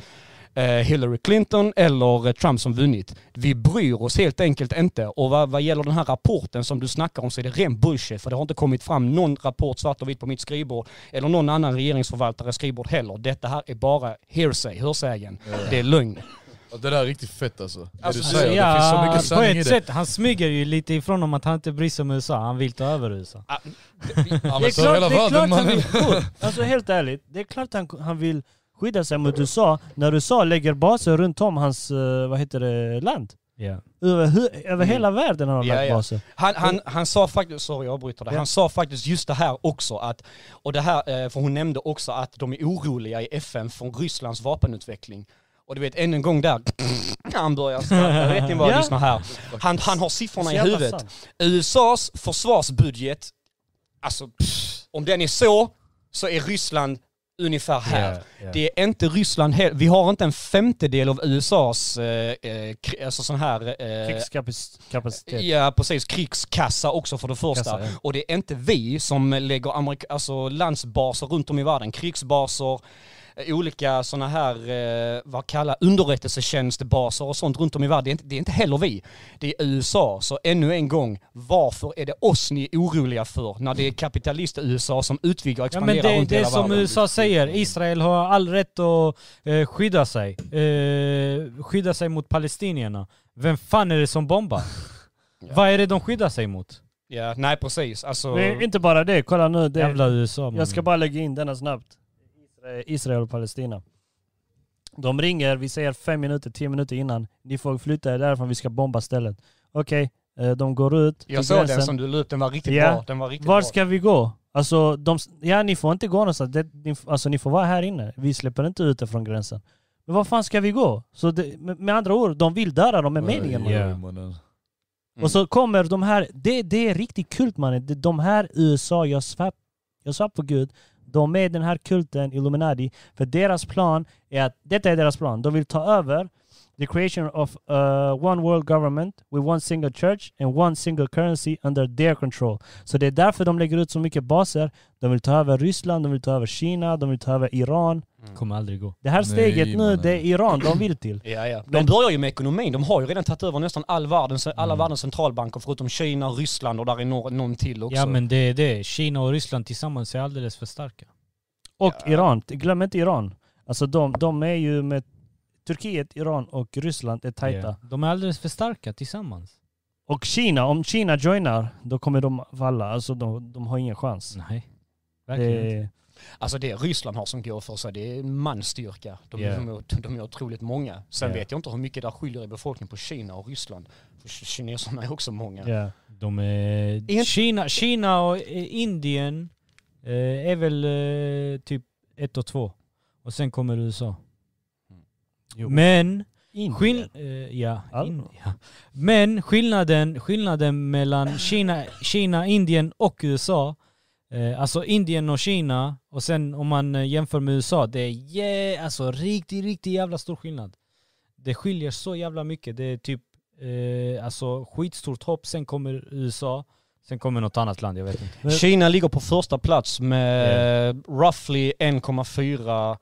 Speaker 4: eh, Hillary Clinton eller eh, Trump som vunnit. Vi bryr oss helt enkelt inte. Och vad, vad gäller den här rapporten som du snackar om så är det ren bullshit för det har inte kommit fram någon rapport svart och vitt på mitt skrivbord eller någon annan regeringsförvaltares skrivbord heller. Detta här är bara hearsay, hörsägen. Det är lögn.
Speaker 3: Ja, Det där är riktigt fett alltså. Det
Speaker 4: Alltså,
Speaker 3: du säger, det finns så
Speaker 2: Ja,
Speaker 3: mycket
Speaker 2: på
Speaker 3: sanning i
Speaker 2: ett
Speaker 3: det.
Speaker 2: sätt. Han smyger ju lite ifrån om att han inte bryr sig om USA. Han vill ta över USA.
Speaker 3: Ja men så är hela världen mannen.
Speaker 1: Bror, Alltså helt ärligt, det är klart han, han vill skydda sig mot USA när USA lägger baser runt om hans, eh, vad heter det, land.
Speaker 2: Ja.
Speaker 1: Över, hu- över
Speaker 4: Mm.
Speaker 1: hela världen har de
Speaker 4: Ja,
Speaker 1: lagt
Speaker 4: ja.
Speaker 1: baser.
Speaker 4: Han, han, han sa faktiskt, sorry jag avbryter det,
Speaker 1: Ja.
Speaker 4: han sa faktiskt just det här också att, och det här, eh, för hon nämnde också att de är oroliga i FN från Rysslands vapenutveckling. Och du vet, än en gång där, han börjar skratta, vet ni vad,
Speaker 1: Ja.
Speaker 4: lyssna här. Han, han har siffrorna
Speaker 1: Så
Speaker 4: i
Speaker 1: jävla
Speaker 4: huvudet.
Speaker 1: sant.
Speaker 4: USAs försvarsbudget, alltså pff, om den är så, så är Ryssland ungefär här. Det är inte Ryssland he- vi har inte en femtedel av USAs eh, eh, kri- alltså sån här eh,
Speaker 1: Krigskapacitet.
Speaker 4: Ja precis, krigskassa också för det första.
Speaker 1: Kassa, Typ. ja.
Speaker 4: Och det är inte vi som lägger amerik- alltså landsbaser runt om i världen, krigsbaser, eh, olika sådana här, eh, vad kallar underrättelsetjänstbaser och sånt runt om i världen. Det är, inte, det är inte heller vi. Det är USA. Så ännu en gång, varför är det oss ni är oroliga för när det är kapitalist-USA som utvidgar och
Speaker 2: Ja men
Speaker 4: expanderar
Speaker 2: det,
Speaker 4: runt
Speaker 2: det är
Speaker 4: hela
Speaker 2: som
Speaker 4: världen?
Speaker 2: USA säger, Israel har all rätt att eh, skydda sig. Eh, skydda sig mot palestinierna. Vem fan är det som bombar? Vad är det de skyddar sig mot?
Speaker 4: Ja, nej precis. Alltså,
Speaker 1: Men inte bara det, kolla nu. Det,
Speaker 2: Jävla USA man.
Speaker 1: Jag ska bara lägga in denna snabbt. Isra- Israel och Palestina. De ringer, vi säger fem minuter, tio minuter innan. Ni får flytta er därifrån, vi ska bomba stället. Okej, eh, de går ut till
Speaker 4: jag såg den
Speaker 1: gränsen.
Speaker 4: som du la upp, den var riktigt
Speaker 1: Ja.
Speaker 4: bra. Den var riktigt
Speaker 1: Var
Speaker 4: bra.
Speaker 1: ska vi gå? Alltså, de, ja, ni får inte gå någonstans. Det, ni, f- alltså, ni får vara här inne. Vi släpper inte ut er från gränsen. Men var fan ska vi gå? Så det, med, med andra ord, de vill döda dem med meningen. mannen.
Speaker 3: Ja, mannen. Mm.
Speaker 1: Och så kommer de här, det, det är riktigt kult mannen. De- De här USA, jag svär, jag svär på gud, de är den här kulten Illuminati. För deras plan är att, detta är deras plan, de vill ta över the creation of uh, one world government with one single church and one single currency under their control. Så det är därför de lägger ut så mycket baser. De vill ta över Ryssland, de vill ta över Kina, de vill ta över Iran.
Speaker 2: Kommer aldrig gå.
Speaker 1: Det här
Speaker 3: Nej,
Speaker 1: steget nu,
Speaker 3: mannen.
Speaker 1: det är Iran de vill till.
Speaker 4: Ja, ja. De
Speaker 1: Men-
Speaker 4: börjar ju med ekonomin. De har ju redan tagit över nästan all världens, alla
Speaker 2: Mm.
Speaker 4: världens centralbanker förutom Kina, Ryssland och där är någon, någon till också.
Speaker 2: Ja men det är det. Kina och Ryssland tillsammans är alldeles för starka.
Speaker 1: Och Iran, glöm inte Iran. Alltså de, de är ju med Turkiet, Iran och Ryssland är tajta.
Speaker 2: Ja. De är alldeles för starka tillsammans.
Speaker 1: Och Kina, om Kina joinar, då kommer de falla. Alltså de, de har ingen chans.
Speaker 2: Nej. Verkligen inte.
Speaker 1: Det,
Speaker 4: Alltså det Ryssland har som går för sig, det är manstyrka. De,
Speaker 2: Ja.
Speaker 4: de, är- de är otroligt många. Sen
Speaker 2: Ja.
Speaker 4: vet jag inte hur mycket där skiljer i befolkningen på Kina och Ryssland. För k- kineserna är också många.
Speaker 1: ja.
Speaker 2: De är...
Speaker 4: Ingen-
Speaker 2: Kina, Kina och eh, Indien eh, är väl eh, typ ett och två. Och sen kommer USA.
Speaker 1: Jo.
Speaker 2: Men
Speaker 1: Indien.
Speaker 2: Skill eh, ja,
Speaker 1: All-
Speaker 2: in, ja. Men skillnaden, skillnaden mellan Kina, Kina, Indien och USA, eh, alltså Indien och Kina, och sen om man eh, jämför med USA, det är yeah, alltså riktigt, riktigt jävla stor skillnad. Det skiljer så jävla mycket. Det är typ eh, alltså skitstort hopp, sen kommer USA, sen kommer något annat land, jag vet inte.
Speaker 4: Kina ligger på första plats med roughly 1,4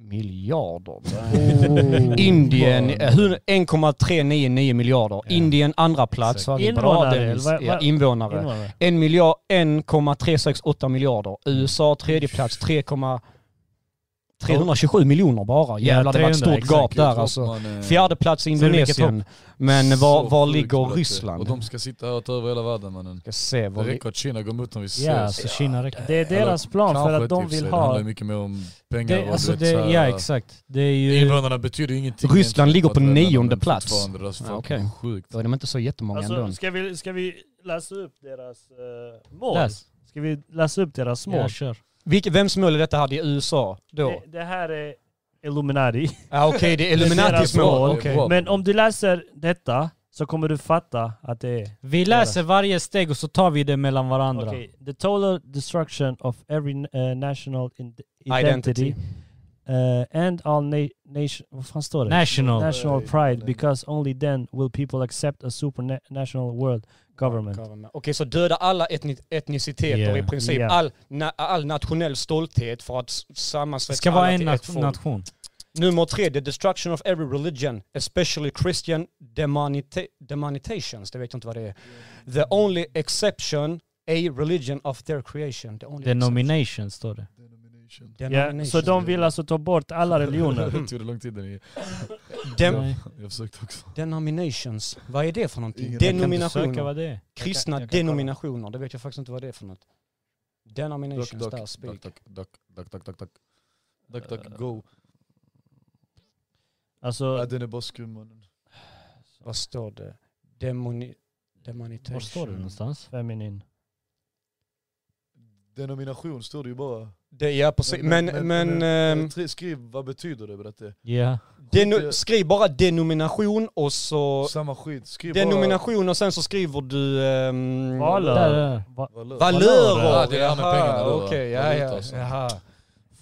Speaker 4: miljarder.
Speaker 3: Oh.
Speaker 4: Indien, eh, hur- 1,399 miljarder.
Speaker 2: Ja.
Speaker 4: Indien andra plats.
Speaker 2: Exakt.
Speaker 4: Vad
Speaker 1: Invånare,
Speaker 4: är det? Bra,
Speaker 1: eller
Speaker 4: Dennis.
Speaker 1: vad-
Speaker 4: Ja,
Speaker 1: vad-
Speaker 4: invånare.
Speaker 1: Invånare.
Speaker 4: 1 miljard, 1,368 miljarder. USA tredje plats, 3,327 miljoner bara. Jävlar det var ett
Speaker 2: 300,
Speaker 4: stort gap
Speaker 3: Exakt,
Speaker 4: där
Speaker 3: jag tror
Speaker 4: alltså.
Speaker 3: man, eh,
Speaker 4: Fjärde plats i
Speaker 2: Så mycket
Speaker 4: Indonesien. Men var,
Speaker 3: så
Speaker 4: var
Speaker 3: sjukt
Speaker 4: ligger
Speaker 3: bättre.
Speaker 4: Ryssland?
Speaker 3: Och de ska sitta här och ta över hela världen mannen.
Speaker 4: ska se
Speaker 3: Det
Speaker 4: var vi...
Speaker 3: räcker att Kina går mot dem, vi ses.
Speaker 2: Ja, alltså Kina räcker.
Speaker 1: Det är deras plan för
Speaker 3: Kanske
Speaker 1: att de
Speaker 3: typ sig.
Speaker 1: vill
Speaker 3: Det handlar
Speaker 1: ha...
Speaker 3: ju mycket mer om pengar och
Speaker 2: Det,
Speaker 3: du
Speaker 2: alltså
Speaker 3: vet,
Speaker 2: det,
Speaker 3: så här,
Speaker 2: ja exakt. Det är ju...
Speaker 3: Invånarna betyder ju ingenting.
Speaker 4: Ryssland
Speaker 3: egentligen
Speaker 4: ligger på
Speaker 3: att vända,
Speaker 4: nionde
Speaker 3: men
Speaker 4: plats.
Speaker 3: fortfarande, Det är så
Speaker 4: Ja,
Speaker 3: fucking
Speaker 4: okej.
Speaker 3: sjukt.
Speaker 4: Då är de inte så jättemånga
Speaker 1: Alltså,
Speaker 4: ändå.
Speaker 1: ska, vi, ska vi läsa upp deras eh, mål?
Speaker 2: Läs.
Speaker 1: Ska vi läsa upp deras mål?
Speaker 2: Ja, kör.
Speaker 4: Vilke, vems mål är detta här? Det är USA då?
Speaker 1: det, det här är Illuminati.
Speaker 4: Ja okej, det är
Speaker 1: deras
Speaker 4: Illuminatis
Speaker 1: mål.
Speaker 4: mål. Okej.
Speaker 3: Det är bra.
Speaker 1: Men om du läser detta så kommer du fatta att det är...
Speaker 2: Vi läser varje steg och så tar vi det mellan varandra.
Speaker 1: Okay. The total destruction of every uh, national in identity,
Speaker 4: Identity.
Speaker 1: uh, and all na nation vad fan står det?
Speaker 2: National.
Speaker 1: National
Speaker 4: Eh,
Speaker 1: pride because only then will people accept a supranational world government.
Speaker 4: Okej, så döda alla etni etniciteter
Speaker 2: Yeah.
Speaker 4: i princip.
Speaker 1: Yeah.
Speaker 4: All, na all nationell stolthet för att s-
Speaker 2: Det
Speaker 4: sammansvetsa
Speaker 2: ska vara
Speaker 4: alla
Speaker 2: en
Speaker 4: till ett
Speaker 2: nat-
Speaker 4: folk.
Speaker 2: nation.
Speaker 4: Nummer tre, the destruction of every religion, especially Christian demonita- demonitations. Det vet jag inte vad det är. The only exception, a religion of their creation. The only
Speaker 2: The nomination står det.
Speaker 3: Denomination.
Speaker 4: exception.
Speaker 1: Ja, så de vill alltså ta bort alla religioner.
Speaker 3: Det tog det lång tid. den-
Speaker 4: Dem-
Speaker 2: Nej,
Speaker 3: Jag försökte också.
Speaker 4: denominations. Vad är det för någonting?
Speaker 3: Ingen-
Speaker 2: Jag kan inte söka
Speaker 4: Denominationer.
Speaker 2: vad det är.
Speaker 4: Kristna
Speaker 5: jag kan kolla.
Speaker 4: denominationer. Det vet jag faktiskt inte vad det är för något.
Speaker 3: Duck,
Speaker 4: Denominations,
Speaker 3: duck,
Speaker 4: där
Speaker 3: duck,
Speaker 4: speak.
Speaker 3: duck, duck, duck, duck, duck. Duck, duck, go.
Speaker 1: Alltså,
Speaker 3: Ja, den är bara skum mannen.
Speaker 4: Vad står det? Demoni... Demonitation.
Speaker 2: Var står det någonstans?
Speaker 1: feminin.
Speaker 3: Denomination står det ju bara.
Speaker 4: Det, ja precis. Men, men, ehm,
Speaker 3: tri- skriv vad betyder det berätta.
Speaker 2: Ja.
Speaker 4: Mm. deno, skriv bara denomination och så...
Speaker 3: eh, Samma skit. Skriv
Speaker 4: Denomination och sen så skriver du... ehm,
Speaker 1: Valör.
Speaker 2: Där, där.
Speaker 1: Va-
Speaker 3: bara valör.
Speaker 4: Valörer!
Speaker 3: Ja, det är det här med
Speaker 4: Jaha,
Speaker 3: pengarna då, va?
Speaker 4: Okej, ja,
Speaker 3: Valuta
Speaker 4: ja.
Speaker 3: alltså.
Speaker 4: Jaha.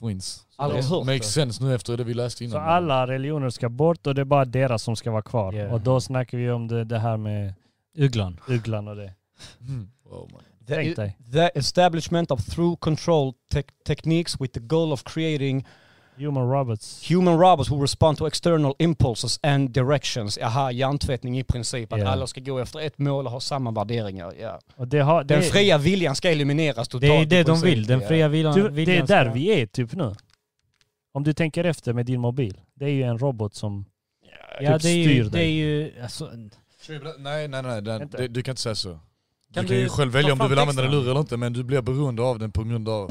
Speaker 3: Finns.
Speaker 4: Aldrig hört det.
Speaker 3: Makes sense nu efter det vi läste innan.
Speaker 1: Så alla religioner ska bort och det är bara deras som ska vara kvar.
Speaker 2: Yeah.
Speaker 1: Och då snackar vi om det, det här med
Speaker 2: Ugglan.
Speaker 1: ugglan och det.
Speaker 3: Mm. Wow, man.
Speaker 1: Tänk dig.
Speaker 4: e- The establishment of through control tech techniques with the goal of creating
Speaker 1: Human Roberts.
Speaker 4: human robots who respond to external impulses and directions. Jaha, hjärntvättning i princip. Att
Speaker 1: Ja.
Speaker 4: alla ska gå efter ett mål och ha samma värderingar. Ja.
Speaker 1: Och det, har, det,
Speaker 4: Den fria viljan ska elimineras totalt.
Speaker 2: Det är ju det de
Speaker 4: i princip,
Speaker 2: vill, den
Speaker 4: ja.
Speaker 2: fria viljan.
Speaker 1: du, det är
Speaker 2: viljan
Speaker 1: där
Speaker 2: ska-
Speaker 1: vi är typ nu. Om du tänker efter med din mobil. Det är ju en robot som...
Speaker 2: Ja
Speaker 1: typ
Speaker 2: det är
Speaker 1: styr
Speaker 2: ju, det är
Speaker 1: dig.
Speaker 2: ju alltså,
Speaker 3: Nej, nej, nej. nej.
Speaker 1: Inte.
Speaker 3: Det, du kan inte säga så.
Speaker 2: Kan
Speaker 3: du kan
Speaker 2: du
Speaker 3: ju själv välja
Speaker 2: ta
Speaker 3: om du
Speaker 2: fram
Speaker 3: vill använda den
Speaker 2: texten?
Speaker 3: luren eller inte, men du blir beroende av den på grund av...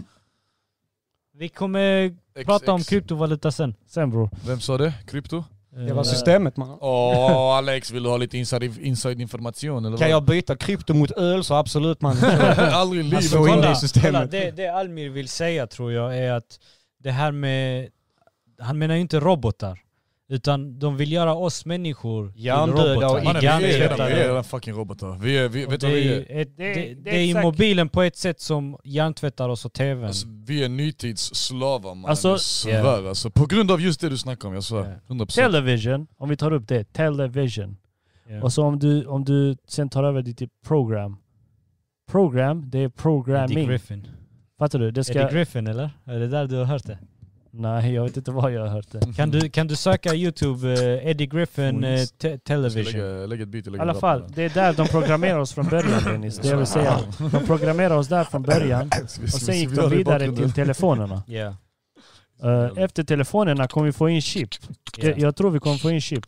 Speaker 2: vi kommer
Speaker 3: X,
Speaker 2: prata om
Speaker 3: X.
Speaker 2: kryptovaluta sen. Eh,
Speaker 1: Sen bror.
Speaker 3: Vem sa det? Krypto?
Speaker 4: Det var systemet man.
Speaker 3: Åh Alex, vill du ha lite inside, inside information eller
Speaker 4: Kan
Speaker 3: vad?
Speaker 4: jag byta krypto mot öl så absolut man.
Speaker 3: Aldrig i livet.
Speaker 4: Alltså, in det i systemet.
Speaker 2: kolla, det, det Almir vill säga tror jag är att det här med, han menar ju inte robotar. Utan de vill göra oss människor till
Speaker 4: Hjärndöda
Speaker 2: robotar.
Speaker 4: och
Speaker 3: Mannen, vi, är redan, vi är
Speaker 2: Hjärntvättade.
Speaker 3: redan fucking robotar. Vi är, vi,
Speaker 2: Och
Speaker 3: vet
Speaker 2: Det
Speaker 3: du vad
Speaker 2: är
Speaker 3: vi
Speaker 2: ju
Speaker 3: är?
Speaker 2: ett-
Speaker 1: Det-
Speaker 2: det-
Speaker 1: det
Speaker 2: det
Speaker 1: är
Speaker 2: är ju
Speaker 1: exakt-
Speaker 2: mobilen på ett sätt som hjärntvättar oss och tvn.
Speaker 3: Alltså, vi är nutidsslavar mannen.
Speaker 1: Alltså-
Speaker 3: jag svär alltså. På grund av just det du snackar om, jag svär. 100%.
Speaker 1: Television, om vi tar upp det. Television.
Speaker 2: Ja.
Speaker 1: Och så om du, om du sen tar över ditt program. Program, det är
Speaker 2: Eddie
Speaker 1: programming.
Speaker 2: Griffin.
Speaker 1: Fattar du? Det
Speaker 2: Eddie
Speaker 1: ska...
Speaker 2: Griffin eller? Är det där du har hört det?
Speaker 1: Nej, jag vet inte vad jag har hört det.
Speaker 2: Kan du, kan du söka youtube eh, Eddie Griffin eh, te-
Speaker 3: Jag ska
Speaker 2: television?
Speaker 3: Lägga, lägga ett beat,
Speaker 1: I
Speaker 3: jag lägger
Speaker 1: alla
Speaker 3: rap
Speaker 1: fall,
Speaker 3: på
Speaker 1: det är där de programmerar oss från början Dennis. Det jag vill säga. De programmerar oss där från början.
Speaker 3: den. Ska vi-
Speaker 1: Och
Speaker 3: ska
Speaker 1: sen
Speaker 3: vi- ska
Speaker 1: gick
Speaker 3: vi
Speaker 1: de
Speaker 3: ha det i
Speaker 1: vidare
Speaker 3: bakgrunden?
Speaker 1: till telefonerna.
Speaker 2: Ja.
Speaker 1: Eh, efter telefonerna kommer vi få in chip.
Speaker 2: Ja.
Speaker 1: Jag, jag tror vi kommer få in chip.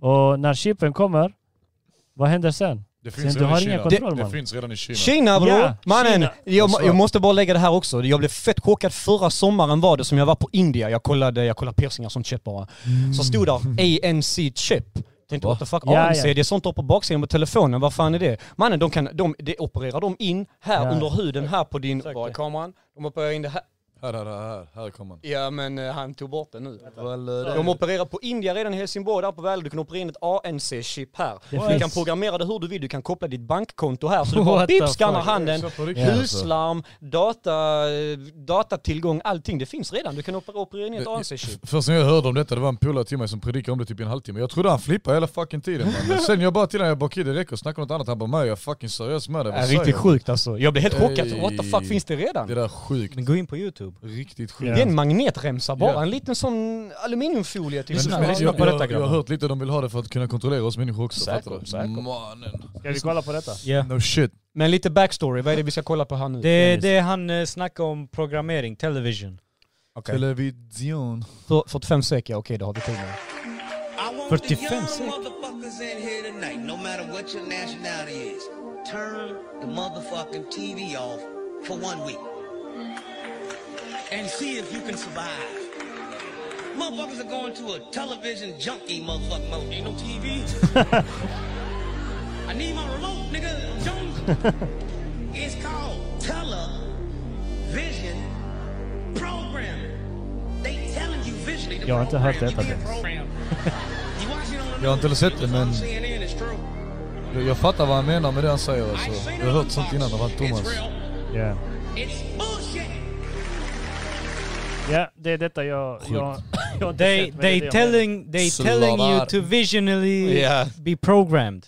Speaker 1: Och när chipen kommer, vad händer sen?
Speaker 3: Det
Speaker 1: Sen
Speaker 3: finns
Speaker 1: du
Speaker 3: redan
Speaker 1: har
Speaker 3: i
Speaker 1: inga
Speaker 3: Kina.
Speaker 1: kontroll,
Speaker 3: Det
Speaker 1: mannen.
Speaker 3: finns redan i Kina.
Speaker 4: Kina bror!
Speaker 1: Ja,
Speaker 4: Mannen,
Speaker 1: Kina.
Speaker 4: Jag,
Speaker 3: Alltså.
Speaker 4: jag måste bara lägga det här också. Jag blev fett chockad förra sommaren var det som jag var på India. Jag kollade, jag kollade piercingar och sånt shit bara. Så stod där ANC chip. Tänkte what the fuck,
Speaker 1: Ja,
Speaker 4: ANC,
Speaker 1: ja.
Speaker 4: det är sånt där på baksidan på telefonen, vad fan är det? Mannen, de kan, de, det opererar de in här
Speaker 1: Ja.
Speaker 4: under huden, här på din,
Speaker 1: Exakt.
Speaker 4: var är kameran? De opererar in det här,
Speaker 3: Här, här, här, här, här kommer han.
Speaker 4: ja men eh, han tog bort det nu.
Speaker 3: Valörer.
Speaker 4: De opererar på India redan i Helsingborg, där på Väl. Du kan operera in ett ANC-chip här. Du
Speaker 1: finns-
Speaker 4: kan programmera det hur du vill. Du kan koppla ditt bankkonto här. Så du bara
Speaker 2: What the
Speaker 4: pip, skannar
Speaker 2: fuck?
Speaker 4: handen.
Speaker 3: Så på riktigt, alltså.
Speaker 4: Huslarm, data, datatillgång, allting. Det finns redan. Du kan operera, operera in ett ANC-chip.
Speaker 3: Först när jag hörde om detta, det var en polare till mig som predikade om det typ i en halvtimme. Jag trodde han flippade hela fucking tiden mannen. Sen jag bara till honom, jag bara okej det räcker, snacka om något annat. Han bara nej jag är fucking seriös med
Speaker 2: Äh,
Speaker 3: dig. Vad säger du?
Speaker 4: sjukt alltså. Jag blev helt chockad.
Speaker 3: Ey.
Speaker 4: What the fuck, finns det redan?
Speaker 3: Det där är sjukt.
Speaker 2: Men gå in på youtube.
Speaker 3: Riktigt sjukt.
Speaker 4: Det är en magnetremsa bara.
Speaker 3: Ja.
Speaker 4: En liten sån aluminiumfolie typ.
Speaker 3: Men-
Speaker 4: Lyssna,
Speaker 3: men
Speaker 4: lyssna
Speaker 3: jag,
Speaker 4: på detta
Speaker 3: jag, jag har
Speaker 4: grabbar.
Speaker 3: hört lite, de vill ha det för att kunna kontrollera oss människor också.
Speaker 4: Säkert,
Speaker 3: fattar du?
Speaker 4: säkert.
Speaker 3: Mannen.
Speaker 1: Ska vi kolla på detta?
Speaker 2: Ja.
Speaker 3: No shit.
Speaker 4: Men lite backstory, vad är det vi ska kolla på här nu?
Speaker 2: Det är det han eh, snackar om, programmering, television.
Speaker 4: Okej.
Speaker 3: Television.
Speaker 4: För- 45 sek, ja okej det har vi tid med.
Speaker 7: I want
Speaker 2: 45
Speaker 7: the young
Speaker 2: sek.
Speaker 7: motherfuckers in here tonight, no matter what your nationality is, turn the motherfucking TV off for one week and see if you can survive. Motherfuckers are going to a television junkie motherfucking mode. Ain't no TV. I need my remote, nigga. Jones. it's called television programming. They telling you visually the
Speaker 1: Jag har inte hört
Speaker 7: program.
Speaker 1: detta,
Speaker 7: You being
Speaker 1: Dennis.
Speaker 7: programmed. You watching on the
Speaker 3: Jag har inte
Speaker 7: news.
Speaker 3: sett det, men-
Speaker 7: CNN is true.
Speaker 3: Jag, jag fattar vad han menar med det han säger
Speaker 7: I
Speaker 3: alltså.
Speaker 7: seen
Speaker 3: Jag har
Speaker 7: it on
Speaker 3: hört sånt
Speaker 7: Fox.
Speaker 3: innan av han Thomas.
Speaker 7: It's real.
Speaker 1: Ja,
Speaker 7: It's bullshit.
Speaker 1: Ja, det är detta jag... jag, jag har inte
Speaker 2: They,
Speaker 1: sett, men det är det
Speaker 2: they,
Speaker 1: jag menar.
Speaker 2: telling, they telling you
Speaker 3: Slavar.
Speaker 2: to visionally
Speaker 4: Ja.
Speaker 2: be programmed.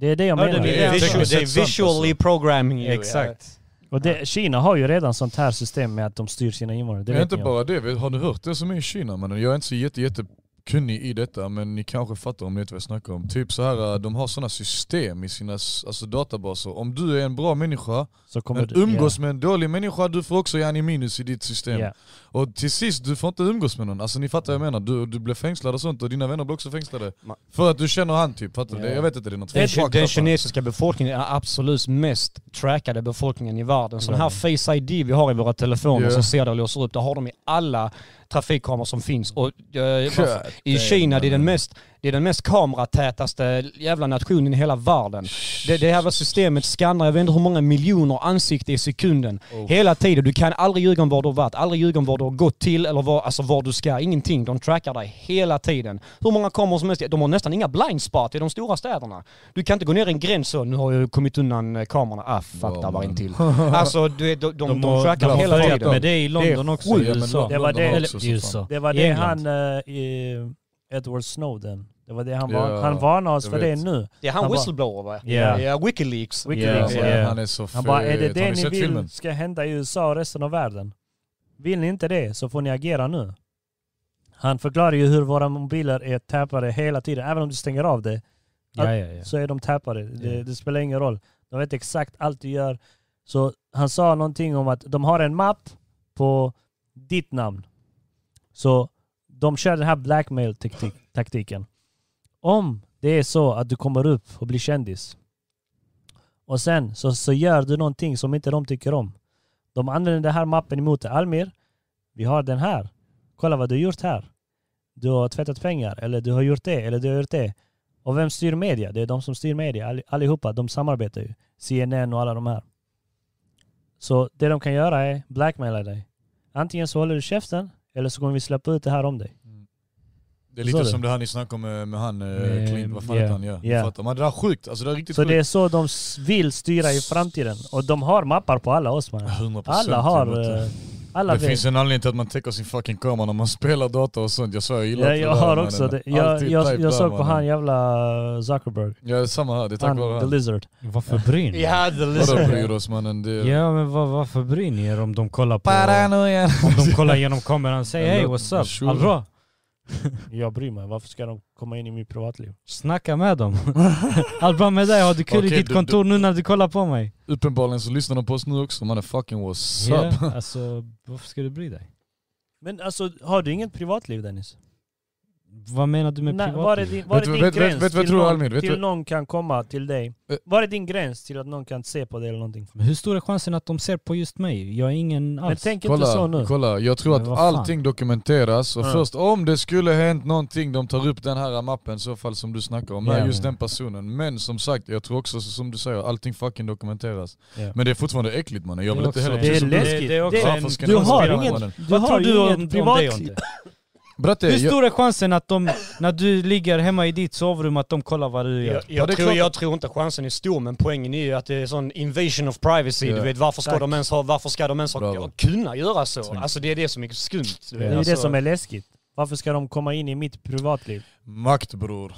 Speaker 1: Det är det jag
Speaker 2: Hörde
Speaker 1: menar.
Speaker 2: ni
Speaker 3: Det är alltså.
Speaker 4: Visual,
Speaker 3: tekniskt
Speaker 4: det är
Speaker 3: sett sant,
Speaker 4: visually programming. you,
Speaker 2: Exakt.
Speaker 1: Och det, Kina har ju redan sånt här system med att de styr sina invånare. Det
Speaker 3: Men
Speaker 1: vet
Speaker 3: inte
Speaker 1: ni om.
Speaker 3: bara det, vet- har ni hört det som är i Kina mannen? Jag är inte så jätte, jätte kunnig i detta men ni kanske fattar om ni vet vad jag snackar om. Typ så här, äh, de har sådana system i sina s- alltså, databaser. Om du är en bra människa,
Speaker 1: Så kommer
Speaker 3: men
Speaker 1: du...
Speaker 3: umgås med en dålig människa, du får också gärna minus i ditt system.
Speaker 1: Ja.
Speaker 3: Och till sist, du får inte umgås med någon. Alltså ni fattar vad jag menar. Du, du blir fängslad och sånt och dina vänner blir också fängslade.
Speaker 4: Ma-
Speaker 3: För att du känner han typ, fattar du?
Speaker 4: Ja.
Speaker 3: Det- Jag vet inte, det är något
Speaker 4: Den,
Speaker 3: fucked up,
Speaker 4: den
Speaker 3: va?
Speaker 4: kinesiska befolkningen är absolut mest trackade befolkningen i världen. Sån här face ID vi har i våra telefoner
Speaker 3: Ja.
Speaker 4: som ser det och låser upp, det har de i alla trafikkameror som finns. Och, eh, varför- I Kina, det är, den mest, det är den mest kameratätaste jävla nationen i hela världen. Det, det här systemet skannar, jag vet inte hur många miljoner ansikten i sekunden. Hela tiden. Du kan aldrig ljuga om var du har varit, aldrig ljuga om var du har gått till eller var, alltså var du ska. Ingenting. De trackar dig hela tiden. Hur många kameror som helst. De har nästan inga blind spot i de stora städerna. Du kan inte gå ner i en gräns och nu har jag kommit undan eh, kamerorna. Ah, fuck,
Speaker 3: Ja,
Speaker 4: där var
Speaker 3: men-
Speaker 4: en till. Alltså, du, vet, de, de, de,
Speaker 3: har-
Speaker 4: trackar
Speaker 3: de har
Speaker 4: hela
Speaker 3: börjat
Speaker 4: tiden.
Speaker 2: Men det är i London också, i
Speaker 3: Ja, men
Speaker 2: USA.
Speaker 3: London
Speaker 1: var det-
Speaker 3: har
Speaker 1: eller
Speaker 3: också
Speaker 2: I
Speaker 3: så fan.
Speaker 2: USA.
Speaker 1: Det var
Speaker 2: I
Speaker 1: det
Speaker 2: England.
Speaker 1: han, eh, i Edward Snowden, det var det han,
Speaker 3: Ja,
Speaker 1: var, han varnade oss
Speaker 3: jag
Speaker 1: för
Speaker 3: vet.
Speaker 1: det nu.
Speaker 4: Det är han,
Speaker 1: Han bara-
Speaker 4: whistleblower va?
Speaker 1: Ja.
Speaker 4: Ja, Wikileaks.
Speaker 1: Wikileaks.
Speaker 3: Ja,
Speaker 2: Ja.
Speaker 3: Han är så fet.
Speaker 1: Han bara, är det det
Speaker 3: Har ni
Speaker 1: ni
Speaker 3: sett
Speaker 1: vill
Speaker 3: filmen?
Speaker 1: ska hända i USA och resten av världen? Vill ni inte det så får ni agera nu. Han förklarar ju hur våra mobiler är tappade hela tiden. Även om du stänger av det
Speaker 2: Ja, ja, ja.
Speaker 1: så är de tappade. Det, det spelar ingen roll. De vet exakt allt du gör. Så han sa någonting om att de har en mapp på ditt namn. Så de kör den här blackmail-taktiken. Om det är så att du kommer upp och blir kändis och sen så, så gör du någonting som inte de tycker om. De använder den här mappen emot dig. Almir, vi har den här. Kolla vad du har gjort här. Du har tvättat pengar, eller du har gjort det, eller du har gjort det. Och vem styr media? Det är de som styr media. All- Allihopa, de samarbetar ju. CNN och alla de här. Så det de kan göra är blackmaila dig. Antingen så håller du käften, eller så kommer vi släppa ut det här om dig.
Speaker 3: Det är
Speaker 1: Så
Speaker 3: lite
Speaker 1: det.
Speaker 3: som det här ni snackade om med, med han eh,
Speaker 2: Eh,
Speaker 3: Clint, vad fan
Speaker 2: ja.
Speaker 3: heter han? Ja.
Speaker 1: Ja.
Speaker 3: Yeah. Fattar. Men det där är sjukt, alltså det där är riktigt
Speaker 1: Så
Speaker 3: sjukt.
Speaker 1: det är så de s- vill styra i framtiden. Och de har mappar på alla oss man.
Speaker 3: 100%
Speaker 1: Alla har...
Speaker 3: jag vet
Speaker 1: eh,
Speaker 3: inte.
Speaker 1: Alla
Speaker 3: det
Speaker 1: vet.
Speaker 3: finns en anledning till att man täcker sin fucking kamera när man spelar data och sånt. Jag svär, jag gillar
Speaker 1: Ja,
Speaker 3: inte
Speaker 1: jag
Speaker 3: det där,
Speaker 1: har
Speaker 3: mannen.
Speaker 1: också det. Jag,
Speaker 3: Alltid
Speaker 1: jag,
Speaker 3: typ
Speaker 1: jag
Speaker 3: där,
Speaker 1: såg på
Speaker 3: mannen.
Speaker 1: han jävla eh, Zuckerberg.
Speaker 3: Ja, samma här. Det är tack
Speaker 1: Han,
Speaker 3: vare
Speaker 1: the
Speaker 3: han.
Speaker 1: lizard.
Speaker 2: Varför bryr ni er?
Speaker 4: Ja, the
Speaker 3: Vadå
Speaker 4: lizard.
Speaker 3: bryr oss mannen? Det är...
Speaker 2: Ja men var, varför bryr ni er om de kollar på...
Speaker 3: Paranoia.
Speaker 2: Om de kollar genom kameran, säg hej what's up,
Speaker 3: Sure.
Speaker 2: allt bra?
Speaker 1: Jag bryr mig. Varför ska de komma in i mitt privatliv?
Speaker 2: Snacka med dem. allt bra med dig? Har du kul
Speaker 3: Okej,
Speaker 2: i ditt
Speaker 3: du-
Speaker 2: kontor nu när du kollar på mig?
Speaker 3: Uppenbarligen så lyssnar de på oss nu också mannen. Fucking what's
Speaker 2: Ja,
Speaker 3: up?
Speaker 2: alltså varför ska du bry dig?
Speaker 1: Men alltså, har du inget privatliv Dennis?
Speaker 2: Vad menar du med
Speaker 1: Nej,
Speaker 2: privatliv?
Speaker 1: var är din, var är
Speaker 3: Vet du-
Speaker 1: din
Speaker 3: vet- vet-
Speaker 1: gräns
Speaker 3: vet du vad jag
Speaker 1: till,
Speaker 3: tror,
Speaker 1: någon,
Speaker 3: Almir? Vet du
Speaker 1: till
Speaker 3: vad-
Speaker 1: någon kan komma till dig?
Speaker 3: Eh.
Speaker 1: Var är din gräns till att någon kan se på dig eller någonting?
Speaker 2: Men hur stor är chansen att de ser på just mig? Jag är ingen
Speaker 1: Men
Speaker 2: alls.
Speaker 1: tänk inte så
Speaker 3: Kolla,
Speaker 1: nu.
Speaker 3: kolla, jag tror
Speaker 2: Men
Speaker 3: att
Speaker 2: vad fan?
Speaker 3: allting dokumenteras och
Speaker 1: Ja.
Speaker 3: först om det skulle hänt någonting, de tar upp den här mappen i så fall som du snackar om, med
Speaker 2: Ja.
Speaker 3: just den personen. Men som sagt, jag tror också så som du säger, allting fucking dokumenteras.
Speaker 2: Ja.
Speaker 3: Men det är fortfarande äckligt mannen, jag
Speaker 2: Det
Speaker 3: vill
Speaker 2: är
Speaker 3: inte
Speaker 2: också
Speaker 3: heller...
Speaker 2: en-
Speaker 1: Det
Speaker 3: precis
Speaker 1: är
Speaker 3: som du-
Speaker 1: läskigt.
Speaker 2: Det är också
Speaker 1: Det-
Speaker 2: en-
Speaker 3: Varför ska
Speaker 1: Du
Speaker 3: ni
Speaker 1: har
Speaker 3: inspirera
Speaker 1: inget-
Speaker 3: mannen?
Speaker 1: Du
Speaker 2: Vad
Speaker 1: har
Speaker 2: tror
Speaker 1: ju
Speaker 2: du om,
Speaker 1: inget
Speaker 2: om det
Speaker 1: privatliv.
Speaker 2: Jonte?
Speaker 3: Bratte,
Speaker 2: Hur
Speaker 3: jag,
Speaker 2: stor är chansen att de, när du ligger hemma i ditt sovrum, att de kollar vad du gör?
Speaker 3: Ja,
Speaker 4: Jag,
Speaker 3: det är
Speaker 4: jag, tror,
Speaker 3: klart.
Speaker 4: jag tror inte chansen är stor, men poängen är ju att det är sån invasion of privacy.
Speaker 3: Ja.
Speaker 4: Du vet, varför ska
Speaker 1: Tack.
Speaker 4: de ens, ha, varför ska de ens ha,
Speaker 3: Bravo.
Speaker 4: kunna göra så?
Speaker 3: Snyggt.
Speaker 4: Alltså det är det som är skumt. du vet.
Speaker 1: Det är ju
Speaker 4: Alltså,
Speaker 1: det som är läskigt. Varför ska de komma in i mitt privatliv?
Speaker 3: makt bror.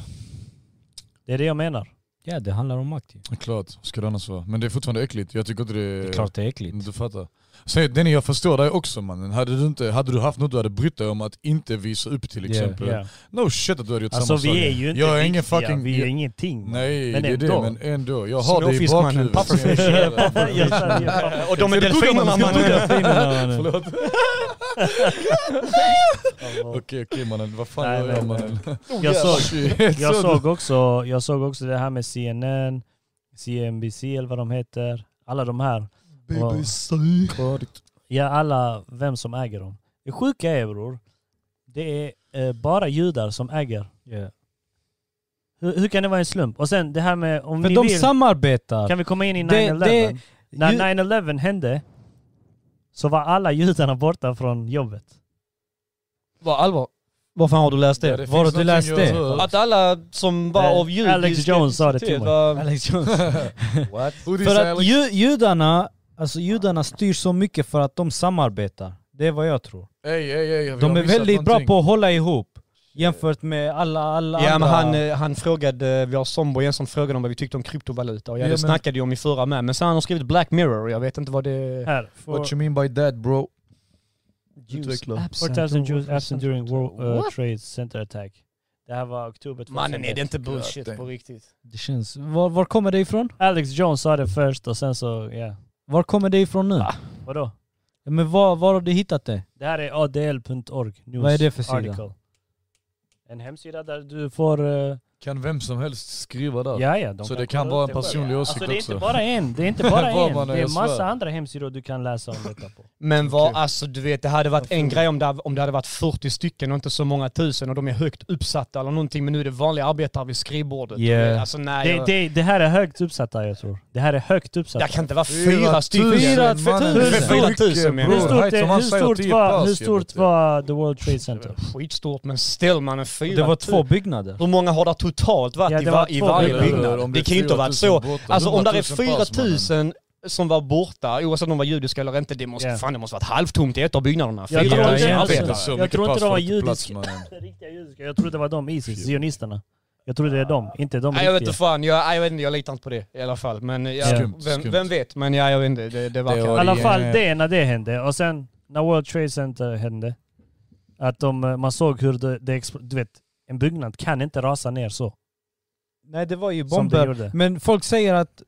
Speaker 1: Det är det jag menar.
Speaker 2: Ja, det handlar om makt ju.
Speaker 3: Klart, ska det annars vara. Men det är fortfarande äckligt, jag tycker inte det...
Speaker 2: Det är klart det är äckligt.
Speaker 3: Du fattar. Säg Denny, jag förstår dig också mannen. Hade du, inte, hade du haft något du hade brytt dig om att inte visa upp till
Speaker 2: Ja,
Speaker 3: exempel.
Speaker 1: Ja.
Speaker 3: No shit att du hade gjort
Speaker 1: Alltså
Speaker 3: samma sak.
Speaker 1: vi är ju inte
Speaker 3: Jag är ingen
Speaker 1: viktiga,
Speaker 3: fucking-
Speaker 1: vi är ingenting.
Speaker 3: Nej,
Speaker 1: Men
Speaker 3: det är
Speaker 1: ändå.
Speaker 3: det, men ändå. Jag har det i
Speaker 4: Snowfiskmannen,
Speaker 3: bakhuvudet.
Speaker 4: pufferfish.
Speaker 1: Jag sa det ju.
Speaker 4: Och de är delfinerna mannen.
Speaker 2: Delfinerna, mannen.
Speaker 3: Okej okej mannen, vad fan
Speaker 1: Nej,
Speaker 3: gör jag
Speaker 1: men-
Speaker 3: mannen?
Speaker 1: Jag såg,
Speaker 3: Shit.
Speaker 1: jag, såg också, jag såg också det här med CNN, CNBC eller vad de heter. Alla de här.
Speaker 3: BBC.
Speaker 1: Ja, alla, vem som äger dem. Det sjuka är bror, det är eh, bara judar som äger.
Speaker 2: Ja.
Speaker 1: Hur, hur kan det vara en slump? Och sen det här med om
Speaker 2: För
Speaker 1: ni
Speaker 2: de
Speaker 1: vill,
Speaker 2: samarbetar.
Speaker 1: kan vi komma in i
Speaker 2: Det-
Speaker 1: 9-11?
Speaker 2: det-
Speaker 1: När
Speaker 2: ju-
Speaker 1: 9-11 hände så var alla judarna borta från jobbet.
Speaker 4: Vad allvar?
Speaker 2: Varför har du läst
Speaker 3: Ja,
Speaker 2: det?
Speaker 3: det
Speaker 2: Var har
Speaker 3: finns
Speaker 2: du läst
Speaker 3: någonting
Speaker 2: det?
Speaker 3: jag hör.
Speaker 4: Att alla som var
Speaker 1: Nej,
Speaker 4: av judisk
Speaker 1: Alex Jones sa det till
Speaker 4: identitet
Speaker 1: mig.
Speaker 4: var-
Speaker 2: Alex Jones.
Speaker 4: What?
Speaker 3: Hoodies
Speaker 2: Liksom. För att
Speaker 3: Alex.
Speaker 2: ju, judarna, alltså judarna styr så mycket för att de samarbetar. Det är vad jag tror.
Speaker 3: Ey, ey, ey, vi
Speaker 2: De
Speaker 3: har
Speaker 2: är
Speaker 3: missat
Speaker 2: väldigt bra
Speaker 3: någonting.
Speaker 2: på att hålla ihop jämfört med alla, alla
Speaker 4: Ja
Speaker 2: andra.
Speaker 4: men han, eh, han frågade, vi har Sombo igen som frågade om vad vi tyckte om kryptovaluta och jag
Speaker 3: Ja,
Speaker 4: det
Speaker 3: men-
Speaker 4: snackade ju om i förra med. Men sen har han skrivit Black Mirror och jag vet inte vad det...
Speaker 1: Här, for,
Speaker 3: What you mean by that bro? Utveckla.
Speaker 1: 4,000 Jews absent during World uh, Trade Center attack. Det här var oktober 2001.
Speaker 4: Mannen är det inte bullshit
Speaker 3: Ja,
Speaker 4: på riktigt?
Speaker 2: Det känns... Var, var kommer det ifrån?
Speaker 1: Alex Jones sa det först och sen så, ja.
Speaker 2: Var kommer det ifrån nu?
Speaker 4: Ah.
Speaker 1: Vadå?
Speaker 2: Ja, Men var, var har du hittat det?
Speaker 1: Det här är adl.org news
Speaker 2: Vad är det för sida?
Speaker 1: article. En hemsida där du får eh,
Speaker 3: kan vem som helst skriva där.
Speaker 1: Ja, ja, de
Speaker 3: så
Speaker 1: kolla
Speaker 3: det kan
Speaker 1: upp
Speaker 3: vara en
Speaker 1: det själv.
Speaker 3: personlig
Speaker 1: Ja.
Speaker 3: åsikt
Speaker 1: alltså, det är
Speaker 3: också.
Speaker 1: Inte bara en, det är inte bara
Speaker 3: Vad
Speaker 1: en.
Speaker 3: man än
Speaker 1: Det är massa
Speaker 3: svär.
Speaker 1: andra hemsidor du kan läsa om detta på.
Speaker 4: Men vad, alltså du vet, det hade varit en grej om det, om det hade varit 40 stycken och inte så många tusen och de är högt uppsatta eller någonting, men nu är det vanliga arbetare vid skrivbordet.
Speaker 2: Yeah.
Speaker 4: Alltså nej,
Speaker 1: Det,
Speaker 4: jag,
Speaker 1: det, det här är högt uppsatta jag tror. Det här är högt uppsatta.
Speaker 4: det kan inte vara fyra stycken.
Speaker 3: Fyra mannen.
Speaker 1: tusen.
Speaker 3: Det är
Speaker 4: Fyra
Speaker 3: mycket,
Speaker 4: tusen,
Speaker 3: bror.
Speaker 1: hur
Speaker 4: menar
Speaker 1: stort,
Speaker 3: Hej,
Speaker 1: är,
Speaker 3: som
Speaker 1: hur
Speaker 3: han säger,
Speaker 1: stort,
Speaker 3: tio
Speaker 1: var,
Speaker 3: pass,
Speaker 1: hur
Speaker 3: jag
Speaker 1: stort
Speaker 3: vet.
Speaker 1: var The World Trade Center?
Speaker 4: Skitstort, men ställ man en fyra
Speaker 2: Det var
Speaker 4: tu-
Speaker 2: två byggnader.
Speaker 4: Hur många har det totalt varit
Speaker 1: Ja,
Speaker 4: i,
Speaker 1: det
Speaker 4: var,
Speaker 1: var
Speaker 4: i
Speaker 1: två
Speaker 4: varje
Speaker 1: byggnader.
Speaker 4: byggnad?
Speaker 3: Om
Speaker 4: Det,
Speaker 3: är
Speaker 4: kan ju inte ha varit
Speaker 3: 4 000
Speaker 4: så.
Speaker 3: borta,
Speaker 4: Alltså om det
Speaker 3: 100
Speaker 4: är
Speaker 3: 000 pass, mannen.
Speaker 4: 4000 som var borta, oavsett om de var judiska eller inte, det måste,
Speaker 1: Ja.
Speaker 4: fan, det måste varit halvtomt i ett av byggnaderna.
Speaker 1: Jag
Speaker 4: Fyra
Speaker 1: tror
Speaker 4: tusen
Speaker 1: inte-
Speaker 4: arbetare.
Speaker 1: alltså-
Speaker 3: Så
Speaker 1: Jag
Speaker 3: mycket
Speaker 1: tror inte
Speaker 3: pass
Speaker 1: de var
Speaker 3: får inte plats,
Speaker 1: judiska.
Speaker 3: mannen.
Speaker 1: Riktiga judiska. Jag trodde det var de, Isis, zionisterna. Jag trodde det är de, inte de
Speaker 4: Nej, jag vet
Speaker 1: riktiga.
Speaker 4: inte fan, jag, jag, vet inte, jag litar inte på det i alla fall. Men jag,
Speaker 3: Skumt,
Speaker 4: vem,
Speaker 3: skumt.
Speaker 4: vem vet, men ja, jag vet inte. Det, det verkar...
Speaker 3: var-
Speaker 1: I alla fall
Speaker 3: Ja.
Speaker 1: det när det hände. Och sen när World Trade Center hände. Att de, eh, man såg hur det, det expl- Du vet, en byggnad kan inte rasa ner så.
Speaker 2: Nej det var ju
Speaker 1: Som det
Speaker 2: bomber.
Speaker 1: gjorde.
Speaker 2: Men folk säger att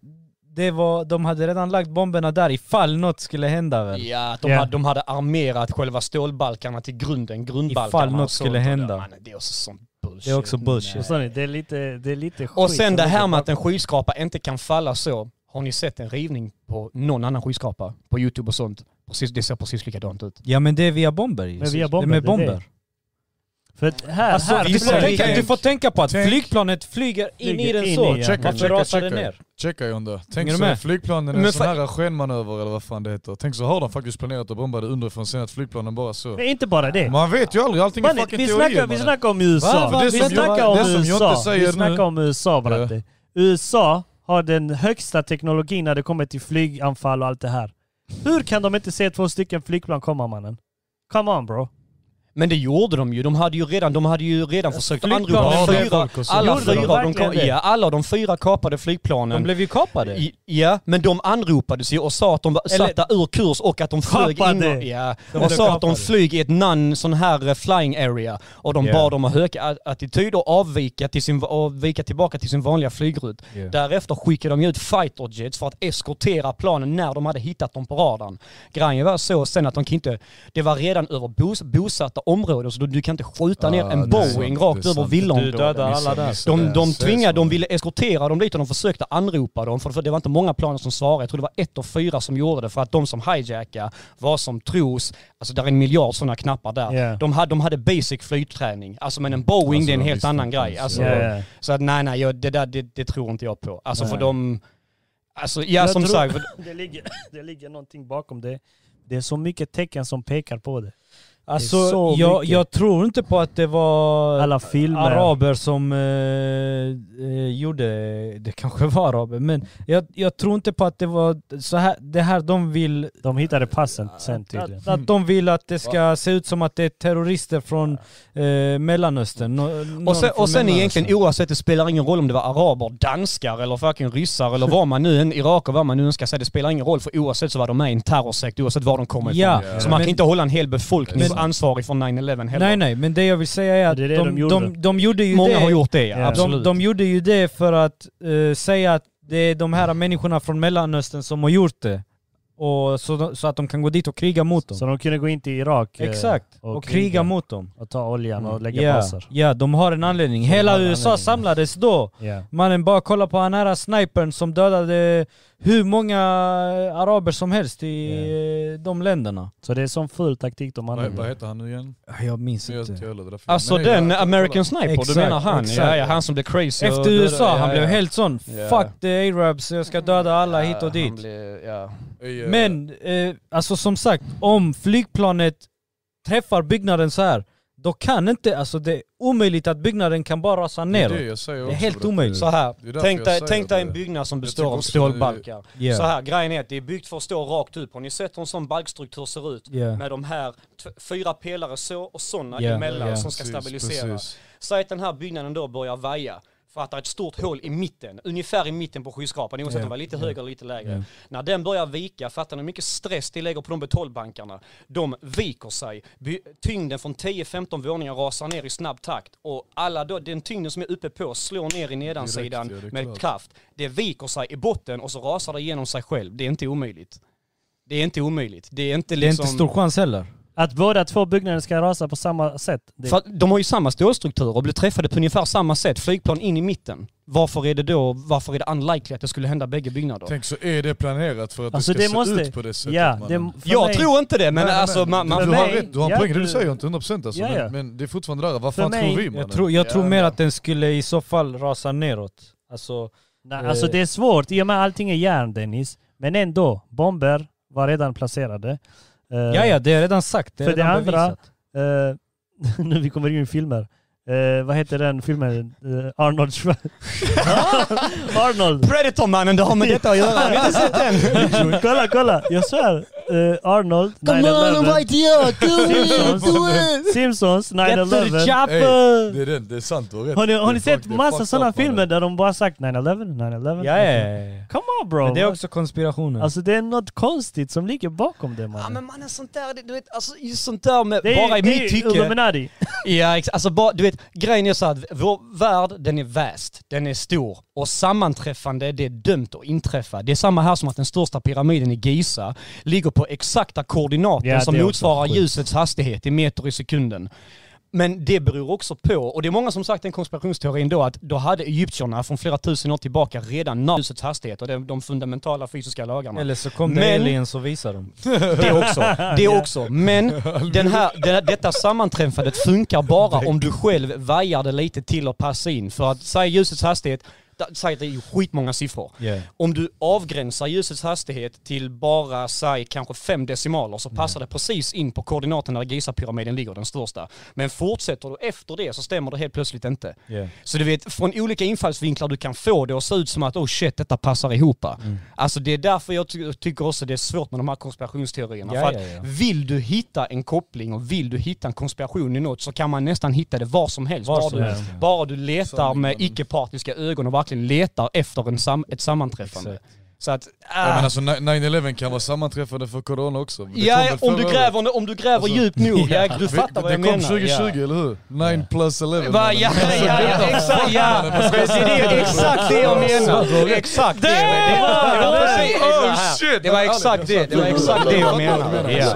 Speaker 2: det var, de hade redan lagt bomberna där ifall något skulle hända väl?
Speaker 4: Ja, att de,
Speaker 1: Ja.
Speaker 4: hade, de hade armerat själva stålbalkarna till grunden, grundbalkarna.
Speaker 2: Ifall
Speaker 4: och
Speaker 2: något
Speaker 4: sånt.
Speaker 2: skulle
Speaker 4: Och det-
Speaker 2: hända.
Speaker 4: Man, det är också sånt bullshit.
Speaker 2: Det är också bullshit.
Speaker 1: Förstår ni? Det är lite, det är lite skit.
Speaker 4: Och sen det
Speaker 1: som
Speaker 4: här
Speaker 1: ligger
Speaker 4: med att en
Speaker 1: bakom.
Speaker 4: skyskrapa inte kan falla så. Har ni sett en rivning på någon annan skyskrapa? På YouTube och sånt? Precis, det ser precis likadant ut.
Speaker 2: Ja men det är via bomber ju.
Speaker 1: Men via
Speaker 2: Det är
Speaker 1: bomber,
Speaker 2: med
Speaker 1: det är det.
Speaker 2: bomber.
Speaker 1: För att här,
Speaker 2: Alltså,
Speaker 1: här
Speaker 2: du, får
Speaker 1: blev-
Speaker 2: tänka, du får tänka på att
Speaker 3: Tänk-
Speaker 2: flygplanet flyger in i
Speaker 1: Flyger in
Speaker 2: den
Speaker 1: i,
Speaker 2: så.
Speaker 1: ja.
Speaker 3: Checka,
Speaker 2: Varför
Speaker 3: checka,
Speaker 2: rasar det
Speaker 3: checka.
Speaker 2: ner?
Speaker 3: Checka John där. Tänk
Speaker 2: Hänger du
Speaker 3: så är
Speaker 2: med?
Speaker 3: flygplanen
Speaker 4: Men
Speaker 3: en sån
Speaker 4: fa-
Speaker 3: här skenmanöver eller vad fan det heter. Tänk så har de faktiskt planerat att bomba det underifrån sen att flygplanen bara så.
Speaker 1: Men inte bara det.
Speaker 3: Man vet ju aldrig, allting är
Speaker 1: Mannen,
Speaker 3: fucking
Speaker 1: vi,
Speaker 3: teorier
Speaker 1: snackar, vi snackar om USA.
Speaker 3: Va, va,
Speaker 1: vi
Speaker 3: det som
Speaker 1: snackar
Speaker 3: jag-
Speaker 1: om
Speaker 3: det som jag
Speaker 1: USA.
Speaker 3: inte säger
Speaker 1: vi snackar
Speaker 3: nu.
Speaker 1: om USA bratte. USA har den högsta teknologin när det kommer till flyganfall och allt det här. Hur kan de inte se två stycken flygplan komma mannen? Come on bro.
Speaker 4: Men det gjorde de ju. De hade ju redan, de hade ju redan försökt
Speaker 1: flygplanen
Speaker 4: anropa
Speaker 1: kapade
Speaker 4: de fyra.
Speaker 3: folk och så.
Speaker 4: Alla
Speaker 1: Gjorde de
Speaker 4: fyra, de,
Speaker 1: verkligen
Speaker 4: kom-
Speaker 1: det?
Speaker 4: ja, alla de fyra kapade flygplanen.
Speaker 2: De blev ju kapade.
Speaker 4: I- Ja, men de anropades ju och sa att de var
Speaker 2: Eller-
Speaker 4: satta ur kurs och att de flög in
Speaker 1: Kapade.
Speaker 4: och, ja,
Speaker 2: De
Speaker 4: och sa att de
Speaker 2: kapade.
Speaker 4: flög i ett non sån här eh, flying area. Och de
Speaker 2: Ja.
Speaker 4: bad dem att höga a- attityd och avvika, till sin, och vika tillbaka till sin vanliga flygrutt.
Speaker 2: Ja.
Speaker 4: Därefter skickade de ut fighter jets för att eskortera planen när de hade hittat dem på radarn. Grejen var så sen att de kan inte, det var redan över bos, bosatta områden så du, du kan inte skjuta ner
Speaker 3: Ah,
Speaker 4: en
Speaker 3: det är sant,
Speaker 4: Boeing
Speaker 3: det är
Speaker 4: rakt över
Speaker 3: sant.
Speaker 2: Du
Speaker 4: villaområden.
Speaker 2: dödar alla
Speaker 3: Missar,
Speaker 2: där.
Speaker 3: missar.
Speaker 4: De, de
Speaker 3: Ses,
Speaker 4: tvingade, de
Speaker 3: mannen.
Speaker 4: ville eskortera dem dit och de försökte anropa dem. För för det var inte många planer som svarade. Jag tror det var ett av fyra som gjorde det. För att de som hijackade var som tros, alltså där är en miljard sådana knappar där.
Speaker 1: Yeah.
Speaker 4: De, hade, de hade basic flygträning. Alltså men en Boeing
Speaker 3: Alltså,
Speaker 4: det är en
Speaker 3: de
Speaker 4: helt
Speaker 3: visste
Speaker 4: annan
Speaker 3: inte
Speaker 4: grej.
Speaker 3: ens,
Speaker 4: Alltså,
Speaker 3: ja.
Speaker 1: Yeah.
Speaker 4: Så att nej, nej, jag, det där det, det tror inte jag på. Alltså för
Speaker 1: Nej.
Speaker 4: de... Alltså ja,
Speaker 1: Jag
Speaker 4: som
Speaker 1: tror-
Speaker 4: sagt.
Speaker 1: Det, ligger, det ligger någonting bakom det. Det är så mycket tecken som pekar på det.
Speaker 2: Alltså
Speaker 1: Det är så
Speaker 2: jag,
Speaker 1: mycket.
Speaker 2: jag tror inte på att det var
Speaker 1: Alla filmer.
Speaker 2: araber som eh, eh, gjorde, det kanske var araber, men jag, jag tror inte på att det var så här, det här de vill
Speaker 1: De hittade passen sen tydligen.
Speaker 2: Att, att de vill att det ska se ut som att det är terrorister från eh, Mellanöstern. Nå, någon
Speaker 4: Och sen,
Speaker 2: från
Speaker 4: och sen
Speaker 2: Mellanöstern.
Speaker 4: egentligen oavsett, det spelar ingen roll om det var araber, danskar eller fucking ryssar eller vad man nu än, iraker, vad man nu än ska säga. Det spelar ingen roll för oavsett så var de med i en terrorsekt, oavsett var de kommer ifrån.
Speaker 2: Ja,
Speaker 3: Ja.
Speaker 4: Så man
Speaker 2: men-
Speaker 4: kan inte hålla en hel befolkning
Speaker 2: Men-
Speaker 4: ansvarig för 9-11 heller.
Speaker 2: Nej nej, men det jag vill säga är att
Speaker 1: Det är det
Speaker 2: de,
Speaker 1: de
Speaker 2: de,
Speaker 1: gjorde.
Speaker 2: de, gjorde ju
Speaker 4: Många
Speaker 2: det.
Speaker 4: har gjort det, ja.
Speaker 1: Ja.
Speaker 2: de,
Speaker 4: Absolut.
Speaker 2: de gjorde ju det för att eh, säga att det är de här människorna från Mellanöstern som har gjort det. Och så, de- så att de kan gå dit och kriga mot dem.
Speaker 1: Så de kunde gå in till Irak eh,
Speaker 2: Exakt, och, kriga mot dem.
Speaker 1: och ta oljan och lägga
Speaker 2: Mm. Ja,
Speaker 1: passer.
Speaker 2: ja, de har en anledning.
Speaker 1: de har
Speaker 2: Hela
Speaker 1: en
Speaker 2: USA
Speaker 1: anledning.
Speaker 2: samlades då.
Speaker 1: Ja.
Speaker 2: Mannen, bara kolla på den här snipern som dödade hur många araber som helst i eh, de länderna.
Speaker 1: Så det är sån full taktik de
Speaker 3: Vad, vad
Speaker 1: använder.
Speaker 3: heter han nu igen?
Speaker 2: Jag minns
Speaker 3: Jag
Speaker 2: inte.
Speaker 3: vet inte heller, det där filmen.
Speaker 4: Alltså
Speaker 3: Nej,
Speaker 4: den
Speaker 3: jag-
Speaker 4: American Sniper,
Speaker 2: Exakt,
Speaker 4: du menar han?
Speaker 2: exakt.
Speaker 4: Ja, ja, han som blev crazy. och
Speaker 2: Efter
Speaker 4: dödade-
Speaker 2: USA,
Speaker 4: ja,
Speaker 2: han
Speaker 4: ja.
Speaker 2: blev helt sån.
Speaker 4: Ja.
Speaker 2: Fuck the arabs, jag ska döda alla
Speaker 4: Ja,
Speaker 2: hit och
Speaker 4: han
Speaker 2: dit.
Speaker 4: blev- ja.
Speaker 3: Ey, eh,
Speaker 2: Men, eh, alltså som sagt, om flygplanet träffar byggnaden så här, då kan inte, alltså det är omöjligt att byggnaden kan bara rasa
Speaker 3: det är
Speaker 2: ner.
Speaker 3: det jag säger
Speaker 2: Det är
Speaker 3: också,
Speaker 2: helt
Speaker 3: bro.
Speaker 2: omöjligt.
Speaker 4: Så här,
Speaker 3: Det är därför
Speaker 4: tänk
Speaker 3: jag
Speaker 4: dig,
Speaker 3: säger
Speaker 4: tänk dig en
Speaker 3: det.
Speaker 4: byggnad som
Speaker 3: Jag
Speaker 4: består
Speaker 3: tycker
Speaker 4: av
Speaker 3: också det är-
Speaker 4: stålbalkar.
Speaker 2: Yeah.
Speaker 4: Så här, grejen är att det är byggt för att stå rakt upp. Har ni sett hur en sån balkstruktur ser ut?
Speaker 2: Yeah.
Speaker 4: Med de här t- fyra pelare så och sådana
Speaker 2: Yeah,
Speaker 4: emellan
Speaker 2: yeah.
Speaker 4: som ska
Speaker 3: Precis,
Speaker 4: stabilisera.
Speaker 3: precis.
Speaker 4: Säg att den här byggnaden då börjar vaja för att det är ett stort hål i mitten, ungefär i mitten på skyskrapan, oavsett om den var lite högre eller lite lägre. När den börjar vika, fattar ni hur mycket stress det lägger på de betongbankarna? De viker sig, By- tyngden från 10-15 våningar rasar ner i snabb takt och alla då, den tyngden som är uppe på slår ner i nedansidan
Speaker 3: ja, det är
Speaker 4: med
Speaker 3: klart.
Speaker 4: kraft. Det viker sig i botten och så rasar det igenom sig själv. Det är inte omöjligt. Det är inte omöjligt. Det är inte
Speaker 2: Det är
Speaker 4: liksom...
Speaker 2: inte stor chans heller.
Speaker 1: Att båda två byggnader ska rasa på samma sätt. Det,
Speaker 4: För att de har ju samma stålstruktur och blev träffade på ungefär samma sätt. Flygplan in i mitten. Varför är det då, varför är det unlikely att det skulle hända bägge byggnader?
Speaker 3: Tänk så är det planerat för att
Speaker 1: Alltså,
Speaker 3: det ska
Speaker 1: det
Speaker 3: se
Speaker 1: måste-
Speaker 3: ut på det sättet
Speaker 1: ja,
Speaker 3: mannen.
Speaker 1: det, för
Speaker 4: jag
Speaker 1: mig,
Speaker 4: tror inte det, men alltså man, man
Speaker 3: du,
Speaker 1: för
Speaker 3: har
Speaker 1: mig-
Speaker 3: rätt, du har en
Speaker 1: ja,
Speaker 3: poäng i det
Speaker 1: du-
Speaker 3: du säger, inte 100% alltså,
Speaker 1: Ja, ja.
Speaker 3: Men, men det är fortfarande där, vad
Speaker 1: För
Speaker 3: fan
Speaker 1: mig-
Speaker 3: tror vi mannen?
Speaker 2: Jag tror, jag tror
Speaker 3: Ja,
Speaker 2: mer
Speaker 3: ja.
Speaker 2: att den skulle i så fall rasa neråt. Alltså,
Speaker 1: Nej, alltså det är svårt i och med allting är järn Dennis. Men ändå, bomber var redan placerade. Eh,
Speaker 2: ja ja, det är redan sagt. Det är
Speaker 1: För det
Speaker 2: redan
Speaker 1: andra-
Speaker 2: bevisat.
Speaker 1: Eh, nu vi kommer in i filmer. Eh, vad heter den filmen? Eh, Arnold Schwar- Arnold!
Speaker 4: Predator mannen, det har med detta att göra. Har ni inte sett den?
Speaker 1: kolla, kolla! Jag svär! Eh, Arnold, 9-11,
Speaker 4: idea!
Speaker 1: Simpsons. Simpsons, 9-11.
Speaker 3: Ey, det är den, det är sant, du har rätt.
Speaker 1: Har ni, har ni
Speaker 3: Det är
Speaker 1: sett
Speaker 3: fuck- det är
Speaker 1: massa
Speaker 3: fucked
Speaker 1: sådana
Speaker 3: up, mannen.
Speaker 1: filmer där de bara sagt 9-11, 9-11?
Speaker 2: Ja, ja, ja, ja.
Speaker 1: Come on bro!
Speaker 2: Men det är också konspirationer.
Speaker 1: Alltså det är något konstigt som ligger bakom det
Speaker 4: Ja
Speaker 1: mannen.
Speaker 4: men mannen sånt där, det- du vet, alltså just sånt där med,
Speaker 1: det är,
Speaker 4: bara i
Speaker 1: det är
Speaker 4: mitt tycke.
Speaker 1: Illuminati.
Speaker 4: Ja, ex- alltså bara, du vet, grejen är så att vår värld, den är väst, den är stor och sammanträffande, det är dömt att inträffa. Det är samma här som att den största pyramiden i Giza ligger på exakta koordinater
Speaker 1: Ja,
Speaker 4: som
Speaker 1: det är också
Speaker 4: motsvarar
Speaker 1: sjukt.
Speaker 4: ljusets hastighet i meter i sekunden. Men det beror också på, och det är många som sagt den konspirationsteorin då, att då hade egyptierna från flera tusen år tillbaka redan nått ljusets hastighet och de, de fundamentala fysiska lagarna.
Speaker 2: Eller så kom det
Speaker 4: Men-
Speaker 2: aliens och visade dem.
Speaker 4: Det också. Det också. Men den här, den, detta sammanträffandet funkar bara om du själv vajar det lite till och passa in. För att säga ljusets hastighet, da- säg att det är ju skitmånga siffror.
Speaker 2: Yeah.
Speaker 4: Om du avgränsar ljusets hastighet till bara, säg kanske fem decimaler så passar
Speaker 2: Mm.
Speaker 4: det precis in på koordinaten där Gizapyramiden ligger, den största. Men fortsätter du efter det så stämmer det helt plötsligt inte.
Speaker 2: Yeah.
Speaker 4: Så du vet, från olika infallsvinklar du kan få det och se ut som att oh shit, detta passar ihop.
Speaker 2: Mm.
Speaker 4: Alltså det är därför jag ty- tycker också det är svårt med de här konspirationsteorierna.
Speaker 2: Ja,
Speaker 4: för att
Speaker 2: ja, ja.
Speaker 4: vill du hitta en koppling och vill du hitta en konspiration i något så kan man nästan hitta det var som helst.
Speaker 2: Var
Speaker 4: bara,
Speaker 2: som
Speaker 4: du,
Speaker 2: helst, ja.
Speaker 4: bara du letar
Speaker 3: Sanningen.
Speaker 4: med icke-partiska ögon och verkligen letar efter en sam- ett sammanträffande. Så att, ah.
Speaker 3: Ja, men alltså 9-11 kan vara sammanträffande för corona också. Det kom
Speaker 4: ja,
Speaker 3: väl
Speaker 4: om du
Speaker 3: förra året.
Speaker 4: gräver, om du gräver
Speaker 3: Alltså,
Speaker 4: djupt nog, ja, du
Speaker 3: Vi-
Speaker 4: fattar vad jag
Speaker 3: Det kom
Speaker 4: menar.
Speaker 3: 2020,
Speaker 4: ja.
Speaker 3: eller hur? 9 plus 11.
Speaker 4: Va,
Speaker 3: mannen. Alltså,
Speaker 4: ja, ja, ja, ja, exakt, ja. Det är det- exakt det jag menar. Exakt det. Det var- det var precis-
Speaker 3: Oh, shit.
Speaker 4: Det var exakt det. Det var exakt det jag menade. Ja.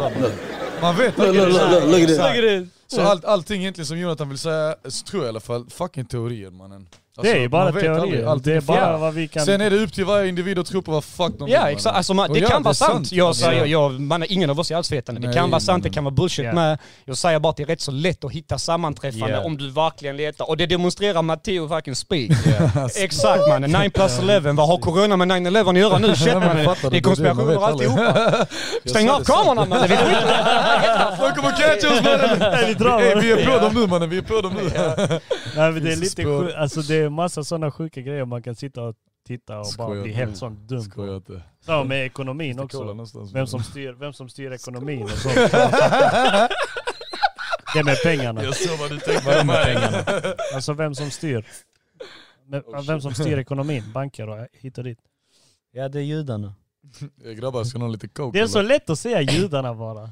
Speaker 3: Man vet verkligen inte.
Speaker 5: look at
Speaker 3: Exakt. Så allt, allting egentligen som Jonathan vill säga, så tror jag i alla fall, fucking teorier mannen. Alltså,
Speaker 1: det är ju bara
Speaker 3: man vet aldrig,
Speaker 1: teorier.
Speaker 3: allting
Speaker 1: Det är
Speaker 3: är fel.
Speaker 1: bara vad vi kan...
Speaker 3: Sen är det upp till varje individ att tro på vad fuck de vill,
Speaker 4: Ja
Speaker 3: mannen.
Speaker 4: exakt, alltså, man,
Speaker 3: Och
Speaker 4: det
Speaker 3: ja,
Speaker 4: kan vara
Speaker 3: är
Speaker 4: sant. Jag säger,
Speaker 3: Alltså,
Speaker 4: jag, man, ingen av oss är allsvetande. Det
Speaker 3: Nej,
Speaker 4: kan vara sant, det
Speaker 3: men-
Speaker 4: kan vara bullshit
Speaker 1: Ja.
Speaker 4: med. Jag säger bara att det är rätt så lätt att hitta sammanträffande
Speaker 2: Ja.
Speaker 4: om du verkligen letar. Och det demonstrerar Matteo fucking Speak. Exakt mannen, 9 plus 11. Vad har corona med 9-11 att göra nu? Shit
Speaker 3: men
Speaker 4: mannen,
Speaker 3: fattar du,
Speaker 4: det är
Speaker 3: det är det man vet
Speaker 4: konspirationer och
Speaker 3: aldrig.
Speaker 4: alltihopa. Stäng
Speaker 3: sa
Speaker 4: av
Speaker 3: det, sant.
Speaker 4: kamerorna mannen, vi skiter
Speaker 3: De kommer catcha oss mannen!
Speaker 1: Nej, vi drar,
Speaker 3: Ey, vi är
Speaker 1: va?
Speaker 3: på dem nu mannen, vi är på dem nu.
Speaker 1: Nej, men det är
Speaker 3: Finns det
Speaker 1: lite
Speaker 3: spår?
Speaker 1: sjukt. Alltså det är massa sådana sjuka grejer man kan sitta och titta och bara
Speaker 3: Skojar
Speaker 1: bli
Speaker 3: du?
Speaker 1: helt sån dum på.
Speaker 3: Skojar inte.
Speaker 1: Ja, med ekonomin
Speaker 3: Kolla
Speaker 1: också.
Speaker 3: någonstans.
Speaker 1: Vem som styr, vem som styr ekonomin och sånt. Det med pengarna.
Speaker 3: Jag såg vad du tänkte på mig.
Speaker 1: Alltså vem som styr. Men-
Speaker 2: Oh,
Speaker 1: Vem som styr ekonomin, banker och hit och dit.
Speaker 2: Ja det är judarna.
Speaker 3: Ey, Eh, Grabbar, ska någon ha lite coke
Speaker 1: Det är så
Speaker 3: eller?
Speaker 1: lätt att säga judarna bara.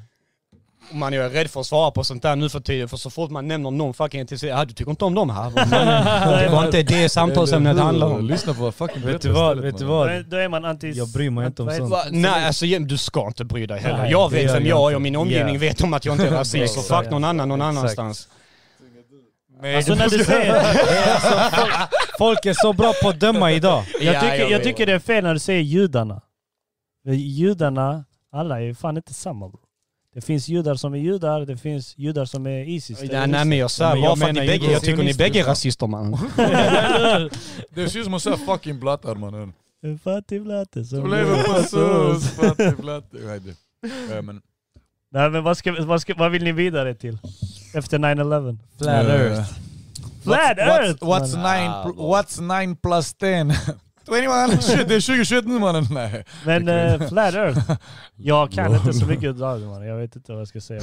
Speaker 4: Man jag är rädd för att svara på sånt där nu för tiden för så fort man nämner någon fucking till ja, du tycker inte om dem här. Men Det var inte det samtalsämnet
Speaker 3: Eller hur?
Speaker 4: handlar om.
Speaker 3: Lyssna på vad fucking
Speaker 2: Vet
Speaker 3: berättar
Speaker 2: du vad?
Speaker 3: istället,
Speaker 2: Vet du
Speaker 3: mannen.
Speaker 1: Då är-
Speaker 2: vad?
Speaker 1: Då är man anti...
Speaker 2: Jag bryr mig inte om
Speaker 1: vad heter-
Speaker 2: sånt.
Speaker 4: Va, nej alltså Jem, du ska inte bry dig heller.
Speaker 1: Nej,
Speaker 4: jag
Speaker 2: det gör
Speaker 4: vet vem
Speaker 2: jag
Speaker 4: jag är
Speaker 2: inte.
Speaker 4: och min omgivning
Speaker 2: Ja.
Speaker 4: vet om att jag inte är rasist. och
Speaker 1: Exakt.
Speaker 4: fuck någon annan någon
Speaker 2: Exakt.
Speaker 4: annanstans.
Speaker 3: Nej,
Speaker 1: Alltså
Speaker 3: du-
Speaker 1: när du säger...
Speaker 2: Folk är så bra på att döma idag.
Speaker 1: Jag tycker, jag tycker det är fel när du säger judarna. För Judarna, alla är ju fan inte samma bro. Det finns judar som är judar, det finns judar som är Isis.
Speaker 4: Nej, nej men jag svär
Speaker 2: Men
Speaker 4: bara
Speaker 2: jag
Speaker 4: för att ni
Speaker 2: menar ju
Speaker 4: bägge, jag tycker ni
Speaker 2: sionister,
Speaker 4: bägge är
Speaker 2: fan.
Speaker 4: rasister man.
Speaker 3: Det ser ut som att säga fucking blattar mannen.
Speaker 1: En fattig blatte som
Speaker 3: Du lever på sås, fattig blatte. Nej, det- Ja, men-
Speaker 1: Nej men vad, ska, vad, ska, vad vill ni vidare till? Efter 9-11?
Speaker 2: Flat
Speaker 3: Eh,
Speaker 2: earth.
Speaker 1: Flat Earth! man.
Speaker 3: nine, pl- what's nine plus ten? 21! Shit, det är 2021 nu mannen! Nej.
Speaker 1: Men eh, Flat Earth, jag kan
Speaker 3: Lol.
Speaker 1: inte så mycket idag man. Jag vet inte vad jag ska säga.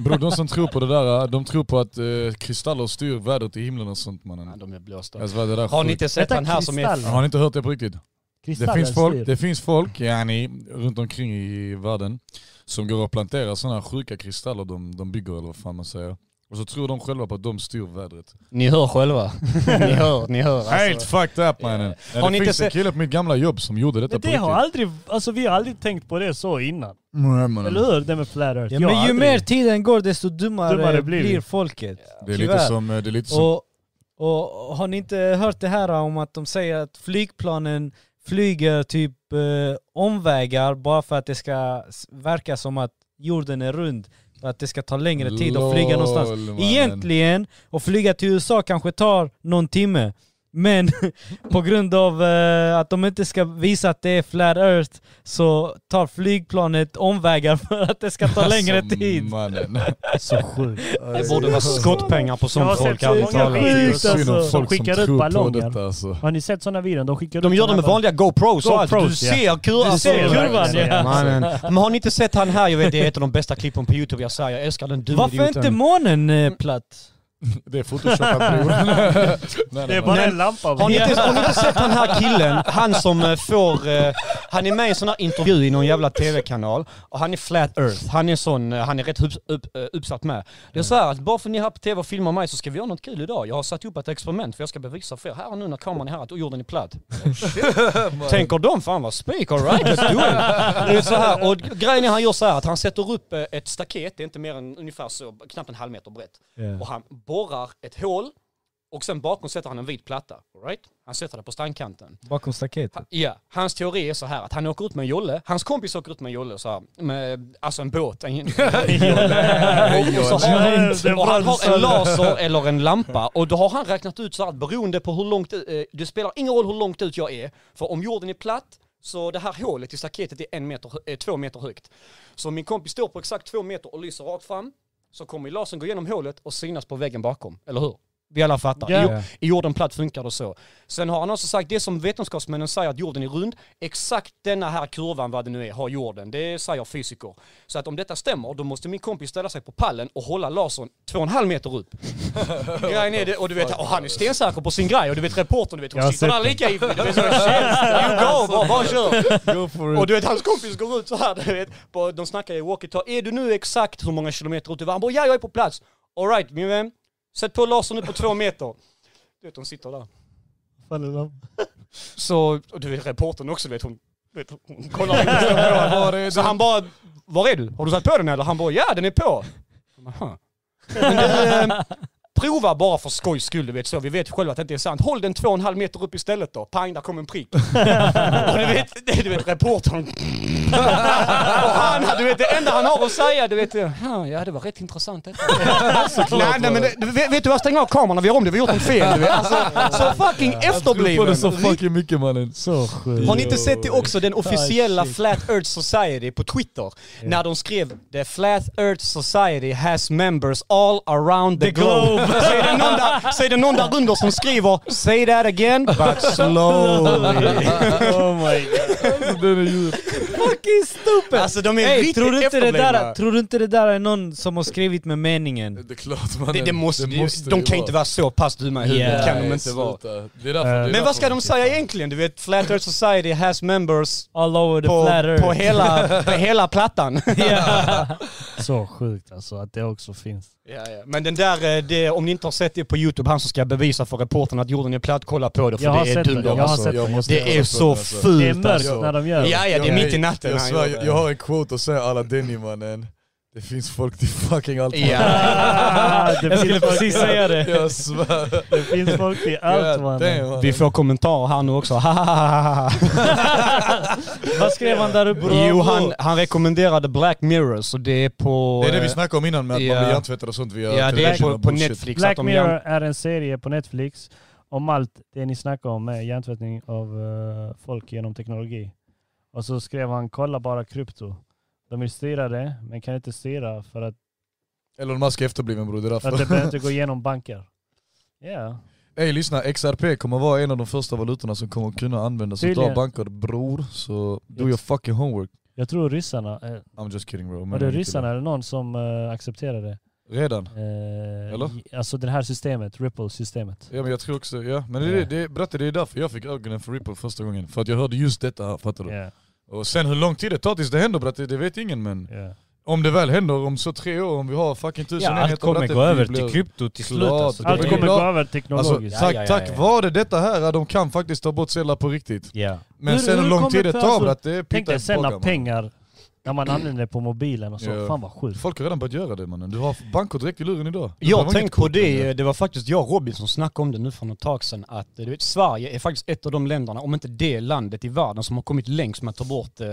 Speaker 3: Bror, de som tror på det där, de tror på att eh, kristaller styr vädret i himlen och sånt mannen.
Speaker 4: De är blåsta.
Speaker 3: Alltså, vad är det där
Speaker 4: Har ni
Speaker 3: sjukt?
Speaker 4: inte sett
Speaker 1: Detta
Speaker 4: den här som är...
Speaker 1: kristall.
Speaker 3: Har ni inte hört det på riktigt? Det
Speaker 1: Kristallen
Speaker 3: finns, folk,
Speaker 1: styr.
Speaker 3: det finns folk yani, runt omkring i världen som går och planterar sådana sjuka kristaller de, de bygger eller vad fan man säger. Och så tror de själva på att de styr vädret.
Speaker 4: Ni hör själva. ni hör, ni hör.
Speaker 3: Helt
Speaker 4: Alltså.
Speaker 3: fucked up mannen. Ja,
Speaker 4: Har ni
Speaker 3: Det
Speaker 4: inte
Speaker 3: finns en
Speaker 4: sett-
Speaker 3: kille på mitt gamla jobb som gjorde detta
Speaker 1: Men
Speaker 3: på
Speaker 1: det
Speaker 3: riktigt.
Speaker 1: har aldrig, alltså vi har aldrig tänkt på det så innan.
Speaker 3: Nej, mannen.
Speaker 1: Eller hur? Det med flat earth. Jag
Speaker 2: Ja, men ju
Speaker 1: har aldrig-
Speaker 2: mer tiden går desto dummare,
Speaker 1: Dummare blir
Speaker 2: blir,
Speaker 1: vi.
Speaker 2: folket.
Speaker 3: Det är lite
Speaker 2: Tyvärr.
Speaker 3: som, det är lite som
Speaker 2: Och, och har ni inte hört det här om att de säger att flygplanen flyger typ eh, omvägar bara för att det ska s- verka som att jorden är rund. För att det ska ta längre tid att flyga någonstans.
Speaker 3: Lol, mannen.
Speaker 2: Egentligen, att flyga till USA kanske tar någon timme. Men på grund av eh, att de inte ska visa att det är flat earth så tar flygplanet omvägar för att det ska ta längre
Speaker 3: Alltså,
Speaker 2: tid.
Speaker 3: Mannen. Alltså,
Speaker 2: Så sjukt.
Speaker 4: Det borde vara skottpengar på
Speaker 1: Jag har
Speaker 4: sånt
Speaker 1: sett
Speaker 4: folk,
Speaker 1: så
Speaker 4: ärligt
Speaker 1: många
Speaker 4: talat.
Speaker 1: videos.
Speaker 3: Det är
Speaker 1: Sjukt,
Speaker 3: synd om
Speaker 1: alltså.
Speaker 3: folk som
Speaker 1: Skickar ut
Speaker 3: tror på
Speaker 1: ballonger.
Speaker 3: detta alltså.
Speaker 1: Har ni sett sådana videor? De skickar
Speaker 4: De
Speaker 1: ut
Speaker 4: gör det
Speaker 1: såna
Speaker 4: med
Speaker 1: här-
Speaker 4: vanliga GoPros och allt. Du
Speaker 1: GoPros, ja.
Speaker 4: ser kurvan.
Speaker 1: Du ser
Speaker 4: alltså.
Speaker 1: kurvan, ja.
Speaker 4: Mannen. Men har ni inte sett han här? Jag vet, det är ett av de bästa klippen på YouTube jag ser. Jag älskar den dumme
Speaker 2: Varför inte månen eh, platt?
Speaker 3: Det är photoshopat bror. Nej, nej,
Speaker 1: Det är
Speaker 3: nej.
Speaker 1: bara
Speaker 4: Nej.
Speaker 1: en lampa.
Speaker 4: Har ni, inte, har ni inte sett den här killen? Han som eh, får... eh, han är med i en sån här intervju i någon jävla tv-kanal. Och han är flat earth. Han är sån, eh, han är rätt upp, upp, eh, uppsatt med. Det är så här att bara för att ni är här på tv och filmar mig så ska vi göra något kul idag. Jag har satt upp ett experiment för jag ska bevisa för er här och nu när kameran är här att jorden är platt. Tänker de fan vad spik, alright let's do it. Det är så här, och grejen är han gör så här att han sätter upp eh, ett staket, det är inte mer än ungefär så, knappt en halv meter brett. Och han borrar ett hål och sen bakom sätter han en vit platta. All right? Han sätter det på strandkanten.
Speaker 2: Bakom staketet?
Speaker 4: Ha- Ja, hans teori är så här att han åker ut med en jolle. Hans kompis åker ut med en jolle, så här, med, alltså en båt. En, en jolle. Och, och, så har han, och han har en laser eller en lampa och då har han räknat ut så här att beroende på hur långt, eh, det spelar ingen roll hur långt ut jag är. För om jorden är platt så det här hålet i staketet är en meter, hö- eh, två meter högt. Så om min kompis står på exakt två meter och lyser rakt fram så kommer ju lasern gå igenom hålet och synas på väggen bakom, eller hur? Vi alla fattar.
Speaker 1: Ja.
Speaker 4: I, jor- I jorden platt funkar det så. Sen har han också sagt det som vetenskapsmännen säger att jorden är rund. Exakt denna här kurvan, vad det nu är, har jorden. Det säger fysiker. Så att om detta stämmer, då måste min kompis ställa sig på pallen och hålla lasern två och en halv meter upp. Grejen är det, och du vet, och han är stensäker på sin grej. Och du vet reportern, du vet,
Speaker 1: Jag har
Speaker 4: hon sitter
Speaker 1: sett
Speaker 4: där lika ivrig. Du vet, så, you go, bara, bara kör.
Speaker 3: Go for
Speaker 4: Och
Speaker 3: it.
Speaker 4: du vet hans kompis går ut så här, du vet. På, de snackar i walkie-talkie. Är du nu exakt hur många kilometer ut du var? Han bara ja, jag är på plats. Alright min vän, sätt på lasern nu på två meter. Du vet de sitter där. Så, och du vet reportern också, du vet hon, du vet, hon kollar inte så på honom.
Speaker 3: Var är
Speaker 4: Så
Speaker 3: den?
Speaker 4: han bara, var är du? Har du satt på den eller? Han bara, ja den är på. Aha. Men du, eh, prova bara för skojs skull, du vet så. Vi vet själva att det inte är sant. Håll den två och en halv meter upp istället då. Pang, där kom en prick. och du vet, det- du vet reportern. och han, du vet det enda han har att säga, du vet. "Aha, Ja, det var rätt intressant detta. nej, nej, men det, du vet, vet du vad? Stäng av kamerorna, vi har om det. Vi har gjort något fel. Du vet. Alltså, så fucking
Speaker 3: Du får det
Speaker 4: efterbliven.
Speaker 3: så fucking mycket mannen.
Speaker 1: Så sjukt.
Speaker 4: Har ni inte sett det också,
Speaker 2: Oh,
Speaker 4: den officiella Flat Earth Society på Twitter? När de skrev “The Flat Earth Society has members all around the, globe”. så, är det någon där, så är det någon där under som skriver “Say that again, but slowly”.
Speaker 1: Oh my god.
Speaker 3: Den är djup.
Speaker 2: Fucking stupid!
Speaker 4: alltså de är
Speaker 2: Hey,
Speaker 4: riktigt
Speaker 2: tror, du inte det där,
Speaker 4: efterblivna.
Speaker 2: tror du inte det där är någon som har skrivit med meningen?
Speaker 3: Det är klart mannen.
Speaker 4: Det, det måste,
Speaker 3: det måste
Speaker 4: de
Speaker 3: ju
Speaker 4: kan ju inte vara så pass dumma i huvudet,
Speaker 2: Yeah.
Speaker 4: kan de
Speaker 3: Nej,
Speaker 4: inte vara.
Speaker 3: sluta. Det är därför, det är
Speaker 4: Men vad ska
Speaker 3: därför
Speaker 4: de säga egentligen? Du vet, Flat Earth Society has members
Speaker 2: All over the
Speaker 4: på,
Speaker 2: flat earth.
Speaker 4: på, hela, på hela plattan.
Speaker 1: Så sjukt alltså att det också finns.
Speaker 4: Ja, ja. Men den där, eh, det, om ni inte har sett det på YouTube, han som ska bevisa för reportern att jorden är platt, kolla på det för
Speaker 1: Jag har
Speaker 4: det är
Speaker 1: sett
Speaker 4: dumt.
Speaker 1: det, jag har
Speaker 4: Alltså.
Speaker 1: sett
Speaker 3: jag
Speaker 1: det.
Speaker 3: måste-
Speaker 1: Det
Speaker 4: Det är så
Speaker 3: Alltså.
Speaker 1: Det är
Speaker 4: fult
Speaker 1: mörkt
Speaker 4: alltså.
Speaker 1: när de gör det.
Speaker 4: Ja, ja, det är mitt i natten
Speaker 3: Jag,
Speaker 4: han
Speaker 3: svär,
Speaker 4: gör
Speaker 3: jag,
Speaker 4: det.
Speaker 3: jag har en quote att säga alla Denny mannen. Det finns folk till fucking allt.
Speaker 4: Ja.
Speaker 1: det
Speaker 2: Jag skulle
Speaker 1: finns folk
Speaker 2: precis
Speaker 1: i-
Speaker 2: säga det.
Speaker 3: Jag svär.
Speaker 1: Det finns folk i allt
Speaker 3: God
Speaker 1: mannen.
Speaker 3: damn,
Speaker 4: Vi får kommentarer här nu också.
Speaker 2: Vad skrev han där uppe?
Speaker 4: jo, han, han rekommenderade Black Mirror, så det är på...
Speaker 3: Det är det
Speaker 4: eh,
Speaker 3: vi snackade om innan med att
Speaker 4: Ja.
Speaker 3: man blir hjärntvättad och sånt via
Speaker 4: Ja, det är
Speaker 3: television
Speaker 4: på,
Speaker 3: och
Speaker 4: på
Speaker 3: bullshit.
Speaker 4: Netflix. att
Speaker 1: Black
Speaker 4: de
Speaker 1: Mirror
Speaker 4: gör-
Speaker 1: är en serie på Netflix om allt det ni snackar om med hjärntvättning av eh, folk genom teknologi. Och så skrev han kolla bara krypto. De vill styra det men kan inte styra för att,
Speaker 3: Elon Musk är efterbliven bror, det är
Speaker 1: för att det behöver
Speaker 3: därför.
Speaker 1: inte gå igenom banker. Ja,
Speaker 3: Ey lyssna, XRP kommer vara en av de första valutorna som kommer kunna användas
Speaker 1: Tydligen.
Speaker 3: utav banker bror. Så do your fucking homework.
Speaker 1: jag tror ryssarna, eh,
Speaker 3: I'm just kidding bro.
Speaker 1: var
Speaker 3: Men
Speaker 1: det ryssarna eller någon som eh, accepterade det?
Speaker 3: Redan?
Speaker 1: Eh,
Speaker 3: Eller?
Speaker 1: i- Alltså det här systemet, Ripple-systemet.
Speaker 3: Ja men jag tror också, ja. Men det,
Speaker 1: Ja.
Speaker 3: det, berätta, det är därför jag fick ögonen för Ripple första gången. För att jag hörde just detta här, fattar du?
Speaker 1: Ja,
Speaker 3: Och sen hur lång tid det tar tills det händer berätta, det vet ingen men
Speaker 1: ja.
Speaker 3: Om det väl händer om så tre år, om vi har fucking tusen
Speaker 2: Ja, allt
Speaker 3: enheter och
Speaker 2: kommer
Speaker 3: detta,
Speaker 2: gå
Speaker 3: vi
Speaker 2: över
Speaker 3: blir-
Speaker 2: till krypto till slut.
Speaker 3: Klart,
Speaker 2: Alltså,
Speaker 3: det
Speaker 1: Allt
Speaker 3: är
Speaker 1: kommer
Speaker 3: bra.
Speaker 1: gå över
Speaker 3: Alltså,
Speaker 1: teknologiskt.
Speaker 3: tack,
Speaker 4: Ja, ja, ja,
Speaker 3: tack
Speaker 4: ja.
Speaker 3: vare detta här, de kan faktiskt ta bort sedlar på riktigt.
Speaker 2: Ja.
Speaker 3: Men
Speaker 1: Hur-
Speaker 3: sen
Speaker 1: hur
Speaker 3: hur lång
Speaker 1: kommer
Speaker 3: tid det
Speaker 1: för-
Speaker 3: tar
Speaker 1: alltså,
Speaker 3: för att det
Speaker 1: Tänk dig
Speaker 3: pittas
Speaker 1: sen
Speaker 3: tillbaka,
Speaker 1: när
Speaker 3: man.
Speaker 1: pengar, när man använder det på mobilen och så,
Speaker 3: Ja.
Speaker 1: fan vad sjukt.
Speaker 3: Folk har redan börjat göra det mannen. Du har bankkort direkt i luren idag. Du
Speaker 4: Jag
Speaker 3: behöver inget
Speaker 4: tänkte på
Speaker 3: kort längre.
Speaker 4: det, det var faktiskt jag och Robin som snackade om det nu för något tag sedan, att du vet, Sverige är faktiskt ett av de länderna, om inte det landet i världen, som har kommit längst med att ta bort eh,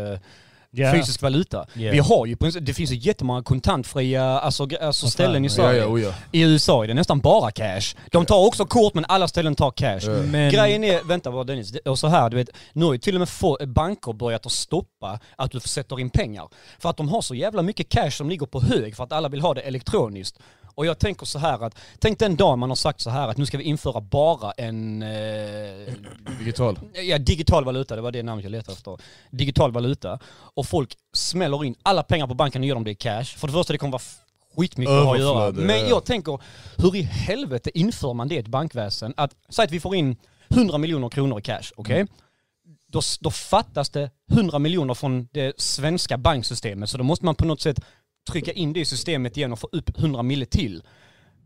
Speaker 1: Ja.
Speaker 4: fysisk valuta.
Speaker 2: Ja.
Speaker 4: Vi har ju, på en- det finns ju jättemånga kontantfria alltså, gre- alltså ställen i
Speaker 3: Ja,
Speaker 4: Sverige.
Speaker 3: ja, oja.
Speaker 4: I USA är det nästan bara cash. De tar också kort men alla ställen tar cash.
Speaker 3: Ja.
Speaker 2: Men,
Speaker 4: Grejen är, vänta vad Dennis, det- och så här du vet, nu har ju till och med få, banker börjat att stoppa att du sätter in pengar. För att de har så jävla mycket cash som ligger på hög för att alla vill ha det elektroniskt. Och jag tänker så här att, tänk den dag man har sagt så här att nu ska vi införa bara en eh,
Speaker 3: Digital.
Speaker 4: ja, digital valuta, det var det namnet jag letade efter. Digital valuta. Och folk smäller in alla pengar på banken och gör dem det i cash. För det första det kommer vara f- skitmycket att ha att göra.
Speaker 3: Överflöde,
Speaker 4: Men
Speaker 3: ja.
Speaker 4: jag tänker, hur i helvete inför man det i ett bankväsen? Att, säg att vi får in 100 miljoner kronor i cash, okej?
Speaker 3: Mm.
Speaker 4: Då, s- då fattas det 100 miljoner från det svenska banksystemet. Så då måste man på något sätt trycka in det i systemet igen och få upp 100 mille till.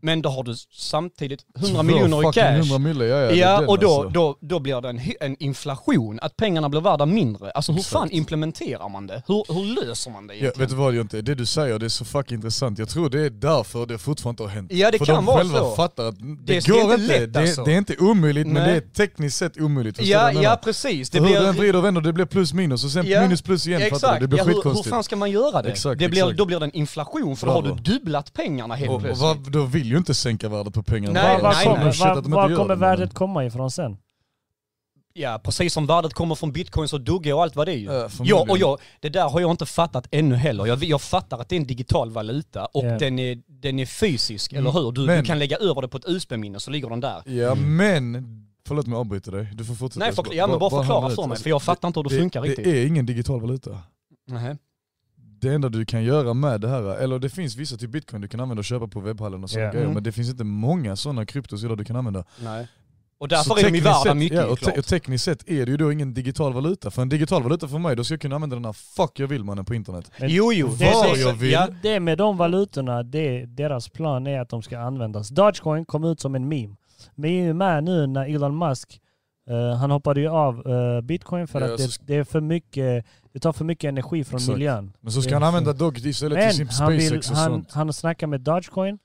Speaker 4: Men då har du samtidigt 100 miljoner i
Speaker 3: Fucking
Speaker 4: cash.
Speaker 3: 100 mille, ja, ja, det är
Speaker 4: Ja,
Speaker 3: den,
Speaker 4: och då,
Speaker 3: alltså.
Speaker 4: då, då blir det en, hy- en inflation, att pengarna blir värda mindre. Alltså hur fan
Speaker 3: Exakt.
Speaker 4: implementerar man det? Hur, hur löser man det
Speaker 3: Ja,
Speaker 4: egentligen?
Speaker 3: vet du vad Jonte, det du säger det är så fucking intressant. Jag tror det är därför det fortfarande inte har hänt.
Speaker 4: Ja, det
Speaker 3: För
Speaker 4: kan
Speaker 3: de
Speaker 4: vara
Speaker 3: själva
Speaker 4: så.
Speaker 3: fattar att det,
Speaker 4: Det är
Speaker 3: går
Speaker 4: inte
Speaker 3: inte.
Speaker 4: lätt,
Speaker 3: det,
Speaker 4: alltså.
Speaker 3: det är inte omöjligt men
Speaker 4: Nej.
Speaker 3: det är tekniskt sett omöjligt. Förstår du vad
Speaker 4: ja,
Speaker 3: jag
Speaker 4: ja
Speaker 3: menar?
Speaker 4: precis. Det
Speaker 3: hur
Speaker 4: blir,
Speaker 3: du än vrider och vänder, det blir plus minus och sen
Speaker 4: Ja,
Speaker 3: minus plus igen. Fattar du?
Speaker 4: exakt.
Speaker 3: Det blir
Speaker 4: ja, hur, hur
Speaker 3: skitkonstigt.
Speaker 4: fan ska man göra det?
Speaker 3: Exakt,
Speaker 4: det blir,
Speaker 3: exakt.
Speaker 4: Då blir det en inflation för då har
Speaker 3: Bravo.
Speaker 4: du dubblat pengarna helt
Speaker 3: Och, och
Speaker 4: plötsligt.
Speaker 3: vad, då vill ju inte sänka värdet på pengarna.
Speaker 4: Nej,
Speaker 1: Var, var
Speaker 4: nej,
Speaker 1: kommer,
Speaker 4: nej.
Speaker 3: Shit, att
Speaker 1: var,
Speaker 3: de inte
Speaker 1: var
Speaker 3: gör
Speaker 1: kommer
Speaker 3: det, mannen.
Speaker 1: värdet komma ifrån sen?
Speaker 4: Ja, precis som värdet kommer från bitcoins och Dugge och allt vad det är ju.
Speaker 3: Ja,
Speaker 4: ja,
Speaker 3: förmodligen.
Speaker 4: och jag, det där har jag inte fattat ännu heller. Jag, jag fattar att det är en digital valuta och
Speaker 1: Ja.
Speaker 4: den, är, den är fysisk, eller hur? Du,
Speaker 3: Mm. Men-
Speaker 4: du kan lägga över det på ett USB-minne så ligger den där.
Speaker 3: Ja
Speaker 1: Mm.
Speaker 3: men, förlåt om jag avbryter dig. Du får fortsätta.
Speaker 4: Nej,
Speaker 3: Jag ska
Speaker 4: förkla- ja, men bara
Speaker 3: hamna
Speaker 4: förklara
Speaker 3: ut.
Speaker 4: för mig,
Speaker 3: Alltså,
Speaker 4: för jag fattar inte hur det, funkar
Speaker 3: det,
Speaker 4: riktigt.
Speaker 3: Det är ingen digital valuta.
Speaker 4: Nähä.
Speaker 3: Det enda du kan göra med det här, eller det finns vissa typ bitcoin du kan använda och köpa på webbhallen och sådana
Speaker 1: Ja.
Speaker 3: grejer,
Speaker 4: Mm.
Speaker 3: men det finns inte många sådana kryptos idag du kan använda.
Speaker 4: Nej. Och därför
Speaker 3: Så
Speaker 4: är de ju
Speaker 3: tekniskt
Speaker 4: värda
Speaker 3: sett-
Speaker 4: mycket
Speaker 3: ja, och, te-
Speaker 4: klart.
Speaker 3: och tekniskt sett är det ju då ingen digital valuta. För en digital valuta för mig, då ska jag kunna använda den här fuck jag vill mannen på internet.
Speaker 4: Jo, jo.
Speaker 1: Det är
Speaker 3: Vad
Speaker 1: så-
Speaker 3: jag vill.
Speaker 4: Ja,
Speaker 1: Det med de valutorna, det, deras plan är att de ska användas. Dogecoin kom ut som en meme. Men är ju med nu när Elon Musk, eh, han hoppade ju av eh, bitcoin för
Speaker 3: Ja,
Speaker 1: att det,
Speaker 3: så-
Speaker 1: det, är för mycket, det tar för mycket energi från
Speaker 3: Exakt.
Speaker 1: miljön.
Speaker 3: Men så ska
Speaker 1: Det är
Speaker 3: han använda
Speaker 1: fint.
Speaker 3: Dog istället till
Speaker 1: Men
Speaker 3: sin
Speaker 1: han, vill,
Speaker 3: SpaceX och
Speaker 1: han,
Speaker 3: sånt.
Speaker 1: han snackar med Dogecoin,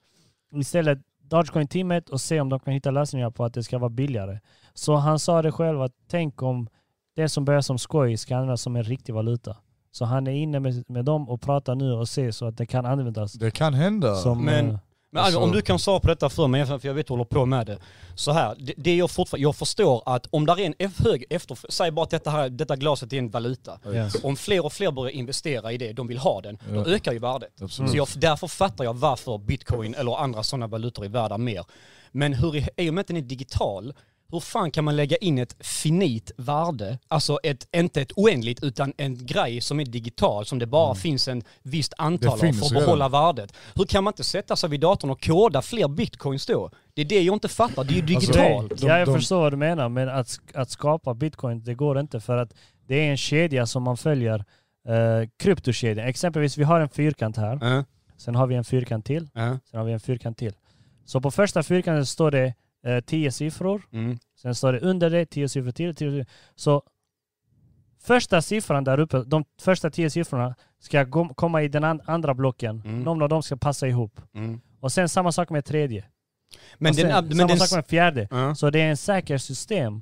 Speaker 1: istället Dogecoin-teamet och se om de kan hitta lösningar på att det ska vara billigare. Så han sa det själv att tänk om det som börjar som skoj ska användas som en riktig valuta. Så han är inne med, med dem och pratar nu och ser så att det kan användas
Speaker 3: Det kan hända.
Speaker 1: som...
Speaker 4: Men-
Speaker 1: eh,
Speaker 4: Men
Speaker 3: Alltså-
Speaker 4: Albin, om du kan svara på detta för mig, för jag vet du håller på med det. Så här, det, det jag fortfarande, jag förstår att om där är en F hög efterfrågan, säg bara att detta, här, detta glaset är en valuta.
Speaker 1: ja.
Speaker 4: Om fler och fler börjar investera i det, de vill ha den,
Speaker 3: Ja.
Speaker 4: då ökar ju värdet.
Speaker 3: Absolut.
Speaker 4: Så jag, därför fattar jag varför bitcoin eller andra sådana valutor är värda mer. Men hur, i- i och med att den är digital, hur fan kan man lägga in ett finit värde? Alltså ett, inte ett oändligt utan en grej som är digital som det bara finns en visst antal av
Speaker 3: Mm. finns
Speaker 4: för att
Speaker 3: redan.
Speaker 4: behålla värdet. Hur kan man inte sätta sig vid datorn och koda fler bitcoins då? Det är det jag inte fattar, det är ju
Speaker 3: Alltså,
Speaker 4: digitalt.
Speaker 1: Det, ja, jag
Speaker 3: de-
Speaker 1: förstår vad du menar, men att, sk- att skapa bitcoin, det går inte för att det är en kedja som man följer. Uh, kryptokedjan, exempelvis vi har en fyrkant här,
Speaker 4: Ja,
Speaker 1: sen har vi en fyrkant till,
Speaker 4: ja,
Speaker 1: sen har vi en fyrkant till. Så på första fyrkanten står det eh, tio siffror,
Speaker 4: mm.
Speaker 1: sen står det under det tio siffror till. Tio, siffror. så första siffran där uppe, de första tio siffrorna ska gå- komma i den an- andra blocken.
Speaker 4: Mm.
Speaker 1: Någon av dem ska passa ihop.
Speaker 4: Mm.
Speaker 1: Och sen samma sak med tredje.
Speaker 4: Men,
Speaker 1: och sen,
Speaker 4: den,
Speaker 1: Alltså, samma
Speaker 4: men, den,
Speaker 1: sak med fjärde.
Speaker 4: Ja.
Speaker 1: Så det är en säker system.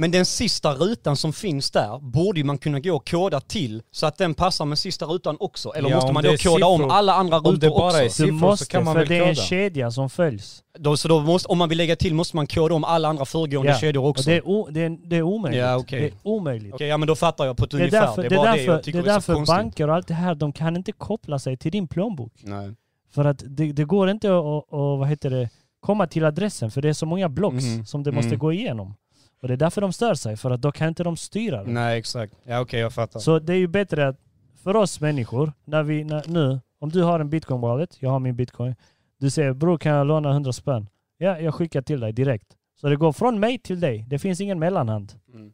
Speaker 4: men den sista rutan som finns där borde ju man kunna gå och koda till så att den passar med sista rutan också. Eller
Speaker 2: Ja,
Speaker 4: måste
Speaker 2: om
Speaker 4: man
Speaker 2: det
Speaker 4: då
Speaker 2: är
Speaker 4: koda om
Speaker 2: siffror-
Speaker 4: alla andra rutor
Speaker 2: det bara
Speaker 4: också?
Speaker 2: är
Speaker 1: Du
Speaker 2: siffror
Speaker 1: måste,
Speaker 2: så kan man
Speaker 1: för
Speaker 2: väl
Speaker 1: det är en
Speaker 2: koda.
Speaker 1: kedja som följs.
Speaker 4: Då, så då måste, om man vill lägga till måste man koda om alla andra föregående
Speaker 1: Ja.
Speaker 4: kedjor
Speaker 1: Och
Speaker 4: också.
Speaker 1: det,
Speaker 4: Okej,
Speaker 1: är o, det, är, det är omöjligt.
Speaker 4: Ja, okej.
Speaker 1: Det är omöjligt.
Speaker 4: ja men då fattar jag på ett
Speaker 1: Det är
Speaker 4: ungefär.
Speaker 1: därför,
Speaker 4: det
Speaker 1: det
Speaker 4: är bara det,
Speaker 1: är
Speaker 4: jag
Speaker 1: därför, det
Speaker 4: tycker
Speaker 1: är
Speaker 4: det är så
Speaker 1: därför
Speaker 4: konstigt.
Speaker 1: banker och allt det här, de kan inte koppla sig till din plånbok.
Speaker 4: Nej.
Speaker 1: För att det, det går inte att att- vad heter det, komma till adressen, för det är så många blocks
Speaker 4: Mhm.
Speaker 1: som det måste
Speaker 4: Mm.
Speaker 1: gå igenom. Och det är därför de stör sig, för att då kan inte de styra det.
Speaker 4: Nej exakt. Ja okej jag fattar.
Speaker 1: Så det är ju bättre att för oss människor, när vi, när, nu, om du har en bitcoin wallet, jag har min bitcoin. Du säger bror kan jag låna 100 spänn? Ja, jag skickar till dig direkt. Så det går från mig till dig. Det finns ingen mellanhand.
Speaker 4: Mm.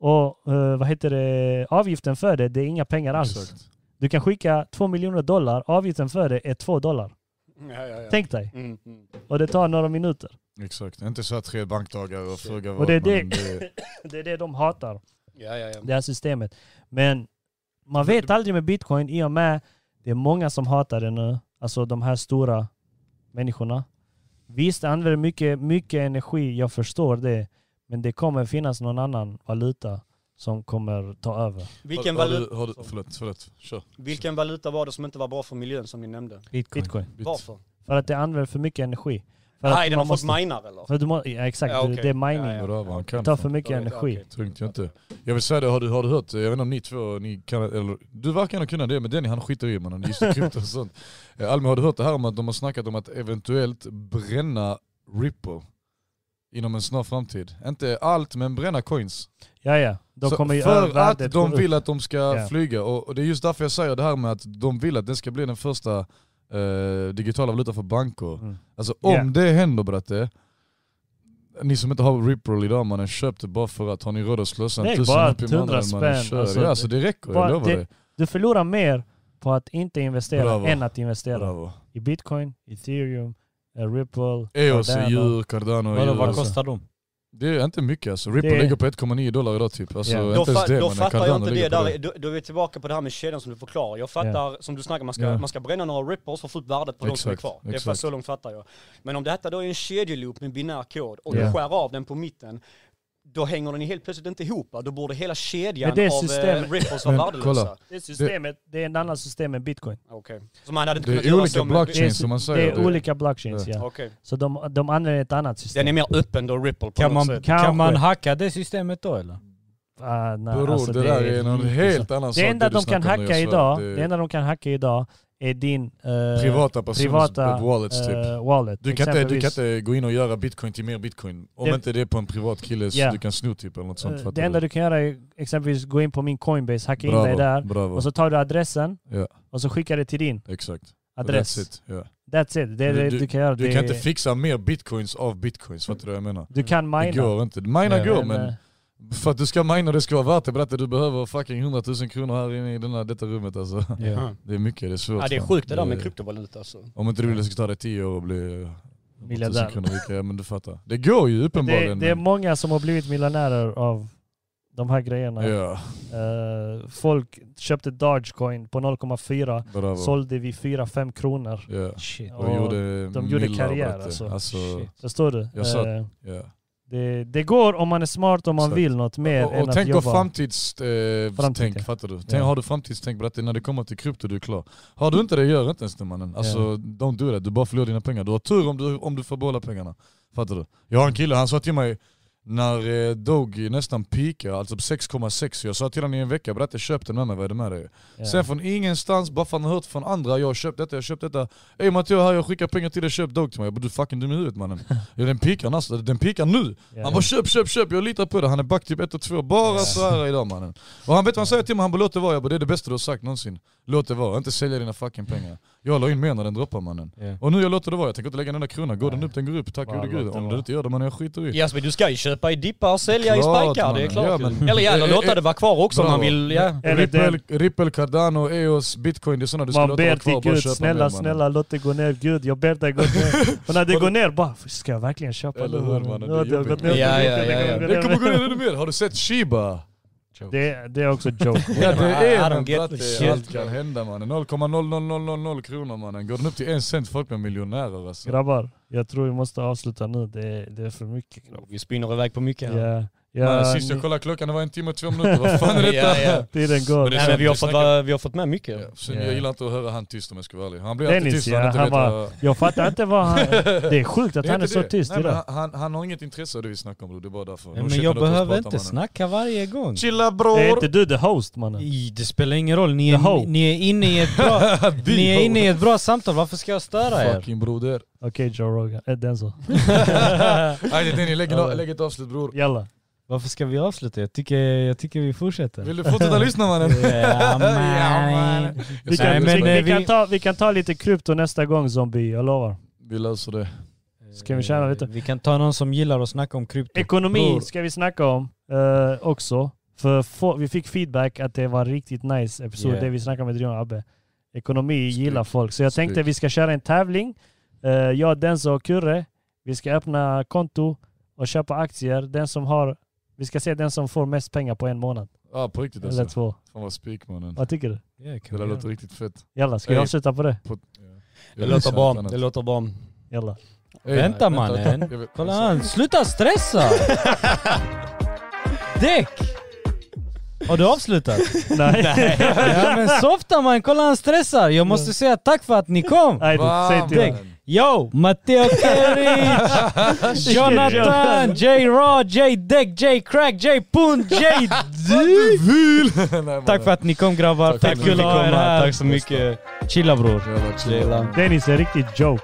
Speaker 1: Och eh, vad heter det, avgiften för det, det är inga pengar alls.
Speaker 3: Exakt.
Speaker 1: Du kan skicka två miljoner dollar, avgiften för det är två dollar.
Speaker 4: Ja, ja, ja.
Speaker 1: Tänk dig.
Speaker 4: Mm, mm.
Speaker 1: Och det tar några minuter.
Speaker 3: Exakt, inte så här tre bankdagar och fråga
Speaker 1: Och
Speaker 3: vad
Speaker 1: det är
Speaker 3: men
Speaker 1: det- Det är det de hatar,
Speaker 4: Ja, ja, ja.
Speaker 1: det här systemet. Men man vet aldrig med bitcoin i och med det är många som hatar det nu. Alltså de här stora människorna. Visst, det använder mycket, mycket energi, jag förstår det. Men det kommer finnas någon annan valuta som kommer ta över.
Speaker 4: Vilken,
Speaker 3: har, har
Speaker 4: valuta,
Speaker 3: du, har du, förlåt, förlåt. Kör.
Speaker 4: vilken valuta var det som inte var bra för miljön som ni nämnde?
Speaker 1: Bitcoin.
Speaker 3: Bit.
Speaker 4: Varför?
Speaker 1: För att det använder för mycket energi. För att
Speaker 4: Nej, den har
Speaker 1: man
Speaker 4: fått alltså.
Speaker 1: måste,
Speaker 4: minar eller?
Speaker 1: för att du må, ja, Exakt,
Speaker 4: Ja,
Speaker 1: det-
Speaker 4: okej.
Speaker 1: det är mining.
Speaker 4: Ja, ja.
Speaker 3: Vadå, vad han
Speaker 1: Det
Speaker 3: kan.
Speaker 1: tar
Speaker 3: fan.
Speaker 1: för mycket
Speaker 4: Ja,
Speaker 1: energi.
Speaker 4: okej.
Speaker 3: Tungt, jag inte. Jag vill säga det, har du, har du hört, jag vet inte om ni två, ni kan, eller, du verkar nog kunna det, men Denny han skiter i mannen, just det, krypto och sånt. Eh, Almi, har du hört det här om att de har snackat om att eventuellt bränna Ripple inom en snar framtid? Inte allt, men bränna coins.
Speaker 1: Ja, ja. De
Speaker 3: Så
Speaker 1: kommer ju
Speaker 3: för
Speaker 1: övervärdet
Speaker 3: att
Speaker 1: gå
Speaker 3: de
Speaker 1: upp.
Speaker 3: vill att de ska
Speaker 1: Ja.
Speaker 3: flyga, och, och det är just därför jag säger det här med att de vill att den ska bli den första eh, digitala valutan för banker.
Speaker 1: Mm.
Speaker 3: Alltså om
Speaker 1: Ja.
Speaker 3: det händer bratte, ni som inte har Ripple idag mannen, köp det bara för att har ni råd att slösa
Speaker 1: Nej,
Speaker 3: en tusen
Speaker 1: bara
Speaker 3: upp i
Speaker 1: 100
Speaker 3: månaden mannen,
Speaker 1: spänn,
Speaker 3: kör.
Speaker 1: alltså,
Speaker 3: ja, alltså det räcker,
Speaker 1: bara
Speaker 3: jag lovar
Speaker 1: det-
Speaker 3: dig.
Speaker 1: Du förlorar mer på att inte investera
Speaker 3: Bravo.
Speaker 1: än att investera
Speaker 3: Bravo.
Speaker 1: i bitcoin, ethereum, eh, ripple,
Speaker 3: EOS är
Speaker 1: Cardano.
Speaker 3: djur, Cardano är
Speaker 2: Vadå,
Speaker 3: djur.
Speaker 2: vad
Speaker 3: Alltså.
Speaker 2: kostar de?
Speaker 3: Det är inte mycket alltså, Ripple
Speaker 1: Det-
Speaker 3: ligger på 1,9 dollar idag typ. Alltså,
Speaker 1: Ja.
Speaker 3: inte
Speaker 4: Då,
Speaker 3: ens
Speaker 4: fa-
Speaker 3: det,
Speaker 4: då
Speaker 3: mannen.
Speaker 4: fattar jag
Speaker 3: Cardano
Speaker 4: inte det.
Speaker 3: ligger på
Speaker 4: Där, då, då är vi tillbaka på det här med kedjan som du förklarar. Jag fattar, som du snackar, man ska,
Speaker 3: Ja.
Speaker 4: man ska bränna några ripples för att få upp värdet på de som är
Speaker 3: Exakt,
Speaker 4: kvar. Det är
Speaker 3: exakt.
Speaker 4: fast så långt fattar jag. Men om detta då är en kedjeloop med binär kod och
Speaker 1: Ja.
Speaker 4: du skär av den på mitten, då hänger den ju helt plötsligt inte ihop. va? Då borde hela kedjan
Speaker 1: Men det
Speaker 4: av
Speaker 1: systemet-
Speaker 4: eh, ripples vara
Speaker 3: Men
Speaker 4: värdelösa.
Speaker 3: kolla.
Speaker 1: Det systemet, det är en annan system än bitcoin.
Speaker 4: Okej. Så man hade inte
Speaker 3: Det är
Speaker 4: kunnat göra
Speaker 3: olika
Speaker 4: så med-
Speaker 1: Det är,
Speaker 3: blockchain. Chain,
Speaker 1: sy-
Speaker 3: som man säger,
Speaker 1: det är
Speaker 3: det-
Speaker 1: olika blockchains, ja.
Speaker 4: Okej.
Speaker 1: Så de, de använder ett annat system.
Speaker 4: Den är mer öppen då, ripple på
Speaker 2: Kan
Speaker 4: något
Speaker 2: man,
Speaker 4: sätt.
Speaker 1: Kanske.
Speaker 2: kan man hacka det systemet då eller?
Speaker 1: Ah, nej,
Speaker 3: Bror
Speaker 1: alltså
Speaker 3: det där
Speaker 1: är
Speaker 3: är någon
Speaker 1: lite
Speaker 3: helt
Speaker 1: så.
Speaker 3: annan sak.
Speaker 1: Det enda
Speaker 3: du
Speaker 1: de kan
Speaker 3: snackar om nu,
Speaker 1: hacka
Speaker 3: jag svär.
Speaker 1: idag,
Speaker 3: Det är
Speaker 1: det enda de kan hacka idag är din eh,
Speaker 3: Privata personers
Speaker 1: privata,
Speaker 3: wallets typ.
Speaker 1: eh, wallet.
Speaker 3: Du kan, inte, du kan
Speaker 1: Exempelvis,
Speaker 3: inte gå in och göra bitcoin till mer bitcoin. Om
Speaker 1: Det-
Speaker 3: inte det är på en privat kille så
Speaker 1: Ja.
Speaker 3: du kan sno typ eller något sånt.
Speaker 1: eh,
Speaker 3: fattar
Speaker 1: det enda du kan göra är exempelvis gå in på min Coinbase, hacka in
Speaker 3: bravo,
Speaker 1: dig där
Speaker 3: Bravo,
Speaker 1: och så tar du adressen
Speaker 3: Ja.
Speaker 1: och så skickar det till din
Speaker 3: exakt.
Speaker 1: adress.
Speaker 3: That's it. ja.
Speaker 1: That's it. Det är
Speaker 3: Du-
Speaker 1: det du kan göra.
Speaker 3: Du
Speaker 1: det,
Speaker 3: kan inte fixa mer bitcoins av bitcoins, fattar du vad jag menar?
Speaker 1: du kan mina.
Speaker 3: Det går inte. Mina går
Speaker 1: eh,
Speaker 3: men för att du ska mina och det ska vara värt det berätta du behöver fucking 100 000 kronor här inne i denna, detta rummet alltså.
Speaker 4: Mm.
Speaker 3: Det är mycket, det är svårt.
Speaker 4: Ja, det är
Speaker 3: fan.
Speaker 4: sjukt det där med kryptovaluta alltså.
Speaker 3: Om inte du vill det ska ta dig 10 år och bli eh, 100 000
Speaker 1: Miljardär.
Speaker 3: kronor, vilka- ja, men du fattar. Det går ju
Speaker 1: det,
Speaker 3: uppenbarligen.
Speaker 1: det är
Speaker 3: men-
Speaker 1: många som har blivit miljonärer av de här grejerna.
Speaker 3: Ja,
Speaker 1: Eh, folk köpte Dogecoin på 0,4,
Speaker 3: bravo.
Speaker 1: sålde vid 4-5 kronor.
Speaker 3: Ja.
Speaker 2: Shit.
Speaker 3: Och gjorde
Speaker 1: de gjorde
Speaker 3: millar av
Speaker 1: karriär,
Speaker 3: det.
Speaker 1: alltså.
Speaker 3: alltså
Speaker 2: Shit.
Speaker 1: Förstår du?
Speaker 3: Jag sa-
Speaker 1: Eh,
Speaker 3: ja.
Speaker 1: det, det går om man är smart och man
Speaker 3: Exakt.
Speaker 1: vill något mer
Speaker 3: och,
Speaker 1: än
Speaker 3: och
Speaker 1: att
Speaker 3: tänk på
Speaker 1: jobba.
Speaker 3: framtidstänk, eh,
Speaker 1: Framtid,
Speaker 3: tänk,
Speaker 1: ja.
Speaker 3: fattar du? Tänk,
Speaker 1: Ja.
Speaker 3: Har du framtidstänk på att när det kommer till krypto du är klar. Har du inte det, gör inte ens det mannen. Alltså don't do that, du bara förlorar dina pengar. Du har tur om du, om du får behålla pengarna. Fattar du? Jag har en kille, han sa till mig när eh, Doge nästan peakar, alltså på 6,6, jag sa till honom i en vecka, berätta köp den med mig, vad är det med dig?
Speaker 1: Ja.
Speaker 3: Sen från ingenstans, bara för att han hört från andra, jag har köpt detta, jag har köpt detta. Ey Matteo här, jag skickar pengar till dig, köp Doge till mig. Jag bara, du är fucking dum i huvudet mannen. ja, den peakar nästan, den peakar nu!
Speaker 1: Ja.
Speaker 3: Han bara köp, köp, köp, jag litar på det. Han är back typ 1 och 2 bara
Speaker 1: Ja.
Speaker 3: så här idag mannen. Och han vet vad han säger till mig, han bara låt det vara. Jag bara det är det bästa du har sagt någonsin. Låt det vara, inte sälja dina fucking pengar. Jag la in mer när den droppar mannen.
Speaker 2: Ja.
Speaker 3: Och nu jag låter det vara, jag tänker inte lägga en enda krona. Går den
Speaker 1: Nej.
Speaker 3: upp, den går upp. Tack
Speaker 1: Bara
Speaker 3: gode
Speaker 1: låt
Speaker 3: gud.
Speaker 1: det
Speaker 3: Om
Speaker 1: vara.
Speaker 3: den inte gör det, man jag skiter i.
Speaker 4: Jasmin, du ska ju köpa i dippar och sälja
Speaker 3: Klart,
Speaker 4: i spikar, det är
Speaker 3: mannen.
Speaker 4: klart.
Speaker 3: Ja,
Speaker 4: ju.
Speaker 3: men-
Speaker 4: Eller gärna
Speaker 3: Eh,
Speaker 4: låta
Speaker 3: eh,
Speaker 4: det vara kvar också om
Speaker 3: Bravo.
Speaker 4: man vill. Ja.
Speaker 1: Eller
Speaker 3: Ripple,
Speaker 1: den-
Speaker 3: Ripple, Cardano, EOS, Bitcoin, det är sådana du ska
Speaker 1: man
Speaker 3: låta
Speaker 1: ber
Speaker 3: vara kvar.
Speaker 1: till
Speaker 3: bara
Speaker 1: Gud,
Speaker 3: köpa
Speaker 1: snälla,
Speaker 3: mer, mannen.
Speaker 1: snälla låt det gå ner. Gud, jag ber dig gå ner. Och när det går ner, bara ska jag verkligen köpa
Speaker 3: Eller
Speaker 1: nu,
Speaker 3: hur,
Speaker 1: mannen?
Speaker 3: mannen?
Speaker 1: Nu
Speaker 3: Det är
Speaker 1: har det
Speaker 3: jobbigt.
Speaker 1: gått ner.
Speaker 4: Ja, ja,
Speaker 1: Det
Speaker 4: ja,
Speaker 1: kommer gå
Speaker 4: ja.
Speaker 3: Det
Speaker 1: ner.
Speaker 3: kommer gå ner ännu mer. Har du sett Shiba?
Speaker 1: Det, det är också joke.
Speaker 3: Ja det
Speaker 4: I
Speaker 3: är
Speaker 4: don't
Speaker 3: den
Speaker 4: get
Speaker 3: bratte,
Speaker 4: shit.
Speaker 3: allt kan hända mannen. 0,00000 kronor mannen. Går den upp till en cent, folk blir miljonärer alltså.
Speaker 1: Grabbar, jag tror vi måste avsluta nu. Det, är- det är för mycket.
Speaker 4: Vi spinner iväg på mycket här.
Speaker 1: Ja,
Speaker 3: Mannen,
Speaker 1: ja,
Speaker 3: sist jag
Speaker 1: ni-
Speaker 3: kollade klockan, det var en timme och två minuter. Vad fan är detta?
Speaker 4: Ja, ja.
Speaker 1: tiden går.
Speaker 3: det är
Speaker 4: Nej, men vi, har
Speaker 3: Vi
Speaker 4: fått,
Speaker 3: snackar-
Speaker 4: vara- vi har fått med mycket.
Speaker 3: Ja, sen
Speaker 1: Ja.
Speaker 3: Jag gillar inte att höra han tyst om jag ska vara ärlig. Han blir
Speaker 1: Dennis,
Speaker 3: alltid tyst
Speaker 1: ja,
Speaker 3: när han inte
Speaker 1: han
Speaker 3: vet
Speaker 1: bara-
Speaker 3: vad...
Speaker 1: Jag fattar inte vad han... Det är sjukt att
Speaker 3: Det är
Speaker 1: han är
Speaker 3: inte
Speaker 1: så
Speaker 3: det.
Speaker 1: tyst
Speaker 3: Nej, men
Speaker 1: idag.
Speaker 3: han, han, han har inget intresse av det vi snackar om, bror. det är bara därför. No
Speaker 2: Men
Speaker 3: shit,
Speaker 2: jag
Speaker 3: låt oss
Speaker 2: behöver
Speaker 3: prata,
Speaker 2: inte
Speaker 3: mannen.
Speaker 2: snacka varje gång.
Speaker 3: Chilla
Speaker 1: Är inte
Speaker 3: bror!
Speaker 1: du the host mannen?
Speaker 2: I- Det spelar ingen roll, ni
Speaker 1: The hoe.
Speaker 2: är, ni är, inne, i ett bra,
Speaker 3: The
Speaker 2: ni är
Speaker 3: hoe.
Speaker 2: inne i ett bra samtal, varför ska jag störa er?
Speaker 3: Fucking broder.
Speaker 1: Okej Joe Rogan, Eh, den så.
Speaker 3: Ajde Denny, lägg, en- lägg ett avslut bror.
Speaker 1: Jalla.
Speaker 2: Varför ska vi avsluta? Jag tycker, jag tycker vi fortsätter.
Speaker 3: Vill du fortsätta lyssna mannen?
Speaker 2: Ja, man.
Speaker 3: man.
Speaker 1: Vi
Speaker 2: Nej,
Speaker 1: kan,
Speaker 2: men,
Speaker 1: vi,
Speaker 2: eh,
Speaker 1: vi, kan
Speaker 2: vi-
Speaker 1: ta, vi kan ta lite krypto nästa gång zombie, jag lovar.
Speaker 3: Vi löser det.
Speaker 1: Ska vi tjäna lite?
Speaker 2: Vi kan ta någon som gillar att snacka om krypto.
Speaker 1: Ekonomi
Speaker 3: Bror.
Speaker 1: ska vi snacka om eh, också. För få, vi fick feedback att det var en riktigt nice episod,
Speaker 2: Yeah.
Speaker 1: det vi snackade med Drion och Abbe. Ekonomi
Speaker 3: Snyggt.
Speaker 1: gillar folk. Så jag tänkte
Speaker 3: Snyggt.
Speaker 1: vi ska köra en tävling. Eh, jag, Denzo och Kurre, vi ska öppna konto och köpa aktier. Den som har, vi ska se den som får mest pengar på en månad.
Speaker 3: Ah, på riktigt
Speaker 1: Eller
Speaker 3: alltså.
Speaker 1: två.
Speaker 3: Fan vad spik mannen.
Speaker 1: Vad tycker du?
Speaker 3: Det där låter riktigt fett.
Speaker 1: Jalla, ska vi
Speaker 3: Ey.
Speaker 1: avsluta på det?
Speaker 3: På,
Speaker 4: Det låter bra, det låter bra.
Speaker 1: Jalla.
Speaker 2: Vänta, mannen. Kolla han, sluta stressa! Däck! Har du avslutat?
Speaker 1: Nej.
Speaker 2: Ja men softa man, kolla han stressar. Jag måste säga tack för att ni kom.
Speaker 1: Nej, du, säg till honom.
Speaker 2: Yo! Matteo Keric, Jonathan, J Raw, J Däck, J Crack, J Punt, J D. Tack för att ni kom grabbar.
Speaker 3: Tack för
Speaker 2: Fett
Speaker 3: att
Speaker 2: kul
Speaker 3: ni
Speaker 2: att
Speaker 3: fick
Speaker 2: ha er
Speaker 3: komma.
Speaker 2: här.
Speaker 3: Tack så mycket.
Speaker 2: Chilla bror.
Speaker 3: att...
Speaker 1: Dennis är riktigt joke.